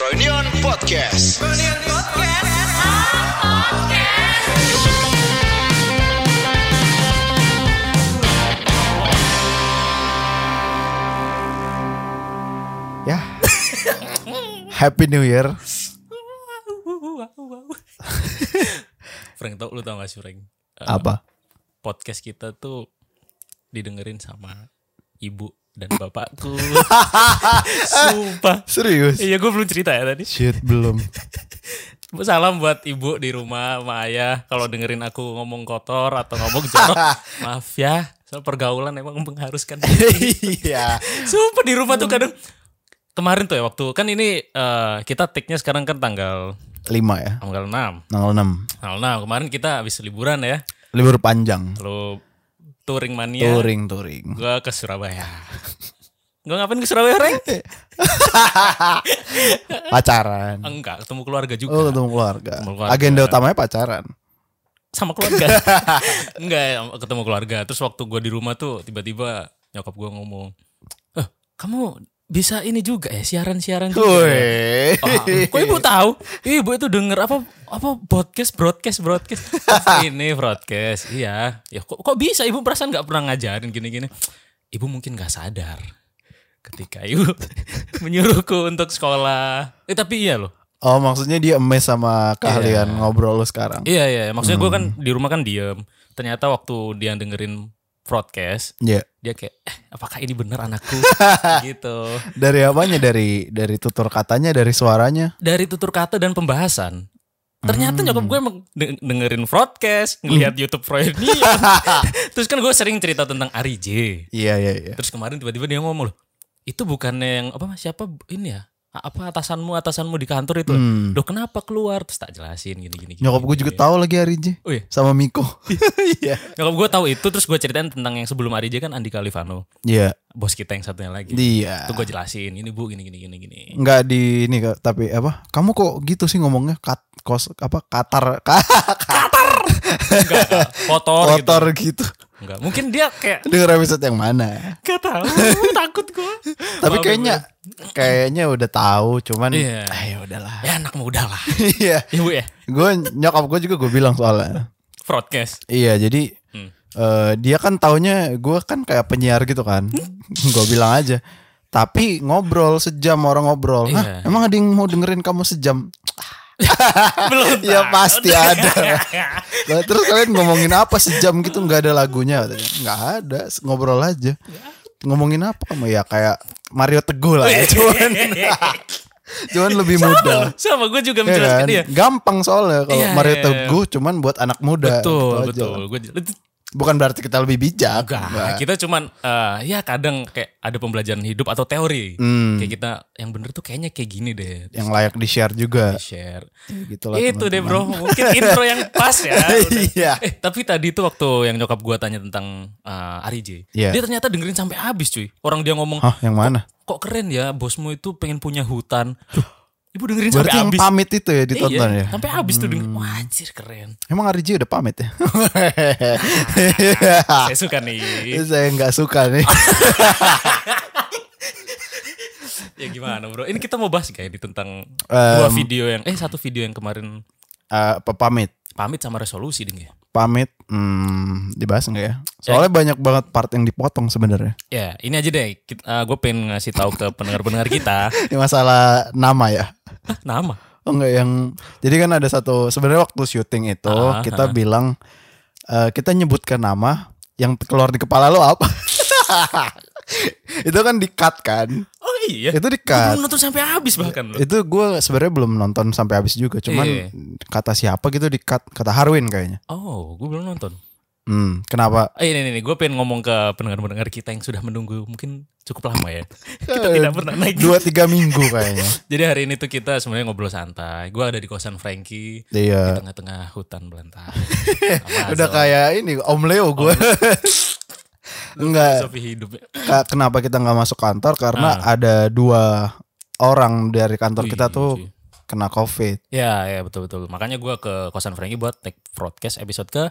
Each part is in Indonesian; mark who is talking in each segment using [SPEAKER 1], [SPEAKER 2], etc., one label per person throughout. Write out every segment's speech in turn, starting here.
[SPEAKER 1] Reunion Podcast.
[SPEAKER 2] Ya. Happy New Year.
[SPEAKER 3] Frank tau lu tau gak sih Frank? Eh,
[SPEAKER 2] Apa?
[SPEAKER 3] Podcast kita tuh didengerin sama ibu dan bapakku. Sumpah.
[SPEAKER 2] Serius?
[SPEAKER 3] Iya gue belum cerita ya tadi.
[SPEAKER 2] Shit, belum.
[SPEAKER 3] Salam buat ibu di rumah sama ayah. Kalau dengerin aku ngomong kotor atau ngomong jorok, maaf ya. Soal pergaulan emang mengharuskan.
[SPEAKER 2] Iya.
[SPEAKER 3] Sumpah di rumah tuh kadang kemarin tuh ya waktu kan ini eh, kita take-nya sekarang kan tanggal
[SPEAKER 2] Lima ya.
[SPEAKER 3] tanggal 6.
[SPEAKER 2] Tanggal 6.
[SPEAKER 3] Tanggal 6 kemarin kita habis liburan ya.
[SPEAKER 2] Libur panjang.
[SPEAKER 3] Lalu touring mania.
[SPEAKER 2] Touring, touring.
[SPEAKER 3] Gue ke Surabaya. gue ngapain ke Surabaya, Reng?
[SPEAKER 2] Pacaran.
[SPEAKER 3] Enggak, ketemu keluarga juga.
[SPEAKER 2] Oh, ketemu keluarga.
[SPEAKER 3] Ketemu keluarga.
[SPEAKER 2] Agenda utamanya pacaran.
[SPEAKER 3] Sama keluarga. Enggak, ketemu keluarga. Terus waktu gue di rumah tuh tiba-tiba nyokap gue ngomong, "Eh, kamu bisa ini juga ya siaran-siaran juga." ya?"
[SPEAKER 2] Woi.
[SPEAKER 3] Ah, kok ibu tahu? Ibu itu denger apa apa podcast broadcast broadcast Oh, ini broadcast. Iya. Ya kok kok bisa ibu perasaan nggak pernah ngajarin gini-gini. Ibu mungkin nggak sadar ketika ibu menyuruhku untuk sekolah. Eh tapi iya loh.
[SPEAKER 2] Oh, maksudnya dia emes sama keahlian ngobrol lu sekarang.
[SPEAKER 3] Iya iya. Maksudnya gue kan di rumah kan diem. Ternyata waktu dia dengerin broadcast
[SPEAKER 2] Iya.
[SPEAKER 3] dia kayak eh, apakah ini bener anakku gitu
[SPEAKER 2] Dari apanya? Dari dari tutur katanya, dari suaranya.
[SPEAKER 3] dari tutur kata dan pembahasan ternyata nyokap
[SPEAKER 2] Hmm.
[SPEAKER 3] gue emang de- dengerin broadcast ngelihat YouTube Freudian terus kan gue sering cerita tentang Ari J
[SPEAKER 2] Iya, iya, iya.
[SPEAKER 3] terus kemarin tiba-tiba dia ngomong loh itu bukannya yang apa siapa ini ya A- apa atasanmu atasanmu di kantor itu ya?"
[SPEAKER 2] Hmm.
[SPEAKER 3] loh kenapa keluar terus tak jelasin gini gini
[SPEAKER 2] Nyokap gue juga tahu lagi hari ini
[SPEAKER 3] Oh iya?
[SPEAKER 2] sama Miko. Iya.
[SPEAKER 3] nyokap gue tahu itu terus gue ceritain tentang yang sebelum Ari J kan Andika Livano
[SPEAKER 2] Iya.
[SPEAKER 3] bos kita yang satunya lagi
[SPEAKER 2] Dia.
[SPEAKER 3] itu gue jelasin ini bu gini gini gini gini
[SPEAKER 2] nggak di ini Kak, tapi apa kamu kok gitu sih ngomongnya kat kos apa katar
[SPEAKER 3] enggak enggak. kotor, gitu
[SPEAKER 2] kotor gitu
[SPEAKER 3] enggak mungkin dia kayak
[SPEAKER 2] denger episode yang mana
[SPEAKER 3] Gak tahu, takut gue.
[SPEAKER 2] tapi kayaknya kayaknya udah tahu cuman
[SPEAKER 3] Iya.
[SPEAKER 2] ah, ya udahlah
[SPEAKER 3] ya anak muda lah.
[SPEAKER 2] iya
[SPEAKER 3] Iya bu ya,
[SPEAKER 2] gue nyokap gue juga gue bilang soalnya
[SPEAKER 3] broadcast.
[SPEAKER 2] iya jadi
[SPEAKER 3] Hmm.
[SPEAKER 2] eh, dia kan taunya gue kan kayak penyiar gitu kan gue bilang aja tapi ngobrol sejam orang ngobrol Hah,
[SPEAKER 3] Iya.
[SPEAKER 2] emang ada yang mau dengerin kamu sejam
[SPEAKER 3] Belum.
[SPEAKER 2] ya
[SPEAKER 3] tahu.
[SPEAKER 2] pasti ada Lah, terus kalian ngomongin apa sejam gitu nggak ada lagunya katanya. nggak ada ngobrol aja ngomongin apa kamu ya kayak Mario Teguh lah ya cuman cuman lebih muda
[SPEAKER 3] Sama gue juga
[SPEAKER 2] ya
[SPEAKER 3] menjelaskan
[SPEAKER 2] kan?
[SPEAKER 3] dia.
[SPEAKER 2] gampang soalnya kalau
[SPEAKER 3] Iya,
[SPEAKER 2] Mario
[SPEAKER 3] iya, iya.
[SPEAKER 2] Teguh cuman buat anak muda
[SPEAKER 3] Betul,
[SPEAKER 2] gitu aja.
[SPEAKER 3] betul. Gue
[SPEAKER 2] bukan berarti kita lebih bijak Nggak.
[SPEAKER 3] kita cuman eh, ya kadang kayak ada pembelajaran hidup atau teori.
[SPEAKER 2] Hmm. Ya.
[SPEAKER 3] Kayak kita yang bener tuh kayaknya kayak gini deh.
[SPEAKER 2] yang layak di share juga
[SPEAKER 3] Share.
[SPEAKER 2] gitu lah
[SPEAKER 3] itu deh
[SPEAKER 2] teman-teman.
[SPEAKER 3] bro, mungkin intro yang pas ya. udah.
[SPEAKER 2] Iya.
[SPEAKER 3] Eh, tapi tadi tuh waktu yang nyokap gue tanya tentang eh, Ari J,
[SPEAKER 2] Iya.
[SPEAKER 3] dia ternyata dengerin sampai habis cuy. Orang dia ngomong
[SPEAKER 2] Hah, yang mana
[SPEAKER 3] kok keren ya bosmu itu pengen punya hutan. Loh, ibu dengerin
[SPEAKER 2] berarti
[SPEAKER 3] sampai
[SPEAKER 2] yang
[SPEAKER 3] habis.
[SPEAKER 2] pamit itu ya ditonton
[SPEAKER 3] Iya,
[SPEAKER 2] ya
[SPEAKER 3] Sampai habis tuh denger. Wah, anjir keren.
[SPEAKER 2] emang Arji udah pamit ya
[SPEAKER 3] Saya suka nih.
[SPEAKER 2] saya nggak suka nih
[SPEAKER 3] ya gimana, Bro? Ini kita mau bahas kayak di tentang
[SPEAKER 2] Em,
[SPEAKER 3] dua video yang eh satu video yang kemarin
[SPEAKER 2] Eh, apa pamit
[SPEAKER 3] pamit sama resolusi ding ya.
[SPEAKER 2] pamit hmm, dibahas nggak ya? Soalnya banyak banget part yang dipotong sebenarnya.
[SPEAKER 3] Ya, ini aja deh. gue pengen ngasih tahu ke pendengar-pendengar kita
[SPEAKER 2] Ini masalah nama ya.
[SPEAKER 3] Hah, nama.
[SPEAKER 2] Oh enggak yang jadi kan ada satu sebenarnya waktu syuting itu
[SPEAKER 3] Ah,
[SPEAKER 2] kita bilang eh, kita nyebutkan nama yang keluar di kepala lo apa? itu kan di-cut kan?
[SPEAKER 3] Oh iya.
[SPEAKER 2] Itu
[SPEAKER 3] Gua
[SPEAKER 2] di-cut.
[SPEAKER 3] belum nonton sampai habis bahkan loh.
[SPEAKER 2] Itu gue sebenarnya belum nonton sampai habis juga, cuman
[SPEAKER 3] Iya.
[SPEAKER 2] kata siapa gitu di-cut, kata Harwin kayaknya.
[SPEAKER 3] Oh, gue belum nonton.
[SPEAKER 2] Hmm, kenapa?
[SPEAKER 3] Eh, ini, ini, gue pengen ngomong ke pendengar-pendengar kita yang sudah menunggu mungkin cukup lama ya. kita tidak pernah naik
[SPEAKER 2] Dua tiga minggu kayaknya.
[SPEAKER 3] Jadi hari ini tuh kita sebenarnya ngobrol santai. Gua ada di kosan Frankie
[SPEAKER 2] Iya.
[SPEAKER 3] di tengah-tengah hutan belantara. Sama
[SPEAKER 2] Udah
[SPEAKER 3] Azol.
[SPEAKER 2] kayak ini Om Leo gue. Enggak.
[SPEAKER 3] Filosofi hidup.
[SPEAKER 2] ka- Kenapa kita nggak masuk kantor? Karena ada dua orang dari kantor
[SPEAKER 3] Ah. Wih,
[SPEAKER 2] kita tuh
[SPEAKER 3] cuy.
[SPEAKER 2] kena COVID.
[SPEAKER 3] Ya, ya betul betul. Makanya gua ke kosan Frankie buat take broadcast episode ke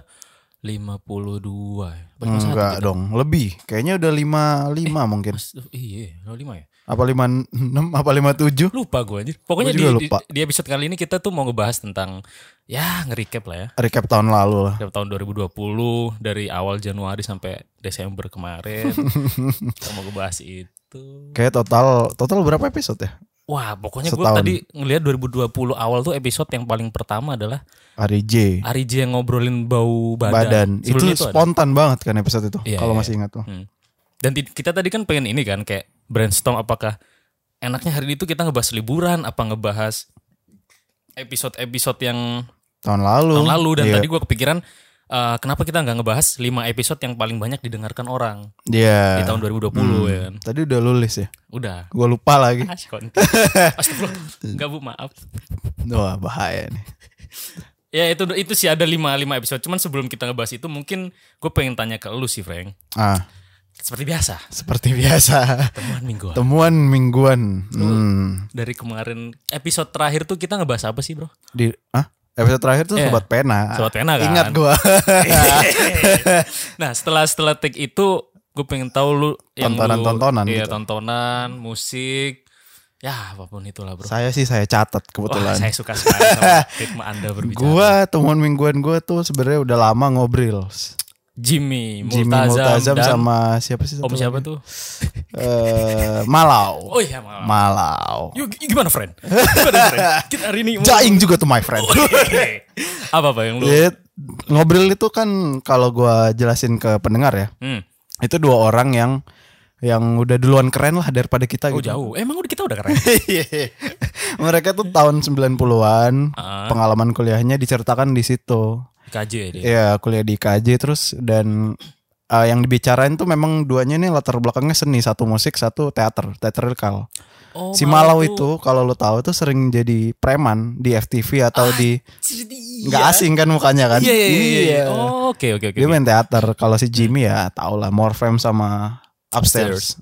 [SPEAKER 3] 52. Apa 51? Eh,
[SPEAKER 2] Enggak dong, lebih. Kayaknya udah lima lima mungkin.
[SPEAKER 3] Mas, Iya, 25 ya.
[SPEAKER 2] Apa 56 apa 57?
[SPEAKER 3] Lupa gue anjir. Pokoknya
[SPEAKER 2] Gua
[SPEAKER 3] di,
[SPEAKER 2] juga
[SPEAKER 3] di-
[SPEAKER 2] lupa.
[SPEAKER 3] di episode kali ini kita tuh mau ngebahas tentang ya nge-recap lah ya.
[SPEAKER 2] Recap tahun lalu lah.
[SPEAKER 3] Dari tahun 2020 dari awal Januari sampai Desember kemarin. kita mau ngebahas itu.
[SPEAKER 2] Kayak total total berapa episode ya?
[SPEAKER 3] Wah, pokoknya gue
[SPEAKER 2] Setahun.
[SPEAKER 3] tadi ngelihat 2020 awal tuh episode yang paling pertama adalah
[SPEAKER 2] Ari J.
[SPEAKER 3] Ari J yang ngobrolin bau badan.
[SPEAKER 2] Badan. Itu,
[SPEAKER 3] Sebelum ada.
[SPEAKER 2] spontan banget kan episode itu.
[SPEAKER 3] Iya,
[SPEAKER 2] kalau
[SPEAKER 3] iya.
[SPEAKER 2] masih ingat tuh.
[SPEAKER 3] Hmm. Dan ti- kita tadi kan pengen ini kan kayak brainstorm apakah enaknya hari itu kita ngebahas liburan apa ngebahas episode-episode yang
[SPEAKER 2] Tahun lalu.
[SPEAKER 3] tahun lalu dan
[SPEAKER 2] Iya.
[SPEAKER 3] tadi gua kepikiran eh, kenapa kita nggak ngebahas 5 episode yang paling banyak didengarkan orang
[SPEAKER 2] Iya. Hmm.
[SPEAKER 3] di tahun 2020 ya kan.
[SPEAKER 2] Tadi udah lulus ya.
[SPEAKER 3] Udah.
[SPEAKER 2] Gue lupa lagi.
[SPEAKER 3] Ah, si konten. Astagfirullah. Nggak, Bu, maaf.
[SPEAKER 2] Wah, bahaya nih.
[SPEAKER 3] Ya itu itu sih ada 5 5 episode. Cuman sebelum kita ngebahas itu mungkin gue pengen tanya ke lu sih, Frank.
[SPEAKER 2] Ah,
[SPEAKER 3] Seperti biasa,
[SPEAKER 2] seperti biasa.
[SPEAKER 3] temuan mingguan.
[SPEAKER 2] Temuan mingguan. Hmm.
[SPEAKER 3] Dari kemarin episode terakhir tuh kita ngebahas apa sih, Bro?
[SPEAKER 2] Di ah, episode terakhir tuh
[SPEAKER 3] Iya.
[SPEAKER 2] sobat pena.
[SPEAKER 3] Sobat Pena, kan?
[SPEAKER 2] Ingat gua.
[SPEAKER 3] Nah setelah setelah take itu gue pengen tahu lu
[SPEAKER 2] Tontonan-tontonan
[SPEAKER 3] iya
[SPEAKER 2] gitu.
[SPEAKER 3] tontonan musik ya apapun itulah bro.
[SPEAKER 2] saya sih saya catat
[SPEAKER 3] Wah,
[SPEAKER 2] kebetulan.
[SPEAKER 3] saya suka sekali sama ritme anda berbicara.
[SPEAKER 2] Gua temuan mingguan gua tuh sebenarnya udah lama ngobrol.
[SPEAKER 3] Jimmy,
[SPEAKER 2] Jimmy Multazam
[SPEAKER 3] Multazam, dan
[SPEAKER 2] sama siapa sih? satu
[SPEAKER 3] Om siapa
[SPEAKER 2] lagi?
[SPEAKER 3] tuh?
[SPEAKER 2] Eh, Malau.
[SPEAKER 3] Oh iya malam.
[SPEAKER 2] Malau.
[SPEAKER 3] Yuk, yuk, gimana friend? Gimana friend? Kita hari ini mau-
[SPEAKER 2] Jaing juga tuh my friend.
[SPEAKER 3] Oh, iya. apa apa yang lu?
[SPEAKER 2] Ya, ngobrol itu kan kalau gua jelasin ke pendengar ya,
[SPEAKER 3] Hmm.
[SPEAKER 2] itu dua orang yang yang udah duluan keren lah daripada kita
[SPEAKER 3] Oh
[SPEAKER 2] gitu.
[SPEAKER 3] jauh. Emang udah kita udah keren.
[SPEAKER 2] Mereka tuh tahun 90-an,
[SPEAKER 3] Ah.
[SPEAKER 2] pengalaman kuliahnya diceritakan di situ.
[SPEAKER 3] KJ ya dia.
[SPEAKER 2] Ya, kuliah di KJ terus dan eh, yang dibicarain tuh memang duanya nih latar belakangnya seni, satu musik, satu teater, teaterikal.
[SPEAKER 3] Oh,
[SPEAKER 2] si Malau itu kalau lo tahu tuh sering jadi preman di FTV atau di nggak asing kan mukanya kan?
[SPEAKER 3] Ah, Iya iya iya. iya. Oh, Oke oke oke.
[SPEAKER 2] Dia main teater. Kalau si Jimmy ya tau lah Morfem sama Upstairs.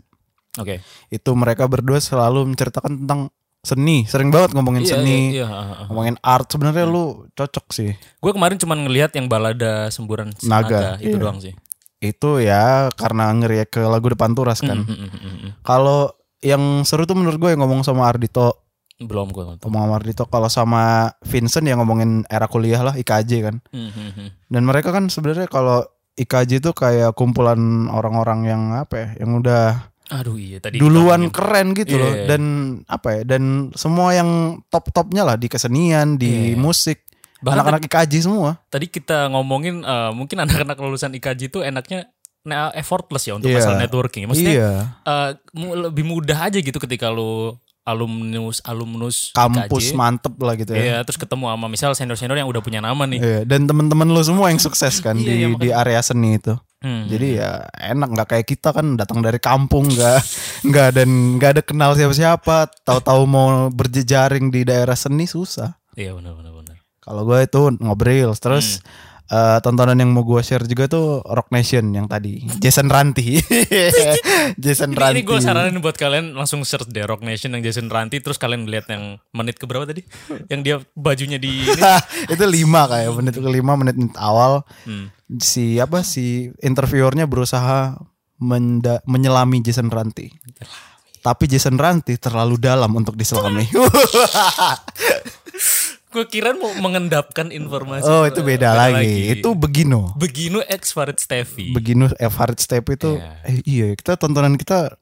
[SPEAKER 3] Oke.
[SPEAKER 2] Itu mereka berdua selalu menceritakan tentang seni. Sering banget ngomongin
[SPEAKER 3] Iya,
[SPEAKER 2] seni,
[SPEAKER 3] iya, iya, iya.
[SPEAKER 2] ngomongin art. Sebenarnya lu cocok sih.
[SPEAKER 3] Gue kemarin cuman ngelihat yang balada semburan
[SPEAKER 2] Naga.
[SPEAKER 3] naga, itu
[SPEAKER 2] Iya.
[SPEAKER 3] doang sih.
[SPEAKER 2] Itu ya karena ngeriak ke lagu depan turas kan.
[SPEAKER 3] Mm, mm, mm, mm, mm.
[SPEAKER 2] Kalau yang seru tuh menurut gue yang ngomong sama Ardito,
[SPEAKER 3] Belum gue nonton.
[SPEAKER 2] ngomong sama Ardito kalau sama Vincent yang ngomongin era kuliah lah IKJ kan.
[SPEAKER 3] Mm, mm, mm.
[SPEAKER 2] Dan mereka kan sebenarnya kalau IKJ itu kayak kumpulan orang-orang yang apa ya, yang udah
[SPEAKER 3] Aduh iya tadi.
[SPEAKER 2] duluan
[SPEAKER 3] kita ngomongin-
[SPEAKER 2] keren gitu loh
[SPEAKER 3] Iya.
[SPEAKER 2] dan apa ya dan semua yang top topnya lah di kesenian di
[SPEAKER 3] Iya.
[SPEAKER 2] musik
[SPEAKER 3] Bahkan
[SPEAKER 2] anak-anak IKJ semua
[SPEAKER 3] tadi kita ngomongin eh, mungkin anak-anak lulusan IKJ itu enaknya nah, effortless ya untuk
[SPEAKER 2] Iya.
[SPEAKER 3] masalah networking. Maksudnya
[SPEAKER 2] iya
[SPEAKER 3] eh, mu- lebih mudah aja gitu ketika lu alumnus alumnus
[SPEAKER 2] kampus
[SPEAKER 3] IKJ.
[SPEAKER 2] mantep lah gitu ya
[SPEAKER 3] Iya, terus ketemu sama misal senior-senior yang udah punya nama nih.
[SPEAKER 2] Iya, dan teman-teman lo semua yang sukses kan
[SPEAKER 3] Iya,
[SPEAKER 2] di
[SPEAKER 3] iya,
[SPEAKER 2] di area seni itu
[SPEAKER 3] Hmm.
[SPEAKER 2] jadi ya enak nggak kayak kita kan datang dari kampung nggak nggak dan nggak ada kenal siapa-siapa tahu-tahu mau berjejaring di daerah seni susah
[SPEAKER 3] Iya benar benar benar.
[SPEAKER 2] kalau gue itu ngobrol terus
[SPEAKER 3] Hmm.
[SPEAKER 2] eh, tontonan yang mau gue share juga tuh Rock Nation yang tadi Jason Ranti Jason
[SPEAKER 3] Ini,
[SPEAKER 2] Ranti
[SPEAKER 3] gue saranin buat kalian langsung search The Rock Nation yang Jason Ranti terus kalian lihat yang menit keberapa tadi? yang dia bajunya di ini.
[SPEAKER 2] itu lima kayak menit kelima menit menit awal
[SPEAKER 3] Hmm.
[SPEAKER 2] si apa si interviewernya berusaha menda- menyelami Jason Ranti tapi Jason Ranti terlalu dalam untuk diselami
[SPEAKER 3] Gue kira mau mengendapkan informasi.
[SPEAKER 2] oh itu beda lagi itu begino
[SPEAKER 3] Beginu ex Farid Stevi.
[SPEAKER 2] begino F Hard Step itu
[SPEAKER 3] Iya.
[SPEAKER 2] eh, iya kita tontonan kita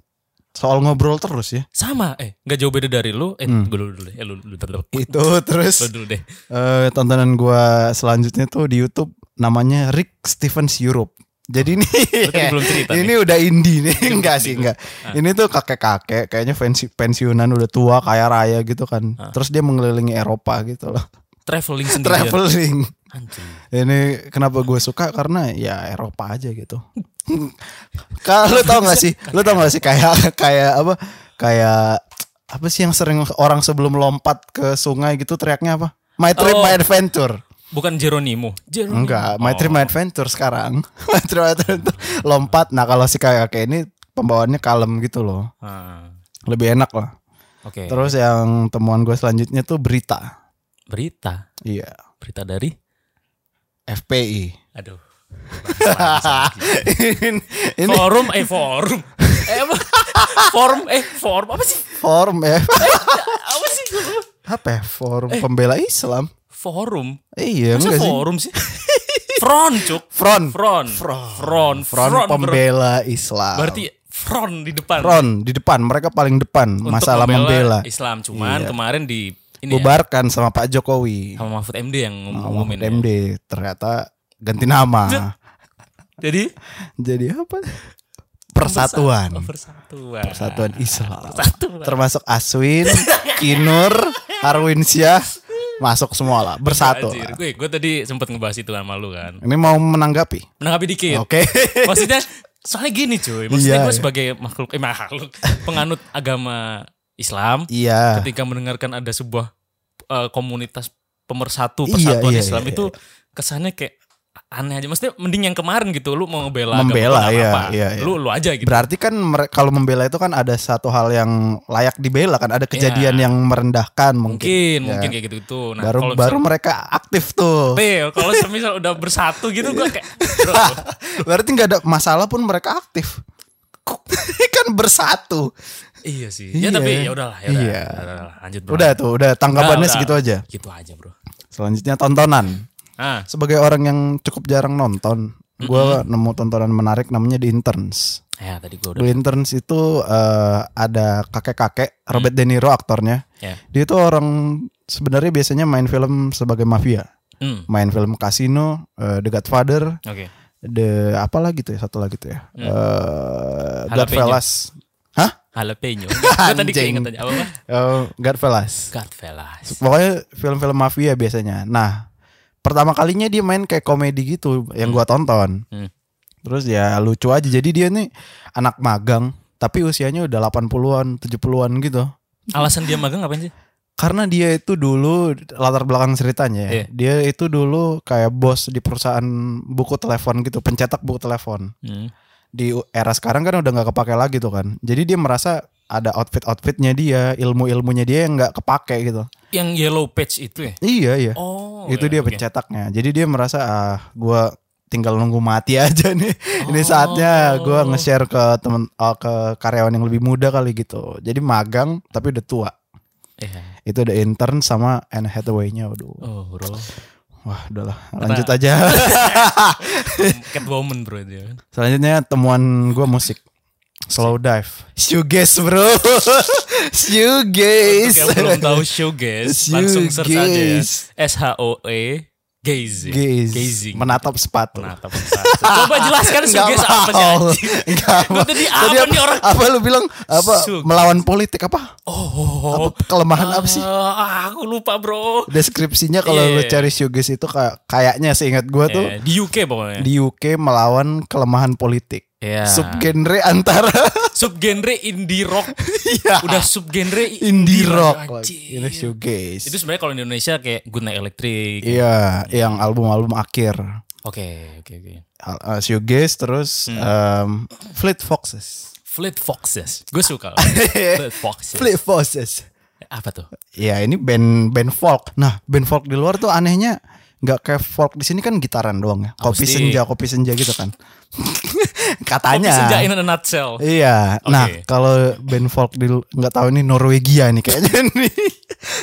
[SPEAKER 2] soal ngobrol terus ya
[SPEAKER 3] Sama, eh nggak jauh beda dari lu. Eh
[SPEAKER 2] Hmm.
[SPEAKER 3] gue dulu dulu deh. Eh lu lu dulu. deh.
[SPEAKER 2] itu terus
[SPEAKER 3] Lu dulu deh.
[SPEAKER 2] Eh tontonan gua selanjutnya tuh di YouTube namanya Rick Stevens Europe. Jadi ini
[SPEAKER 3] Lu tadi belum cerita
[SPEAKER 2] ini
[SPEAKER 3] nih.
[SPEAKER 2] udah indie nih, enggak
[SPEAKER 3] belum
[SPEAKER 2] sih
[SPEAKER 3] cerita. Ah.
[SPEAKER 2] enggak. Ini tuh kakek-kakek kayaknya pensi- pensiunan udah tua kaya raya gitu kan.
[SPEAKER 3] Ah.
[SPEAKER 2] Terus dia mengelilingi Eropa gitu loh.
[SPEAKER 3] Traveling sendirian.
[SPEAKER 2] Traveling.
[SPEAKER 3] Anjing.
[SPEAKER 2] Ini kenapa gue suka karena ya Eropa aja gitu. Kalau lu tau gak sih, lu tau gak sih kayak kayak apa kayak apa sih yang sering orang sebelum lompat ke sungai gitu teriaknya apa? My trip,
[SPEAKER 3] Oh.
[SPEAKER 2] my adventure.
[SPEAKER 3] Bukan Jeronimo. Jeronimo.
[SPEAKER 2] Enggak, My Trip My Adventure sekarang. My Trip My Adventure lompat. Nah, kalau si kakek ini pembawaannya kalem gitu loh.
[SPEAKER 3] Ah,
[SPEAKER 2] Lebih enak lah.
[SPEAKER 3] Oke.
[SPEAKER 2] Terus yang temuan gue selanjutnya tuh berita.
[SPEAKER 3] Berita.
[SPEAKER 2] Iya,
[SPEAKER 3] Berita dari
[SPEAKER 2] FPI.
[SPEAKER 3] Aduh. Bahas lagi.
[SPEAKER 2] ini
[SPEAKER 3] Forum eh forum. eh, apa? form eh form apa sih?
[SPEAKER 2] Forum ya.
[SPEAKER 3] Apa sih?
[SPEAKER 2] Apa ya? Forum pembela Islam.
[SPEAKER 3] Forum.
[SPEAKER 2] Eh, iya
[SPEAKER 3] Eh. Masa
[SPEAKER 2] enggak sih?
[SPEAKER 3] forum sih? front, Cuk.
[SPEAKER 2] Front.
[SPEAKER 3] Front.
[SPEAKER 2] Front.
[SPEAKER 3] Front.
[SPEAKER 2] Front
[SPEAKER 3] Front, bro.
[SPEAKER 2] pembela Islam.
[SPEAKER 3] Berarti front di depan.
[SPEAKER 2] front di depan, mereka paling depan
[SPEAKER 3] Untuk
[SPEAKER 2] masalah membela. Iya.
[SPEAKER 3] Islam cuman kemarin di ini ya,
[SPEAKER 2] Bubarkan sama Pak Jokowi.
[SPEAKER 3] sama Mahfud MD yang
[SPEAKER 2] Sama
[SPEAKER 3] ngumumin. ya.
[SPEAKER 2] MD ternyata ganti nama.
[SPEAKER 3] Jadi
[SPEAKER 2] Jadi apa? Persatuan.
[SPEAKER 3] Oh, persatuan.
[SPEAKER 2] Persatuan Islam.
[SPEAKER 3] Persatuan.
[SPEAKER 2] Termasuk Aswin, Kinur, Harwinsyah masuk semua lah, bersatu.
[SPEAKER 3] Anjir,
[SPEAKER 2] lah.
[SPEAKER 3] gue, gue tadi sempet ngebahas itu sama lu kan.
[SPEAKER 2] Ini mau menanggapi.
[SPEAKER 3] Menanggapi dikit.
[SPEAKER 2] Oke.
[SPEAKER 3] Maksudnya soalnya gini cuy, maksudnya
[SPEAKER 2] Iya,
[SPEAKER 3] gue
[SPEAKER 2] iya.
[SPEAKER 3] sebagai makhluk eh makhluk penganut agama Islam
[SPEAKER 2] Iya.
[SPEAKER 3] ketika mendengarkan ada sebuah eh, komunitas pemersatu
[SPEAKER 2] Iya,
[SPEAKER 3] persatuan
[SPEAKER 2] iya,
[SPEAKER 3] Islam
[SPEAKER 2] iya,
[SPEAKER 3] itu kesannya kayak aneh aja. Maksudnya mending yang kemarin gitu lu mau ngebela agama
[SPEAKER 2] Membela,
[SPEAKER 3] lu
[SPEAKER 2] iya,
[SPEAKER 3] apa.
[SPEAKER 2] iya, iya.
[SPEAKER 3] Lu lu aja gitu.
[SPEAKER 2] Berarti kan mere- kalau membela itu kan ada satu hal yang layak dibela kan, ada kejadian
[SPEAKER 3] Iya.
[SPEAKER 2] yang merendahkan mungkin.
[SPEAKER 3] mungkin
[SPEAKER 2] ya.
[SPEAKER 3] mungkin kayak gitu gitu. Nah,
[SPEAKER 2] baru
[SPEAKER 3] kalau
[SPEAKER 2] baru
[SPEAKER 3] misal-
[SPEAKER 2] mereka aktif tuh.
[SPEAKER 3] Bel, kalau semisal udah bersatu gitu gue kayak bro,
[SPEAKER 2] Berarti nggak ada masalah pun mereka aktif. kan bersatu.
[SPEAKER 3] iya sih. Ya
[SPEAKER 2] Iya.
[SPEAKER 3] tapi ya udahlah ya udah.
[SPEAKER 2] Iya.
[SPEAKER 3] Ya udahlah, lanjut bro.
[SPEAKER 2] Udah tuh, udah tanggapannya
[SPEAKER 3] Udah, udah.
[SPEAKER 2] segitu aja.
[SPEAKER 3] Gitu aja bro.
[SPEAKER 2] Selanjutnya tontonan.
[SPEAKER 3] Ah,
[SPEAKER 2] Sebagai orang yang cukup jarang nonton, gua nemu tontonan menarik namanya The Interns.
[SPEAKER 3] ya tadi gue udah.
[SPEAKER 2] The Interns itu eh, ada kakek-kakek Robert De Niro aktornya.
[SPEAKER 3] Ya.
[SPEAKER 2] Dia itu orang sebenarnya biasanya main film sebagai mafia,
[SPEAKER 3] Hmm,
[SPEAKER 2] main film Casino, eh, The Godfather,
[SPEAKER 3] Oke.
[SPEAKER 2] The apa lagi tuh ya satu lagi tuh ya, Eh
[SPEAKER 3] Jalapeno.
[SPEAKER 2] Godfellas, hah?
[SPEAKER 3] Jalapeno. Gue tadi
[SPEAKER 2] Anjing.
[SPEAKER 3] keinget aja apa? apa?
[SPEAKER 2] Eh, Godfellas.
[SPEAKER 3] Godfellas.
[SPEAKER 2] Pokoknya film-film mafia biasanya. Nah, pertama kalinya dia main kayak komedi gitu yang gua tonton.
[SPEAKER 3] Hmm.
[SPEAKER 2] Terus ya lucu aja. Jadi dia nih anak magang, tapi usianya udah 80-an, 70-an gitu.
[SPEAKER 3] Alasan dia magang ngapain sih?
[SPEAKER 2] Karena dia itu dulu latar belakang ceritanya ya.
[SPEAKER 3] Iya.
[SPEAKER 2] Dia itu dulu kayak bos di perusahaan buku telepon gitu, pencetak buku telepon.
[SPEAKER 3] Hmm.
[SPEAKER 2] Di era sekarang kan udah nggak kepake lagi tuh kan. Jadi dia merasa ada outfit-outfitnya dia, ilmu-ilmunya dia yang nggak kepake gitu.
[SPEAKER 3] Yang yellow page itu ya?
[SPEAKER 2] Iya, iya.
[SPEAKER 3] Oh.
[SPEAKER 2] itu
[SPEAKER 3] ya,
[SPEAKER 2] dia
[SPEAKER 3] oke.
[SPEAKER 2] pencetaknya. Jadi dia merasa ah gua tinggal nunggu mati aja nih. Ini saatnya
[SPEAKER 3] Oh.
[SPEAKER 2] gua nge-share ke temen oh, ke karyawan yang lebih muda kali gitu. Jadi magang tapi udah tua.
[SPEAKER 3] Iya.
[SPEAKER 2] Itu ada intern sama Anne Hathaway-nya. Waduh.
[SPEAKER 3] Oh bro.
[SPEAKER 2] Wah, udahlah. Lanjut aja.
[SPEAKER 3] Catwoman bro dia kan.
[SPEAKER 2] Selanjutnya temuan gua musik. Slow dive. Shoegaze, Bro.
[SPEAKER 3] Untuk
[SPEAKER 2] Shoegaze.
[SPEAKER 3] yang belum tahu show guys, langsung search aja ya.
[SPEAKER 2] Shoegaze.
[SPEAKER 3] S H O E gazing.
[SPEAKER 2] Gaze.
[SPEAKER 3] Gazing.
[SPEAKER 2] Menatap sepatu.
[SPEAKER 3] Menatap satu. Coba jelaskan show guys apa sih?
[SPEAKER 2] mau.
[SPEAKER 3] anjing?
[SPEAKER 2] Nggak
[SPEAKER 3] Lu
[SPEAKER 2] mau.
[SPEAKER 3] tadi apa nih orang?
[SPEAKER 2] Apa lu bilang apa
[SPEAKER 3] Sug-
[SPEAKER 2] melawan politik apa?
[SPEAKER 3] Oh.
[SPEAKER 2] Apa kelemahan apa sih?
[SPEAKER 3] Ah, aku lupa bro.
[SPEAKER 2] Deskripsinya kalau lu
[SPEAKER 3] Iya.
[SPEAKER 2] cari shoegaze itu kayak kayaknya seingat gua tuh
[SPEAKER 3] Eh, di UK pokoknya.
[SPEAKER 2] di UK melawan kelemahan politik.
[SPEAKER 3] Iya.
[SPEAKER 2] Subgenre antara
[SPEAKER 3] subgenre indie rock
[SPEAKER 2] Iya.
[SPEAKER 3] udah subgenre i-
[SPEAKER 2] indie rock.
[SPEAKER 3] anjir.
[SPEAKER 2] Ini shoegaze.
[SPEAKER 3] itu sebenarnya kalau di Indonesia kayak Good Night Electric
[SPEAKER 2] Iya, yang album-album akhir.
[SPEAKER 3] oke oke oke
[SPEAKER 2] Al- uh, Shoegaze terus
[SPEAKER 3] Hmm.
[SPEAKER 2] um, Fleet Foxes.
[SPEAKER 3] Fleet Foxes gue suka Fleet Foxes
[SPEAKER 2] Fleet Foxes.
[SPEAKER 3] apa tuh
[SPEAKER 2] Ya ini band band folk. Nah band folk di luar tuh anehnya nggak kayak folk di sini kan gitaran doang ya. Kopi
[SPEAKER 3] Akustik.
[SPEAKER 2] senja, kopi senja gitu kan.
[SPEAKER 3] Kopi Senja
[SPEAKER 2] Katanya.
[SPEAKER 3] in a nutshell
[SPEAKER 2] Iya. Nah
[SPEAKER 3] Oke.
[SPEAKER 2] kalau band folk di lu- nggak tahu ini Norwegia nih kayaknya nih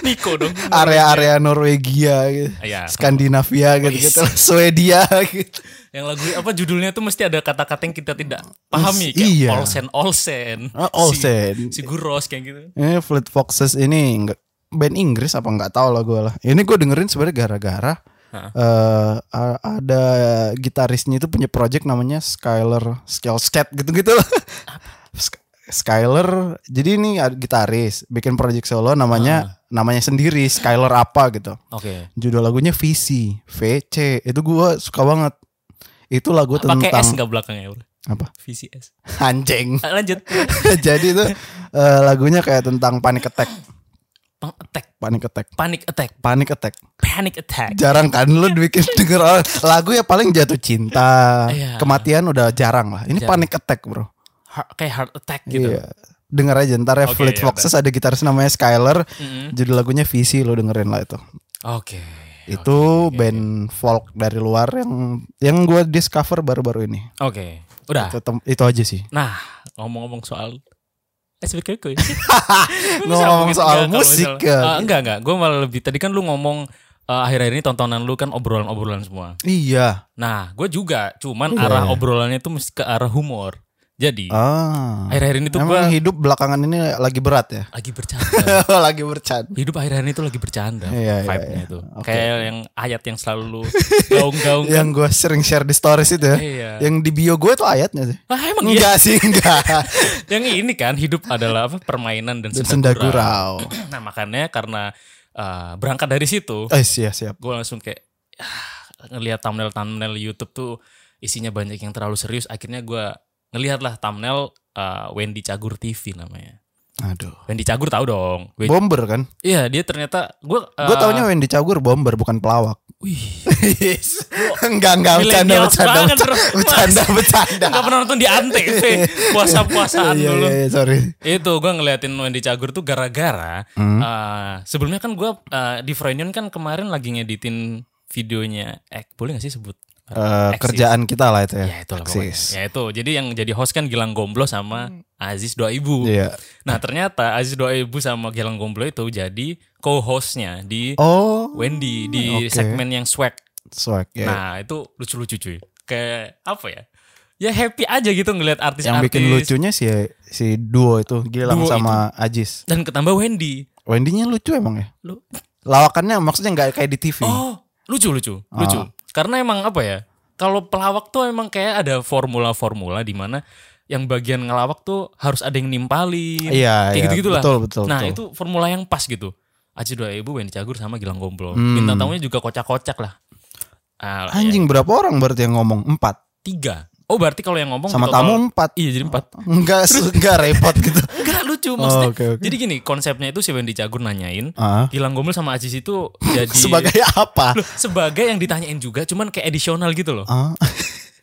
[SPEAKER 3] Niko dong
[SPEAKER 2] area-area Norwegia, gitu.
[SPEAKER 3] Iya.
[SPEAKER 2] Skandinavia gitu, gitu, Swedia gitu.
[SPEAKER 3] yang lagu apa judulnya tuh mesti ada kata-kata yang kita tidak pahami kayak
[SPEAKER 2] Iya.
[SPEAKER 3] Olsen Olsen
[SPEAKER 2] Ah, Olsen.
[SPEAKER 3] si, si Guros kayak gitu
[SPEAKER 2] Ini Eh, Fleet Foxes ini nggak- band Inggris apa nggak tahu lah gue lah. Ini gue dengerin sebenarnya gara-gara
[SPEAKER 3] Heeh.
[SPEAKER 2] eh, a- ada gitarisnya itu punya project namanya Skyler Skillscat gitu-gitu. lah. Sk- Skyler. Jadi ini ada gitaris bikin project solo namanya
[SPEAKER 3] Ah.
[SPEAKER 2] namanya sendiri Skyler apa gitu.
[SPEAKER 3] oke
[SPEAKER 2] Judul lagunya VC, VC. Itu gue suka banget. Itu lagu
[SPEAKER 3] pakai S
[SPEAKER 2] tentang
[SPEAKER 3] nggak belakangnya bro
[SPEAKER 2] apa?
[SPEAKER 3] VCS
[SPEAKER 2] Anjing.
[SPEAKER 3] Ah, lanjut
[SPEAKER 2] Jadi itu eh, lagunya kayak tentang panic attack,
[SPEAKER 3] Pang attack
[SPEAKER 2] panic attack.
[SPEAKER 3] panic attack
[SPEAKER 2] panic attack.
[SPEAKER 3] panic attack
[SPEAKER 2] Jarang kan lu bikin denger orang- lagu ya paling jatuh cinta,
[SPEAKER 3] Iya.
[SPEAKER 2] kematian udah jarang lah. Ini
[SPEAKER 3] Jarang.
[SPEAKER 2] panic attack, Bro.
[SPEAKER 3] Heart- kayak heart attack gitu
[SPEAKER 2] Iya. Dengar aja ntar ya
[SPEAKER 3] Oke,
[SPEAKER 2] Fleet
[SPEAKER 3] iya, Hmm?
[SPEAKER 2] Foxes ada gitaris namanya Skyler,
[SPEAKER 3] Mm-mm.
[SPEAKER 2] judul lagunya VC lo dengerin lah itu.
[SPEAKER 3] Ya, Oke.
[SPEAKER 2] itu band folk dari luar yang yang gue discover baru-baru ini.
[SPEAKER 3] Oke, udah.
[SPEAKER 2] Itu, tem- itu aja sih.
[SPEAKER 3] Nah, ngomong-ngomong soal Eh, SBKK.
[SPEAKER 2] Ngomong soal musik kan.
[SPEAKER 3] Ah, enggak, enggak. Gue malah lebih tadi kan lu ngomong eh, akhir-akhir ini tontonan lu kan obrolan-obrolan semua.
[SPEAKER 2] Iya.
[SPEAKER 3] Nah, gue juga, cuman
[SPEAKER 2] Iya,
[SPEAKER 3] arah
[SPEAKER 2] iya.
[SPEAKER 3] obrolannya itu mesti ke arah humor. Jadi,
[SPEAKER 2] Ah.
[SPEAKER 3] akhir-akhir ini tuh gue
[SPEAKER 2] Emang hidup belakangan ini lagi berat ya.
[SPEAKER 3] lagi bercanda.
[SPEAKER 2] lagi bercanda.
[SPEAKER 3] Hidup akhir-akhir ini tuh lagi bercanda
[SPEAKER 2] Iya, iya,
[SPEAKER 3] vibe-nya tuh.
[SPEAKER 2] Oke.
[SPEAKER 3] Kayak yang ayat yang selalu lu gaung-gaung.
[SPEAKER 2] Yang gue sering share di stories itu ya.
[SPEAKER 3] Iya.
[SPEAKER 2] Yang di bio gue itu ayatnya sih.
[SPEAKER 3] Ah, emang iya.
[SPEAKER 2] Enggak sih, enggak.
[SPEAKER 3] Yang ini kan hidup adalah apa permainan dan
[SPEAKER 2] Dan Senda
[SPEAKER 3] senda gurau.
[SPEAKER 2] gurau.
[SPEAKER 3] Nah, makanya karena eh, berangkat dari situ,
[SPEAKER 2] Eh, siap, siap.
[SPEAKER 3] gue langsung kayak ah, ngelihat thumbnail thumbnail YouTube tuh isinya banyak yang terlalu serius akhirnya gue ngelihat lah thumbnail uh, Wendy Cagur TV namanya
[SPEAKER 2] Aduh.
[SPEAKER 3] Wendy Cagur tahu dong Gue-
[SPEAKER 2] Bomber kan?
[SPEAKER 3] iya dia ternyata gue
[SPEAKER 2] Gue taunya Wendy Cagur bomber bukan pelawak.
[SPEAKER 3] wih
[SPEAKER 2] enggak, enggak bercanda,
[SPEAKER 3] milenial
[SPEAKER 2] bercanda,
[SPEAKER 3] banget,
[SPEAKER 2] bercanda,
[SPEAKER 3] Bro.
[SPEAKER 2] bercanda, bercanda.
[SPEAKER 3] nggak pernah nonton di antv puasa puasaan
[SPEAKER 2] Iya,
[SPEAKER 3] dulu
[SPEAKER 2] iya, iya, sorry.
[SPEAKER 3] itu gue ngeliatin Wendy Cagur tuh gara-gara
[SPEAKER 2] Hmm.
[SPEAKER 3] uh, sebelumnya kan gue uh, di Freudian kan kemarin lagi ngeditin videonya eh boleh gak sih sebut
[SPEAKER 2] Eh,
[SPEAKER 3] Eksis.
[SPEAKER 2] kerjaan kita lah itu ya.
[SPEAKER 3] Ya itulah
[SPEAKER 2] Eksis.
[SPEAKER 3] pokoknya. Ya itu. Jadi yang jadi host kan Gilang Gomblo sama Aziz Doaibu.
[SPEAKER 2] Iya.
[SPEAKER 3] Nah, ternyata Aziz Doaibu sama Gilang Gomblo itu jadi co-hostnya di
[SPEAKER 2] Oh,
[SPEAKER 3] Wendy
[SPEAKER 2] oke.
[SPEAKER 3] di segmen yang swag.
[SPEAKER 2] swag ya.
[SPEAKER 3] Nah, itu lucu-lucu cuy. Kayak apa ya? Ya happy aja gitu ngelihat artis-artis.
[SPEAKER 2] yang bikin lucunya si si duo itu Gilang
[SPEAKER 3] Duo
[SPEAKER 2] sama Ajis.
[SPEAKER 3] dan ketambah Wendy.
[SPEAKER 2] Wendy-nya lucu emang ya?
[SPEAKER 3] Lu-
[SPEAKER 2] Lawakannya maksudnya nggak kayak di TV.
[SPEAKER 3] Oh, lucu-lucu,
[SPEAKER 2] Ah.
[SPEAKER 3] lucu. Karena emang apa ya? Kalau pelawak tuh emang kayak ada formula-formula di mana yang bagian ngelawak tuh harus ada yang nimpalin.
[SPEAKER 2] Iya,
[SPEAKER 3] kayak
[SPEAKER 2] iya.
[SPEAKER 3] gitu-gitulah.
[SPEAKER 2] Betul, betul.
[SPEAKER 3] Nah
[SPEAKER 2] betul.
[SPEAKER 3] itu formula yang pas gitu. Aji dua ibu Wendy Cagur sama Gilang Gomblo.
[SPEAKER 2] Hmm.
[SPEAKER 3] Bintang tamunya juga kocak-kocak lah. Ah, ya,
[SPEAKER 2] Anjing berapa orang berarti yang ngomong? Empat.
[SPEAKER 3] tiga. Oh berarti kalau yang ngomong
[SPEAKER 2] Sama
[SPEAKER 3] di total-
[SPEAKER 2] tamu empat.
[SPEAKER 3] Iya jadi empat.
[SPEAKER 2] Enggak, se- enggak repot gitu.
[SPEAKER 3] Enggak lucu maksudnya.
[SPEAKER 2] Oh, oke, oke.
[SPEAKER 3] Jadi gini konsepnya itu si Wendy Cagur nanyain.
[SPEAKER 2] Ah.
[SPEAKER 3] Gilang Gomblo sama Aziz itu jadi
[SPEAKER 2] Sebagai apa?
[SPEAKER 3] Loh, sebagai yang ditanyain juga cuman kayak additional gitu loh.
[SPEAKER 2] Ah.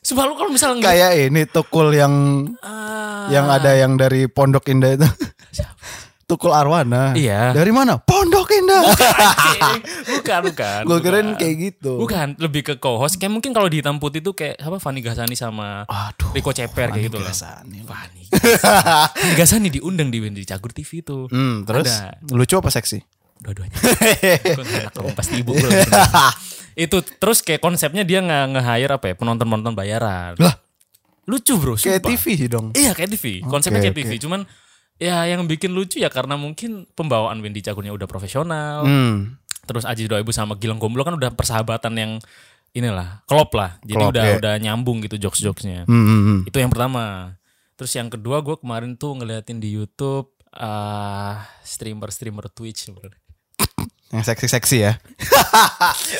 [SPEAKER 3] Sebab lu kalau misalnya nggak-
[SPEAKER 2] Kayak ini tukul yang
[SPEAKER 3] Ah,
[SPEAKER 2] yang ada yang dari Pondok Indah itu. tukul Arwana.
[SPEAKER 3] Iya.
[SPEAKER 2] Dari mana? Pondok Indah. Ah.
[SPEAKER 3] anjing. bukan bukan.
[SPEAKER 2] Gue keren
[SPEAKER 3] bukan.
[SPEAKER 2] kayak gitu.
[SPEAKER 3] Bukan, lebih ke co-host. Kayak mungkin kalau di hitam putih tuh kayak apa Fani Gasani sama
[SPEAKER 2] Aduh.
[SPEAKER 3] Rico Ceper kayak gitu loh.
[SPEAKER 2] Biasanya.
[SPEAKER 3] Fani. Gasani. Fani Gasani diundang di Wendy Cagur TV itu.
[SPEAKER 2] Hmm, terus
[SPEAKER 3] Ada.
[SPEAKER 2] lucu apa seksi?
[SPEAKER 3] Dua-duanya. Gua nggak enak, gua pasti ibu gua langsung. itu terus kayak konsepnya dia nggak nge-hire apa ya penonton-penonton bayaran.
[SPEAKER 2] Lah.
[SPEAKER 3] Lucu bro.
[SPEAKER 2] Kayak
[SPEAKER 3] sumpah.
[SPEAKER 2] TV dong.
[SPEAKER 3] Iya kayak TV. Konsepnya
[SPEAKER 2] Oke,
[SPEAKER 3] kayak TV. Cuman ya yang bikin lucu ya karena mungkin pembawaan Wendy Cagurnya udah profesional.
[SPEAKER 2] Hmm.
[SPEAKER 3] terus Aji Doibu sama Gilang Gomblo kan udah persahabatan yang inilah klop lah jadi
[SPEAKER 2] Klop,
[SPEAKER 3] udah
[SPEAKER 2] ya.
[SPEAKER 3] udah nyambung gitu jokes jokesnya
[SPEAKER 2] Hmm, hmm, hmm.
[SPEAKER 3] itu yang pertama terus yang kedua gue kemarin tuh ngeliatin di YouTube streamer streamer Twitch sebenarnya.
[SPEAKER 2] Yang seksi-seksi ya.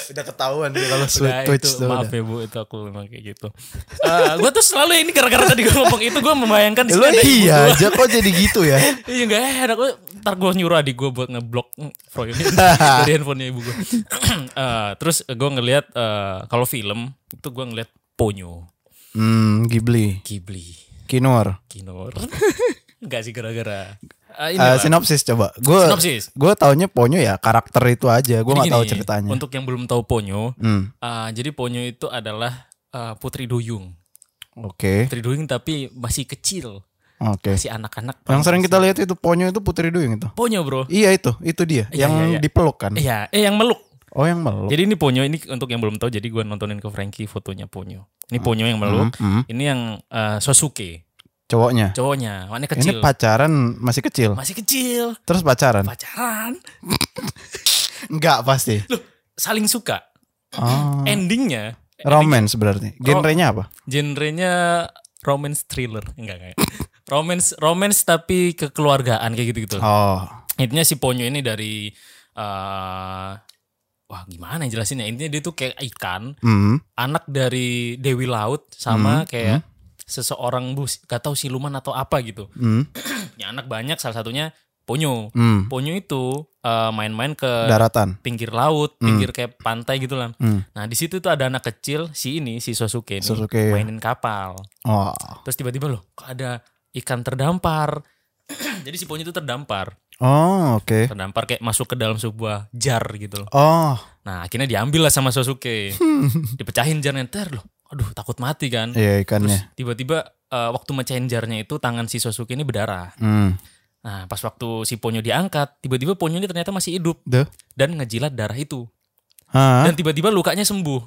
[SPEAKER 2] udah ketahuan dia kalau
[SPEAKER 3] Udah,
[SPEAKER 2] Twitch
[SPEAKER 3] itu,
[SPEAKER 2] tuh.
[SPEAKER 3] maaf
[SPEAKER 2] udah.
[SPEAKER 3] ya bu itu aku memang kayak gitu gue tuh selalu ini gara-gara tadi gue ngomong itu gue membayangkan di
[SPEAKER 2] Eh, Lu
[SPEAKER 3] sini ada ibu
[SPEAKER 2] iya
[SPEAKER 3] gua.
[SPEAKER 2] aja kok jadi gitu ya.
[SPEAKER 3] Iya gak enak gue Ntar gue nyuruh adik gue buat ngeblok mm, Froyo ini Dari handphonenya ibu gue Eh, Terus gue ngeliat eh, kalau film Itu gue ngeliat Ponyo
[SPEAKER 2] Hmm, Ghibli,
[SPEAKER 3] Ghibli
[SPEAKER 2] Kinor.
[SPEAKER 3] Kinor Enggak sih gara-gara Eh, ini
[SPEAKER 2] Eh,
[SPEAKER 3] lah.
[SPEAKER 2] sinopsis coba. Gue
[SPEAKER 3] Sinopsis.
[SPEAKER 2] gue taunya Ponyo ya karakter itu aja. Gue
[SPEAKER 3] Jadi
[SPEAKER 2] nggak tahu
[SPEAKER 3] gini,
[SPEAKER 2] ceritanya.
[SPEAKER 3] Untuk yang belum tahu Ponyo
[SPEAKER 2] Hmm,
[SPEAKER 3] eh, Jadi Ponyo itu adalah eh, Putri Duyung
[SPEAKER 2] oke,
[SPEAKER 3] Putri Duyung tapi masih kecil
[SPEAKER 2] oke.
[SPEAKER 3] Masih anak-anak
[SPEAKER 2] Yang sering kita lihat itu Ponyo itu Putri Duyung itu.
[SPEAKER 3] Ponyo bro
[SPEAKER 2] Iya itu, itu dia.
[SPEAKER 3] Iya,
[SPEAKER 2] yang
[SPEAKER 3] iya, iya.
[SPEAKER 2] dipeluk kan.
[SPEAKER 3] Iya Eh yang meluk
[SPEAKER 2] Oh yang meluk.
[SPEAKER 3] Jadi ini Ponyo ini untuk yang belum tahu jadi gua nontonin ke Frankie fotonya Ponyo. Ini Ponyo yang
[SPEAKER 2] Hmm,
[SPEAKER 3] meluk,
[SPEAKER 2] hmm.
[SPEAKER 3] ini yang eh, Sosuke,
[SPEAKER 2] Cowoknya.
[SPEAKER 3] cowoknya, warnanya
[SPEAKER 2] Ini
[SPEAKER 3] kecil.
[SPEAKER 2] pacaran masih kecil.
[SPEAKER 3] Masih kecil,
[SPEAKER 2] Terus pacaran?
[SPEAKER 3] pacaran,
[SPEAKER 2] Enggak pasti.
[SPEAKER 3] saling suka.
[SPEAKER 2] Oh.
[SPEAKER 3] Endingnya
[SPEAKER 2] Romance
[SPEAKER 3] Oh.
[SPEAKER 2] berarti. Genrenya apa?
[SPEAKER 3] genrenya romance thriller. Enggak enggak. romance romance tapi kekeluargaan kayak gitu-gitu.
[SPEAKER 2] Oh.
[SPEAKER 3] Intinya si Ponyo ini dari eh wah gimana ya jelasinnya? Intinya dia tuh kayak ikan
[SPEAKER 2] Hmm.
[SPEAKER 3] anak dari Dewi Laut sama kayak seseorang bus gak tahu siluman atau apa gitu.
[SPEAKER 2] Hmm.
[SPEAKER 3] Ya anak banyak salah satunya Ponyo.
[SPEAKER 2] Hmm.
[SPEAKER 3] Ponyo itu eh, main-main ke
[SPEAKER 2] Daratan.
[SPEAKER 3] pinggir laut, pinggir kayak pantai gitu lah.
[SPEAKER 2] Hmm.
[SPEAKER 3] Nah, di situ tuh ada anak kecil si ini si Sosuke ini
[SPEAKER 2] Sosuke, ya.
[SPEAKER 3] mainin kapal.
[SPEAKER 2] Oh.
[SPEAKER 3] Terus tiba-tiba loh kok ada ikan terdampar. Jadi si Ponyo itu terdampar.
[SPEAKER 2] Oh, oke.
[SPEAKER 3] terdampar kayak masuk ke dalam sebuah jar gitu loh
[SPEAKER 2] Oh,
[SPEAKER 3] nah akhirnya diambil lah sama Sasuke dipecahin jarnya ter loh aduh takut mati kan
[SPEAKER 2] iya ikannya.
[SPEAKER 3] Terus tiba-tiba eh, waktu mecahin jarnya itu tangan si Sosuke ini berdarah.
[SPEAKER 2] Hmm.
[SPEAKER 3] Nah, pas waktu si Ponyo diangkat, tiba-tiba Ponyo ini ternyata masih hidup
[SPEAKER 2] Duh.
[SPEAKER 3] dan ngejilat darah itu.
[SPEAKER 2] Hah?
[SPEAKER 3] Dan tiba-tiba lukanya sembuh.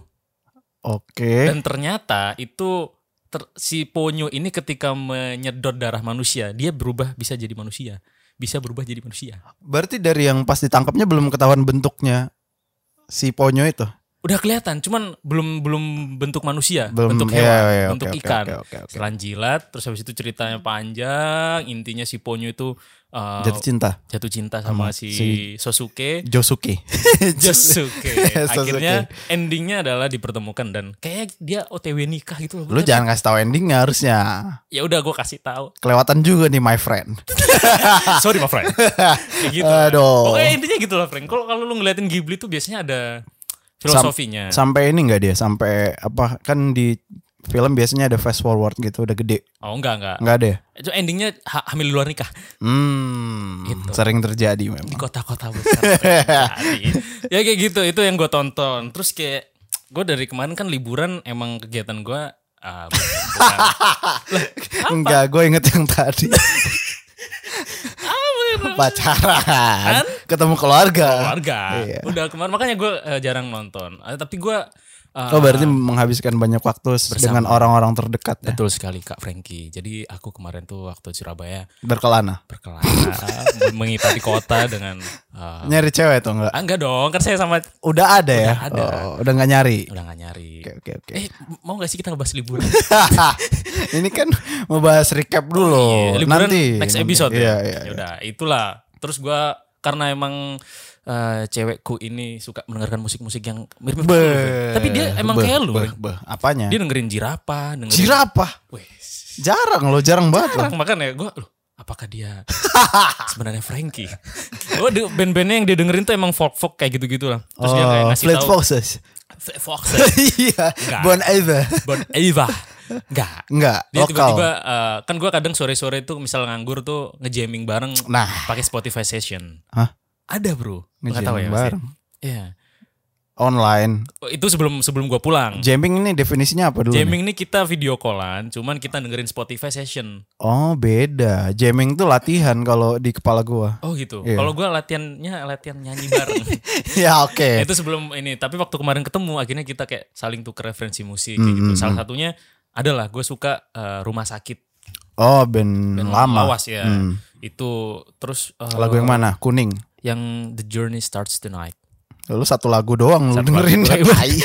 [SPEAKER 2] Oke.
[SPEAKER 3] Dan ternyata itu ter- si Ponyo ini ketika menyedot darah manusia, dia berubah bisa jadi manusia. Bisa berubah jadi manusia.
[SPEAKER 2] Berarti dari yang pas ditangkapnya belum ketahuan bentuknya si ponyo itu.
[SPEAKER 3] Udah kelihatan, cuman belum belum bentuk manusia,
[SPEAKER 2] Belum
[SPEAKER 3] bentuk
[SPEAKER 2] iya,
[SPEAKER 3] hewan,
[SPEAKER 2] iya, oke,
[SPEAKER 3] bentuk
[SPEAKER 2] oke,
[SPEAKER 3] ikan.
[SPEAKER 2] Oke, oke, oke.
[SPEAKER 3] Setelan jilat, terus habis itu ceritanya panjang, intinya si Ponyo itu eh,
[SPEAKER 2] Jatuh cinta
[SPEAKER 3] jatuh cinta
[SPEAKER 2] Sama
[SPEAKER 3] sama si,
[SPEAKER 2] si-
[SPEAKER 3] Sosuke.
[SPEAKER 2] Josuke.
[SPEAKER 3] Josuke.
[SPEAKER 2] Sosuke.
[SPEAKER 3] Akhirnya endingnya adalah dipertemukan dan kayak dia OTW nikah gitu loh.
[SPEAKER 2] Lu
[SPEAKER 3] Bener.
[SPEAKER 2] jangan kasih tahu endingnya harusnya.
[SPEAKER 3] Ya udah gue kasih tahu.
[SPEAKER 2] Kelewatan juga nih my friend.
[SPEAKER 3] Sorry my friend. Kayak gitu.
[SPEAKER 2] Aduh.
[SPEAKER 3] Pokoknya intinya gitu lah friend. Kalau kalau lu ngeliatin Ghibli tuh biasanya ada filosofinya.
[SPEAKER 2] Sampai ini enggak dia sampai apa kan di film biasanya ada fast forward gitu udah gede.
[SPEAKER 3] oh enggak enggak.
[SPEAKER 2] Enggak ada ya?
[SPEAKER 3] Itu endingnya ha- hamil di luar nikah
[SPEAKER 2] Hmm,
[SPEAKER 3] Gitu.
[SPEAKER 2] sering terjadi
[SPEAKER 3] di
[SPEAKER 2] memang.
[SPEAKER 3] kota-kota besar. Jadi, ya kayak gitu itu yang gue tonton. Terus kayak gue dari kemarin kan liburan emang kegiatan gue ah, bukan-
[SPEAKER 2] Enggak, gue inget yang tadi. Pacaran, ketemu keluarga.
[SPEAKER 3] Kan? keluarga.
[SPEAKER 2] Iya.
[SPEAKER 3] Udah kemarin makanya gue jarang nonton. Eh, tapi gue eh,
[SPEAKER 2] Oh berarti menghabiskan banyak waktu dengan orang-orang terdekat ya?
[SPEAKER 3] betul sekali Kak Frankie. Jadi aku kemarin tuh waktu Surabaya
[SPEAKER 2] Berkelana.
[SPEAKER 3] berkelana mengitari kota dengan eh,
[SPEAKER 2] Nyari cewek tuh enggak?
[SPEAKER 3] ah, enggak dong, kan saya sama
[SPEAKER 2] Udah ada ya?
[SPEAKER 3] ada.
[SPEAKER 2] Oh, udah nggak nyari.
[SPEAKER 3] udah gak nyari.
[SPEAKER 2] Oke oke oke.
[SPEAKER 3] Eh, mau gak sih kita ngebahas liburan?
[SPEAKER 2] Ini kan mau bahas recap dulu.
[SPEAKER 3] Iya, liburan
[SPEAKER 2] Oh, nanti
[SPEAKER 3] next
[SPEAKER 2] nanti.
[SPEAKER 3] episode
[SPEAKER 2] Iya,
[SPEAKER 3] ya.
[SPEAKER 2] iya, iya.
[SPEAKER 3] Yaudah, itulah. Terus gue karena emang eh, cewekku ini suka mendengarkan musik-musik yang mirip-mirip lu,
[SPEAKER 2] Be-
[SPEAKER 3] Ren. Tapi dia emang
[SPEAKER 2] be-
[SPEAKER 3] kayak lu.
[SPEAKER 2] be-
[SPEAKER 3] Ren.
[SPEAKER 2] be- Apanya?
[SPEAKER 3] Dia dengerin jirapa, dengerin
[SPEAKER 2] Jirapah.
[SPEAKER 3] Wes.
[SPEAKER 2] Jarang loh, jarang banget loh.
[SPEAKER 3] Sekarang makan ya gue loh apakah dia sebenarnya Frankie? Oh de- band-bandnya yang dia dengerin tuh emang folk folk kayak gitu-gitu lah. Terus dia kayak
[SPEAKER 2] Oh,
[SPEAKER 3] ngasih
[SPEAKER 2] Fleet
[SPEAKER 3] tahu
[SPEAKER 2] Foxes.
[SPEAKER 3] Fleet Fox,
[SPEAKER 2] Iya,
[SPEAKER 3] Enggak.
[SPEAKER 2] Bon Iver.
[SPEAKER 3] Bon Eva, enggak.
[SPEAKER 2] Enggak,
[SPEAKER 3] Dia
[SPEAKER 2] lokal.
[SPEAKER 3] tiba-tiba eh, kan gue kadang sore-sore tuh misal nganggur tuh ngejamming bareng
[SPEAKER 2] Nah,
[SPEAKER 3] pakai Spotify session.
[SPEAKER 2] Hah?
[SPEAKER 3] Ada bro, Lu nggak
[SPEAKER 2] ngejamming
[SPEAKER 3] tahu ya pasti.
[SPEAKER 2] bareng.
[SPEAKER 3] Iya.
[SPEAKER 2] Online.
[SPEAKER 3] Oh, Itu sebelum sebelum gue pulang.
[SPEAKER 2] Jamming ini definisinya apa dulu? nih?
[SPEAKER 3] Jamming ini kita video callan, cuman kita dengerin Spotify session.
[SPEAKER 2] Oh, beda. Jamming tuh latihan kalau di kepala gua.
[SPEAKER 3] Oh gitu.
[SPEAKER 2] Iya.
[SPEAKER 3] Kalau gue latihannya latihan nyanyi bareng.
[SPEAKER 2] ya, oke.
[SPEAKER 3] Nah, itu sebelum ini tapi waktu kemarin ketemu akhirnya kita kayak saling tuker referensi musik kayak
[SPEAKER 2] Mm,
[SPEAKER 3] gitu
[SPEAKER 2] mm,
[SPEAKER 3] salah satunya adalah gue suka eh, rumah sakit
[SPEAKER 2] Oh, band,
[SPEAKER 3] Band
[SPEAKER 2] lama.
[SPEAKER 3] lawas ya
[SPEAKER 2] Hmm.
[SPEAKER 3] itu terus eh,
[SPEAKER 2] Lagu yang mana? Kuning.
[SPEAKER 3] yang The Journey Starts Tonight
[SPEAKER 2] Lu satu lagu doang lu
[SPEAKER 3] Satu
[SPEAKER 2] dengerin. ya,
[SPEAKER 3] lagu
[SPEAKER 2] Tai.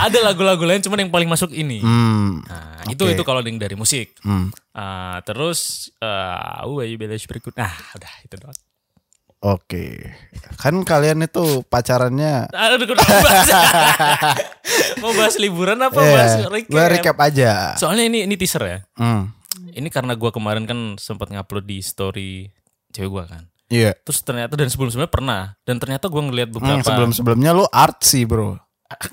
[SPEAKER 3] ada lagu-lagu lain cuman yang paling masuk ini
[SPEAKER 2] hmm.
[SPEAKER 3] nah itu
[SPEAKER 2] Oke.
[SPEAKER 3] itu kalau yang dari musik
[SPEAKER 2] hmm.
[SPEAKER 3] Ah, terus eh uh, berikut nah udah itu doang
[SPEAKER 2] Oke. Kan kalian itu pacarannya
[SPEAKER 3] Ah, udah, udah, mau bahas. mau bahas liburan apa
[SPEAKER 2] Eh,
[SPEAKER 3] bahas
[SPEAKER 2] gua
[SPEAKER 3] recap?
[SPEAKER 2] recap aja.
[SPEAKER 3] soalnya ini ini teaser ya
[SPEAKER 2] Hmm.
[SPEAKER 3] ini karena gua kemarin kan sempat ngupload di story cewek gua kan
[SPEAKER 2] Iya.
[SPEAKER 3] terus ternyata dan sebelum sebelumnya pernah dan ternyata gua ngelihat beberapa
[SPEAKER 2] Hmm, sebelum sebelumnya lu artsy, Bro.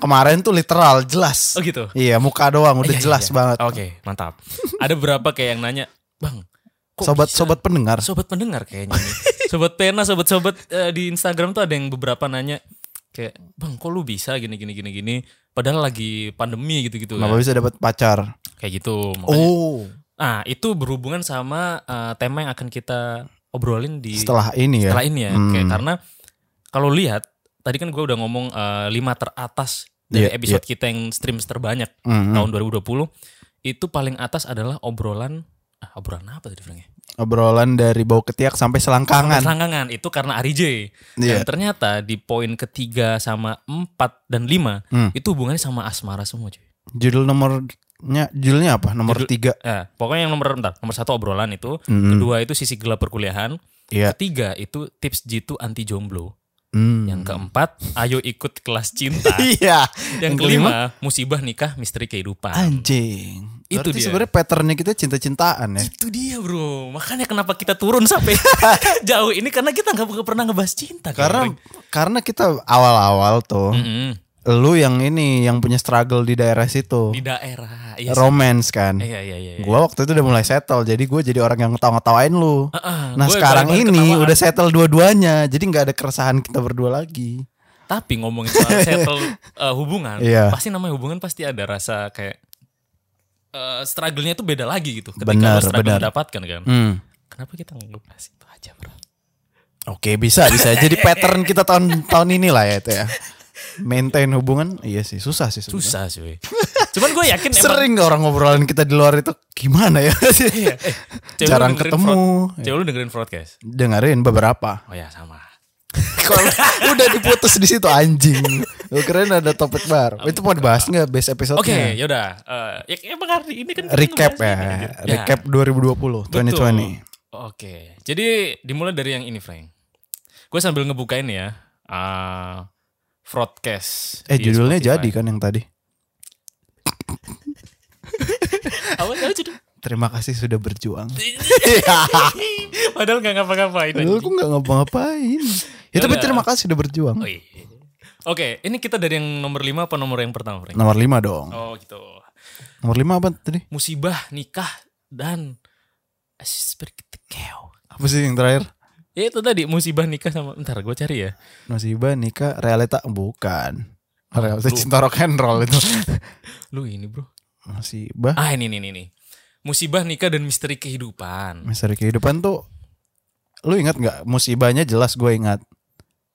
[SPEAKER 2] Kemarin tuh literal jelas.
[SPEAKER 3] oh gitu
[SPEAKER 2] Iya, muka doang udah
[SPEAKER 3] Iya, iya,
[SPEAKER 2] jelas
[SPEAKER 3] iya.
[SPEAKER 2] banget.
[SPEAKER 3] oke mantap ada berapa kayak yang nanya bang kok bisa?" Iya.
[SPEAKER 2] Sobat-sobat pendengar.
[SPEAKER 3] sobat pendengar kayaknya nih sobat pena sobat-sobat eh, di Instagram tuh ada yang beberapa nanya kayak bang kok lu bisa gini gini gini gini padahal lagi pandemi gitu gitu
[SPEAKER 2] Kenapa
[SPEAKER 3] kan.
[SPEAKER 2] bisa dapat pacar?
[SPEAKER 3] kayak gitu makanya.
[SPEAKER 2] Oh,
[SPEAKER 3] nah itu berhubungan sama eh, tema yang akan kita obrolin di
[SPEAKER 2] setelah ini ya.
[SPEAKER 3] setelah ini ya
[SPEAKER 2] Hmm.
[SPEAKER 3] kayak karena kalau lihat tadi kan gue udah ngomong eh, lima teratas
[SPEAKER 2] Iya,
[SPEAKER 3] dari
[SPEAKER 2] Hmm.
[SPEAKER 3] episode kita yang streams terbanyak
[SPEAKER 2] Mm-mm.
[SPEAKER 3] tahun 2020 itu paling atas adalah obrolan ah, obrolan apa tadi Frank ya?
[SPEAKER 2] Obrolan dari bau ketiak sampai selangkangan.
[SPEAKER 3] Selangkangan itu karena Ari J.
[SPEAKER 2] Iya.
[SPEAKER 3] Dan ternyata di poin ketiga sama empat dan lima
[SPEAKER 2] Hmm.
[SPEAKER 3] itu hubungannya sama asmara semua cuy.
[SPEAKER 2] Judul nomornya judulnya apa? Nomor
[SPEAKER 3] Judul-
[SPEAKER 2] tiga.
[SPEAKER 3] Eh, pokoknya yang nomor bentar, nomor satu obrolan itu,
[SPEAKER 2] Mm-mm.
[SPEAKER 3] kedua itu sisi gelap perkuliahan,
[SPEAKER 2] Iya.
[SPEAKER 3] ketiga itu tips jitu anti jomblo,
[SPEAKER 2] Hmm.
[SPEAKER 3] yang keempat ayo ikut kelas cinta.
[SPEAKER 2] Iya.
[SPEAKER 3] Yang kelima, musibah nikah misteri kehidupan.
[SPEAKER 2] Anjing.
[SPEAKER 3] Itu
[SPEAKER 2] Itu
[SPEAKER 3] dia.
[SPEAKER 2] sebenarnya patternnya kita cinta-cintaan ya.
[SPEAKER 3] Itu dia bro, makanya kenapa kita turun sampai jauh ini karena kita nggak pernah ngebahas cinta. Hmm.
[SPEAKER 2] Karena karena kita awal-awal tuh
[SPEAKER 3] Mm-mm.
[SPEAKER 2] lu yang ini yang punya struggle di daerah situ
[SPEAKER 3] di daerah. Iya, sih.
[SPEAKER 2] romance kan
[SPEAKER 3] iya iya iya. iya.
[SPEAKER 2] gue waktu itu udah mulai settle jadi gue jadi orang yang ngetawa-ngetawain lu
[SPEAKER 3] Ah,
[SPEAKER 2] nah
[SPEAKER 3] gua
[SPEAKER 2] sekarang
[SPEAKER 3] ibarat-ibarat
[SPEAKER 2] ini
[SPEAKER 3] ketawaan.
[SPEAKER 2] udah settle dua-duanya jadi nggak ada keresahan kita berdua lagi
[SPEAKER 3] Tapi ngomongin soal settle eh, hubungan,
[SPEAKER 2] Iya.
[SPEAKER 3] pasti namanya hubungan pasti ada rasa kayak eh, struggle-nya itu beda lagi gitu. Ketika
[SPEAKER 2] Benar,
[SPEAKER 3] lo struggle
[SPEAKER 2] benar.
[SPEAKER 3] mendapatkan kan.
[SPEAKER 2] Hmm.
[SPEAKER 3] Kenapa kita ngebahas itu aja bro?
[SPEAKER 2] Oke bisa bisa jadi pattern kita tahun tahun ini lah ya itu ya maintain hubungan iya sih susah sih sebenarnya.
[SPEAKER 3] Susah cuy. Cuman gue yakin emang.
[SPEAKER 2] sering orang ngobrolan kita di luar itu gimana ya
[SPEAKER 3] Iya, eh, cewek lu
[SPEAKER 2] jarang
[SPEAKER 3] dengerin
[SPEAKER 2] ketemu Iya.
[SPEAKER 3] Fraud- Cewek lu dengerin broadcast?
[SPEAKER 2] dengerin beberapa
[SPEAKER 3] Oh ya sama.
[SPEAKER 2] Kalau udah diputus di situ anjing lu keren ada topik baru itu mau dibahas nggak base episode
[SPEAKER 3] Oke, yaudah. Eh, ya emang hari ini kan kita
[SPEAKER 2] recap ya
[SPEAKER 3] ngebahas ini, anjir. Ya,
[SPEAKER 2] recap 2020
[SPEAKER 3] betul.
[SPEAKER 2] 2020
[SPEAKER 3] Oke, jadi dimulai dari yang ini Frank. Gue sambil ngebukain ya. eh broadcast.
[SPEAKER 2] eh
[SPEAKER 3] di
[SPEAKER 2] judulnya
[SPEAKER 3] Iya, Spotify.
[SPEAKER 2] jadi kan yang tadi
[SPEAKER 3] Apa apa judul?
[SPEAKER 2] terima kasih sudah berjuang
[SPEAKER 3] Padahal gak ngapa-ngapain.
[SPEAKER 2] lu
[SPEAKER 3] Iya, anjing.
[SPEAKER 2] aku nggak ngapa-ngapain ya tapi
[SPEAKER 3] Yaudah.
[SPEAKER 2] terima kasih sudah berjuang
[SPEAKER 3] Oh, iya. Oke, ini kita dari yang nomor 5 apa nomor yang pertama Frank?
[SPEAKER 2] nomor 5 dong
[SPEAKER 3] Oh gitu.
[SPEAKER 2] nomor 5 apa tadi
[SPEAKER 3] Musibah, nikah, dan... Asisperkitekeo.
[SPEAKER 2] apa sih yang terakhir
[SPEAKER 3] Ya itu tadi musibah nikah sama ntar gue cari ya.
[SPEAKER 2] Musibah nikah realita bukan. Realita
[SPEAKER 3] Lu-
[SPEAKER 2] cinta rock and roll itu.
[SPEAKER 3] Lu ini bro.
[SPEAKER 2] Musibah
[SPEAKER 3] Ah ini ini ini. ini. Musibah nikah dan misteri kehidupan.
[SPEAKER 2] misteri kehidupan tuh lu ingat nggak musibahnya jelas gue ingat.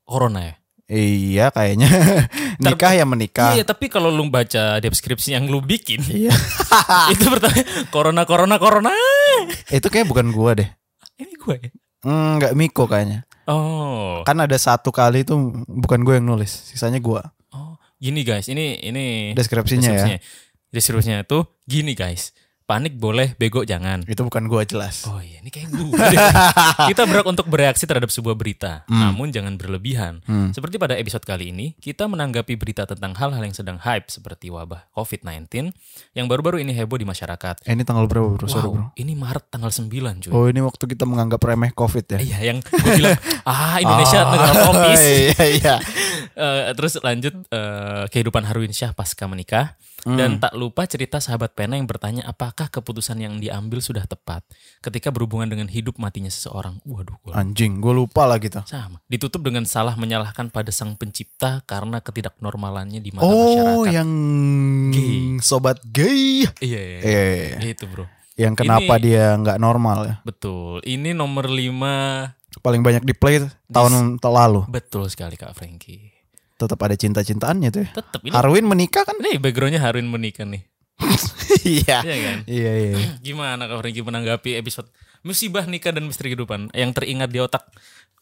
[SPEAKER 3] Corona ya.
[SPEAKER 2] Iya kayaknya nikah yang menikah.
[SPEAKER 3] Iya tapi kalau lu baca deskripsi yang lu bikin
[SPEAKER 2] Iya.
[SPEAKER 3] itu pertama corona corona corona.
[SPEAKER 2] Itu kayak bukan gua deh.
[SPEAKER 3] Ini gue. ya?
[SPEAKER 2] Hmm, Nggak Miko kayaknya.
[SPEAKER 3] Oh.
[SPEAKER 2] Kan ada satu kali itu bukan gue yang nulis, sisanya gua
[SPEAKER 3] Oh. Gini guys, ini ini
[SPEAKER 2] deskripsinya, ya.
[SPEAKER 3] Deskripsinya itu gini guys. Panik boleh, bego jangan.
[SPEAKER 2] Itu bukan gua jelas.
[SPEAKER 3] Oh iya, ini kayak gue. kita berhak untuk bereaksi terhadap sebuah berita,
[SPEAKER 2] Hmm.
[SPEAKER 3] namun jangan berlebihan. Seperti pada episode kali ini, kita menanggapi berita tentang hal-hal yang sedang hype seperti wabah COVID-19 yang baru-baru ini heboh di masyarakat.
[SPEAKER 2] Eh, ini tanggal berapa bro? Sorry, bro.
[SPEAKER 3] Wow, ini Maret tanggal 9 cuy.
[SPEAKER 2] Oh ini waktu kita menganggap remeh covid ya.
[SPEAKER 3] Iya, yang gue bilang, ah Indonesia negara tropis.
[SPEAKER 2] iya iya.
[SPEAKER 3] Eh, terus lanjut eh, kehidupan Harwin Syah pasca menikah dan tak lupa cerita sahabat pena yang bertanya apakah keputusan yang diambil sudah tepat ketika berhubungan dengan hidup matinya seseorang. Waduh, gua
[SPEAKER 2] Anjing, gue lupa lah kita.
[SPEAKER 3] sama. Ditutup dengan salah menyalahkan pada sang pencipta karena ketidaknormalannya di mata
[SPEAKER 2] Oh,
[SPEAKER 3] masyarakat.
[SPEAKER 2] yang
[SPEAKER 3] Gay.
[SPEAKER 2] sobat gay.
[SPEAKER 3] Iya, iya, iya.
[SPEAKER 2] Eh,
[SPEAKER 3] Itu bro.
[SPEAKER 2] yang kenapa
[SPEAKER 3] Ini-
[SPEAKER 2] dia nggak normal ya?
[SPEAKER 3] Betul. Ini nomor 5
[SPEAKER 2] Paling banyak di play tahun lalu.
[SPEAKER 3] betul sekali Kak Frankie.
[SPEAKER 2] Tetap ada cinta-cintaannya tuh. ya.
[SPEAKER 3] Tetap ini,
[SPEAKER 2] Harwin menikah kan?
[SPEAKER 3] ini backgroundnya Harwin menikah nih.
[SPEAKER 2] Iya.
[SPEAKER 3] Iya kan?
[SPEAKER 2] Iya iya.
[SPEAKER 3] Gimana Kak Frankie menanggapi episode musibah nikah dan misteri kehidupan yang teringat di otak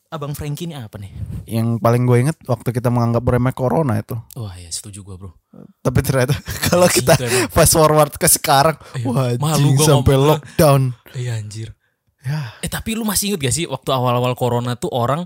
[SPEAKER 3] Abang Frankie ini apa nih?
[SPEAKER 2] Yang paling gue inget waktu kita menganggap remeh corona itu.
[SPEAKER 3] Wah ya setuju gua bro. Iya,
[SPEAKER 2] Tapi ternyata kalau kita
[SPEAKER 3] Anjing,
[SPEAKER 2] fast forward ke sekarang,
[SPEAKER 3] Iya.
[SPEAKER 2] wah anjing,
[SPEAKER 3] Malu gua
[SPEAKER 2] sampai
[SPEAKER 3] ngomong.
[SPEAKER 2] lockdown.
[SPEAKER 3] Iya anjir.
[SPEAKER 2] Ya.
[SPEAKER 3] Eh tapi lu masih inget gak sih waktu awal-awal corona tuh orang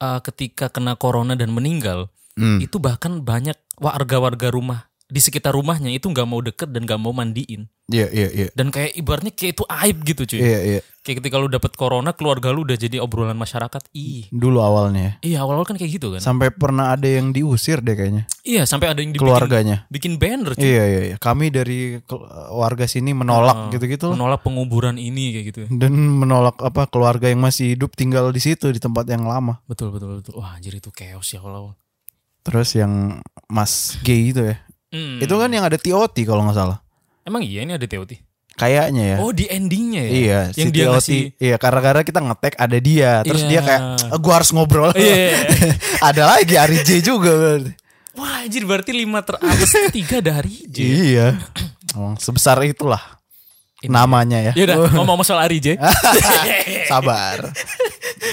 [SPEAKER 3] eh, ketika kena corona dan meninggal
[SPEAKER 2] Hmm.
[SPEAKER 3] itu bahkan banyak warga-warga rumah di sekitar rumahnya itu nggak mau deket dan nggak mau mandiin
[SPEAKER 2] Iya iya iya.
[SPEAKER 3] dan kayak ibaratnya kayak itu aib gitu cuy
[SPEAKER 2] Iya iya.
[SPEAKER 3] kayak ketika lu dapet corona keluarga lu udah jadi obrolan masyarakat ih
[SPEAKER 2] Dulu awalnya. ya.
[SPEAKER 3] iya awal-awal kan kayak gitu kan
[SPEAKER 2] Sampai pernah ada yang diusir deh kayaknya
[SPEAKER 3] iya sampai ada yang dibikin
[SPEAKER 2] keluarganya.
[SPEAKER 3] bikin banner cuy
[SPEAKER 2] Iya iya iya. Kami dari kel- warga sini menolak gitu-gitu loh.
[SPEAKER 3] menolak penguburan ini kayak gitu ya.
[SPEAKER 2] dan menolak apa keluarga yang masih hidup tinggal di situ di tempat yang lama.
[SPEAKER 3] betul betul betul wah anjir itu chaos ya awal-awal
[SPEAKER 2] Terus yang Mas G itu ya.
[SPEAKER 3] Hmm.
[SPEAKER 2] Itu kan yang ada TOT kalau nggak salah.
[SPEAKER 3] emang iya ini ada TOT
[SPEAKER 2] Kayaknya ya.
[SPEAKER 3] oh di endingnya ya
[SPEAKER 2] Eh. Iya,
[SPEAKER 3] yang
[SPEAKER 2] si
[SPEAKER 3] dia
[SPEAKER 2] TOT.
[SPEAKER 3] ngasih
[SPEAKER 2] Iya, karena-karena kita ngetek ada dia. Terus
[SPEAKER 3] Iya.
[SPEAKER 2] dia kayak "Eh, gua harus ngobrol.
[SPEAKER 3] Iya, iya, iya.
[SPEAKER 2] ada lagi Ari J juga. berarti.
[SPEAKER 3] wah anjir berarti lima teratas tiga dari J
[SPEAKER 2] Iya. Emang sebesar itulah namanya ya.
[SPEAKER 3] Yaudah, ngomong soal Ari J. Eh,
[SPEAKER 2] Sabar.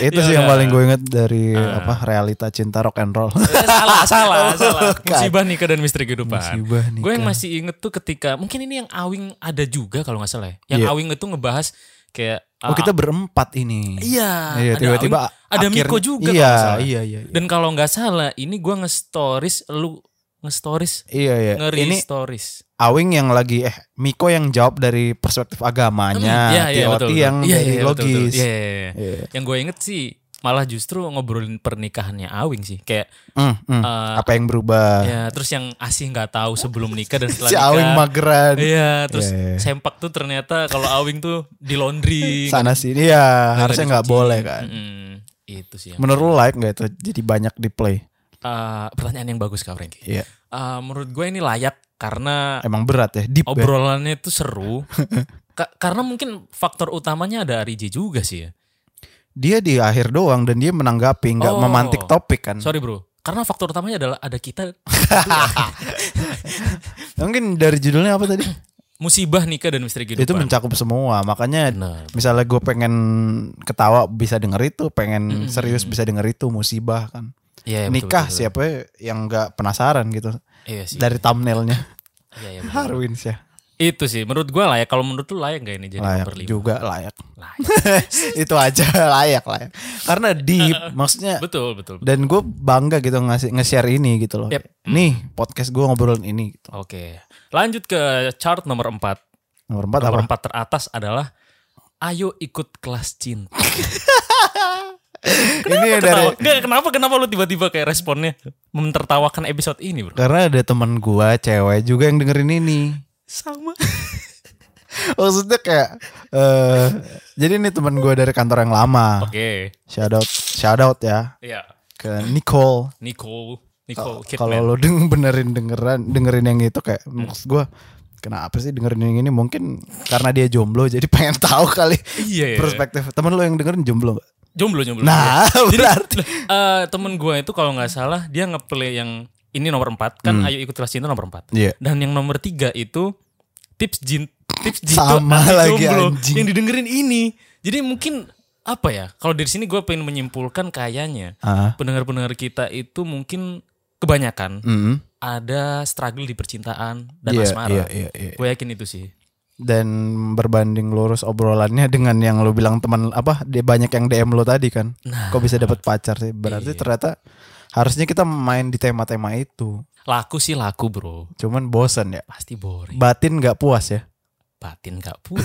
[SPEAKER 2] Itu sih
[SPEAKER 3] Yaudah.
[SPEAKER 2] yang paling gue inget dari
[SPEAKER 3] Ah.
[SPEAKER 2] apa realita cinta rock and roll.
[SPEAKER 3] salah, salah, salah.
[SPEAKER 2] bukan.
[SPEAKER 3] Musibah nikah dan misteri kehidupan.
[SPEAKER 2] Oh, Musibah nikah.
[SPEAKER 3] Gue yang masih inget tuh ketika mungkin ini yang Awing ada juga kalau nggak salah. ya. Yang
[SPEAKER 2] Iya.
[SPEAKER 3] Awing itu ngebahas kayak
[SPEAKER 2] Oh
[SPEAKER 3] ah,
[SPEAKER 2] kita berempat ini.
[SPEAKER 3] Iya,
[SPEAKER 2] Iya,
[SPEAKER 3] ada
[SPEAKER 2] tiba-tiba
[SPEAKER 3] Awing, ada
[SPEAKER 2] akhirnya-
[SPEAKER 3] Miko
[SPEAKER 2] Iya,
[SPEAKER 3] juga kalau nggak salah.
[SPEAKER 2] iya, iya, iya.
[SPEAKER 3] Dan kalau nggak salah, ini gue nge-stories lu nge-stories
[SPEAKER 2] Iya iya.
[SPEAKER 3] ngeri
[SPEAKER 2] Ini
[SPEAKER 3] stories.
[SPEAKER 2] Awing yang lagi eh Miko yang jawab dari perspektif agamanya,
[SPEAKER 3] Iya, iya,
[SPEAKER 2] TOT
[SPEAKER 3] betul, betul.
[SPEAKER 2] yang
[SPEAKER 3] Iya,
[SPEAKER 2] dari
[SPEAKER 3] iya, betul, betul.
[SPEAKER 2] logis.
[SPEAKER 3] Iya, iya, iya.
[SPEAKER 2] Iya.
[SPEAKER 3] Yang gue inget sih malah justru ngobrolin pernikahannya Awing sih kayak
[SPEAKER 2] Hmm, hmm.
[SPEAKER 3] eh,
[SPEAKER 2] apa yang berubah?
[SPEAKER 3] ya terus yang asih nggak tahu sebelum nikah dan setelah
[SPEAKER 2] Ah. si Awing
[SPEAKER 3] nikah
[SPEAKER 2] mageran.
[SPEAKER 3] iya terus
[SPEAKER 2] Iya, iya.
[SPEAKER 3] sempak tuh ternyata kalau Awing tuh di laundry
[SPEAKER 2] Sana sini ya harusnya nggak
[SPEAKER 3] dicuci.
[SPEAKER 2] boleh kan.
[SPEAKER 3] Mm-mm. itu sih yang-
[SPEAKER 2] Menurut lu like nggak itu jadi banyak di play?
[SPEAKER 3] Eh, pertanyaan yang bagus kak Frankie
[SPEAKER 2] Iya.
[SPEAKER 3] Eh, menurut gue ini layak karena
[SPEAKER 2] Emang berat ya,
[SPEAKER 3] Oh,
[SPEAKER 2] deep ya.
[SPEAKER 3] obrolannya itu seru Ka- karena mungkin faktor utamanya ada Riji juga sih ya.
[SPEAKER 2] Dia di akhir doang dan dia menanggapi, nggak
[SPEAKER 3] Oh.
[SPEAKER 2] memantik topik kan.
[SPEAKER 3] Sorry bro, karena faktor utamanya adalah ada kita
[SPEAKER 2] Mungkin dari judulnya apa tadi?
[SPEAKER 3] musibah nikah dan misteri
[SPEAKER 2] itu
[SPEAKER 3] kehidupan.
[SPEAKER 2] mencakup semua. Makanya
[SPEAKER 3] Benar.
[SPEAKER 2] misalnya gue pengen ketawa bisa denger itu, pengen serius bisa denger itu musibah kan.
[SPEAKER 3] Iya, iya, Hmm. betul,
[SPEAKER 2] Nikah
[SPEAKER 3] betul, betul.
[SPEAKER 2] siapa yang nggak penasaran gitu
[SPEAKER 3] Iya sih.
[SPEAKER 2] dari thumbnailnya.
[SPEAKER 3] Iya, iya, betul.
[SPEAKER 2] Harwin sih. ya.
[SPEAKER 3] Itu sih menurut gua layak. Kalau menurut lu layak gak ini jadi
[SPEAKER 2] Layak
[SPEAKER 3] nomor lima?
[SPEAKER 2] juga layak.
[SPEAKER 3] Layak.
[SPEAKER 2] itu aja layak layak. Karena deep maksudnya
[SPEAKER 3] betul, betul. betul.
[SPEAKER 2] dan gue bangga gitu ngasih nge-share ini gitu loh.
[SPEAKER 3] Yep.
[SPEAKER 2] Nih podcast gue ngobrolin ini gitu.
[SPEAKER 3] Oke. Lanjut ke chart nomor 4.
[SPEAKER 2] Nomor empat
[SPEAKER 3] Nomor
[SPEAKER 2] apa?
[SPEAKER 3] 4 teratas adalah Ayo ikut kelas cinta.
[SPEAKER 2] ini dari
[SPEAKER 3] Ketawa. Nggak, kenapa kenapa lu tiba-tiba kayak responnya mentertawakan episode ini, Bro?
[SPEAKER 2] karena ada teman gue cewek juga yang dengerin ini.
[SPEAKER 3] Sama.
[SPEAKER 2] Maksudnya kayak eh jadi ini teman gue dari kantor yang lama.
[SPEAKER 3] Oke.
[SPEAKER 2] Shout out shout out ya
[SPEAKER 3] Iya.
[SPEAKER 2] ke Nicole.
[SPEAKER 3] Nicole, Nicole Kidman.
[SPEAKER 2] Kalau lo deng benerin dengeran dengerin yang itu kayak maksud gue kenapa sih dengerin yang ini mungkin karena dia jomblo jadi pengen tahu kali
[SPEAKER 3] Iya, iya.
[SPEAKER 2] perspektif temen lo yang dengerin jomblo nggak?
[SPEAKER 3] Jomblo, jomblo.
[SPEAKER 2] Nah, berarti
[SPEAKER 3] Eh, temen gue itu kalau nggak salah dia ngeplay yang ini nomor 4
[SPEAKER 2] Hmm.
[SPEAKER 3] kan ayo ikut kelas cinta nomor 4
[SPEAKER 2] Iya.
[SPEAKER 3] dan yang nomor 3 itu tips jin tips jin
[SPEAKER 2] Sama
[SPEAKER 3] anti
[SPEAKER 2] lagi,
[SPEAKER 3] jomblo
[SPEAKER 2] anjing.
[SPEAKER 3] yang didengerin ini jadi mungkin apa ya kalau dari sini gue pengen menyimpulkan kayaknya
[SPEAKER 2] Ah.
[SPEAKER 3] pendengar-pendengar kita itu mungkin kebanyakan
[SPEAKER 2] Mm.
[SPEAKER 3] ada struggle di percintaan dan
[SPEAKER 2] Iya,
[SPEAKER 3] asmara
[SPEAKER 2] iya, iya, iya.
[SPEAKER 3] gue yakin itu sih
[SPEAKER 2] Dan berbanding lurus obrolannya dengan yang lo bilang teman apa dia banyak yang DM lo tadi kan.
[SPEAKER 3] Nah. Iya.
[SPEAKER 2] Kok bisa dapat pacar sih? Berarti ternyata harusnya kita main di tema-tema itu.
[SPEAKER 3] laku sih laku bro
[SPEAKER 2] Cuman bosen ya.
[SPEAKER 3] pasti boring
[SPEAKER 2] Batin nggak puas ya.
[SPEAKER 3] batin gak puas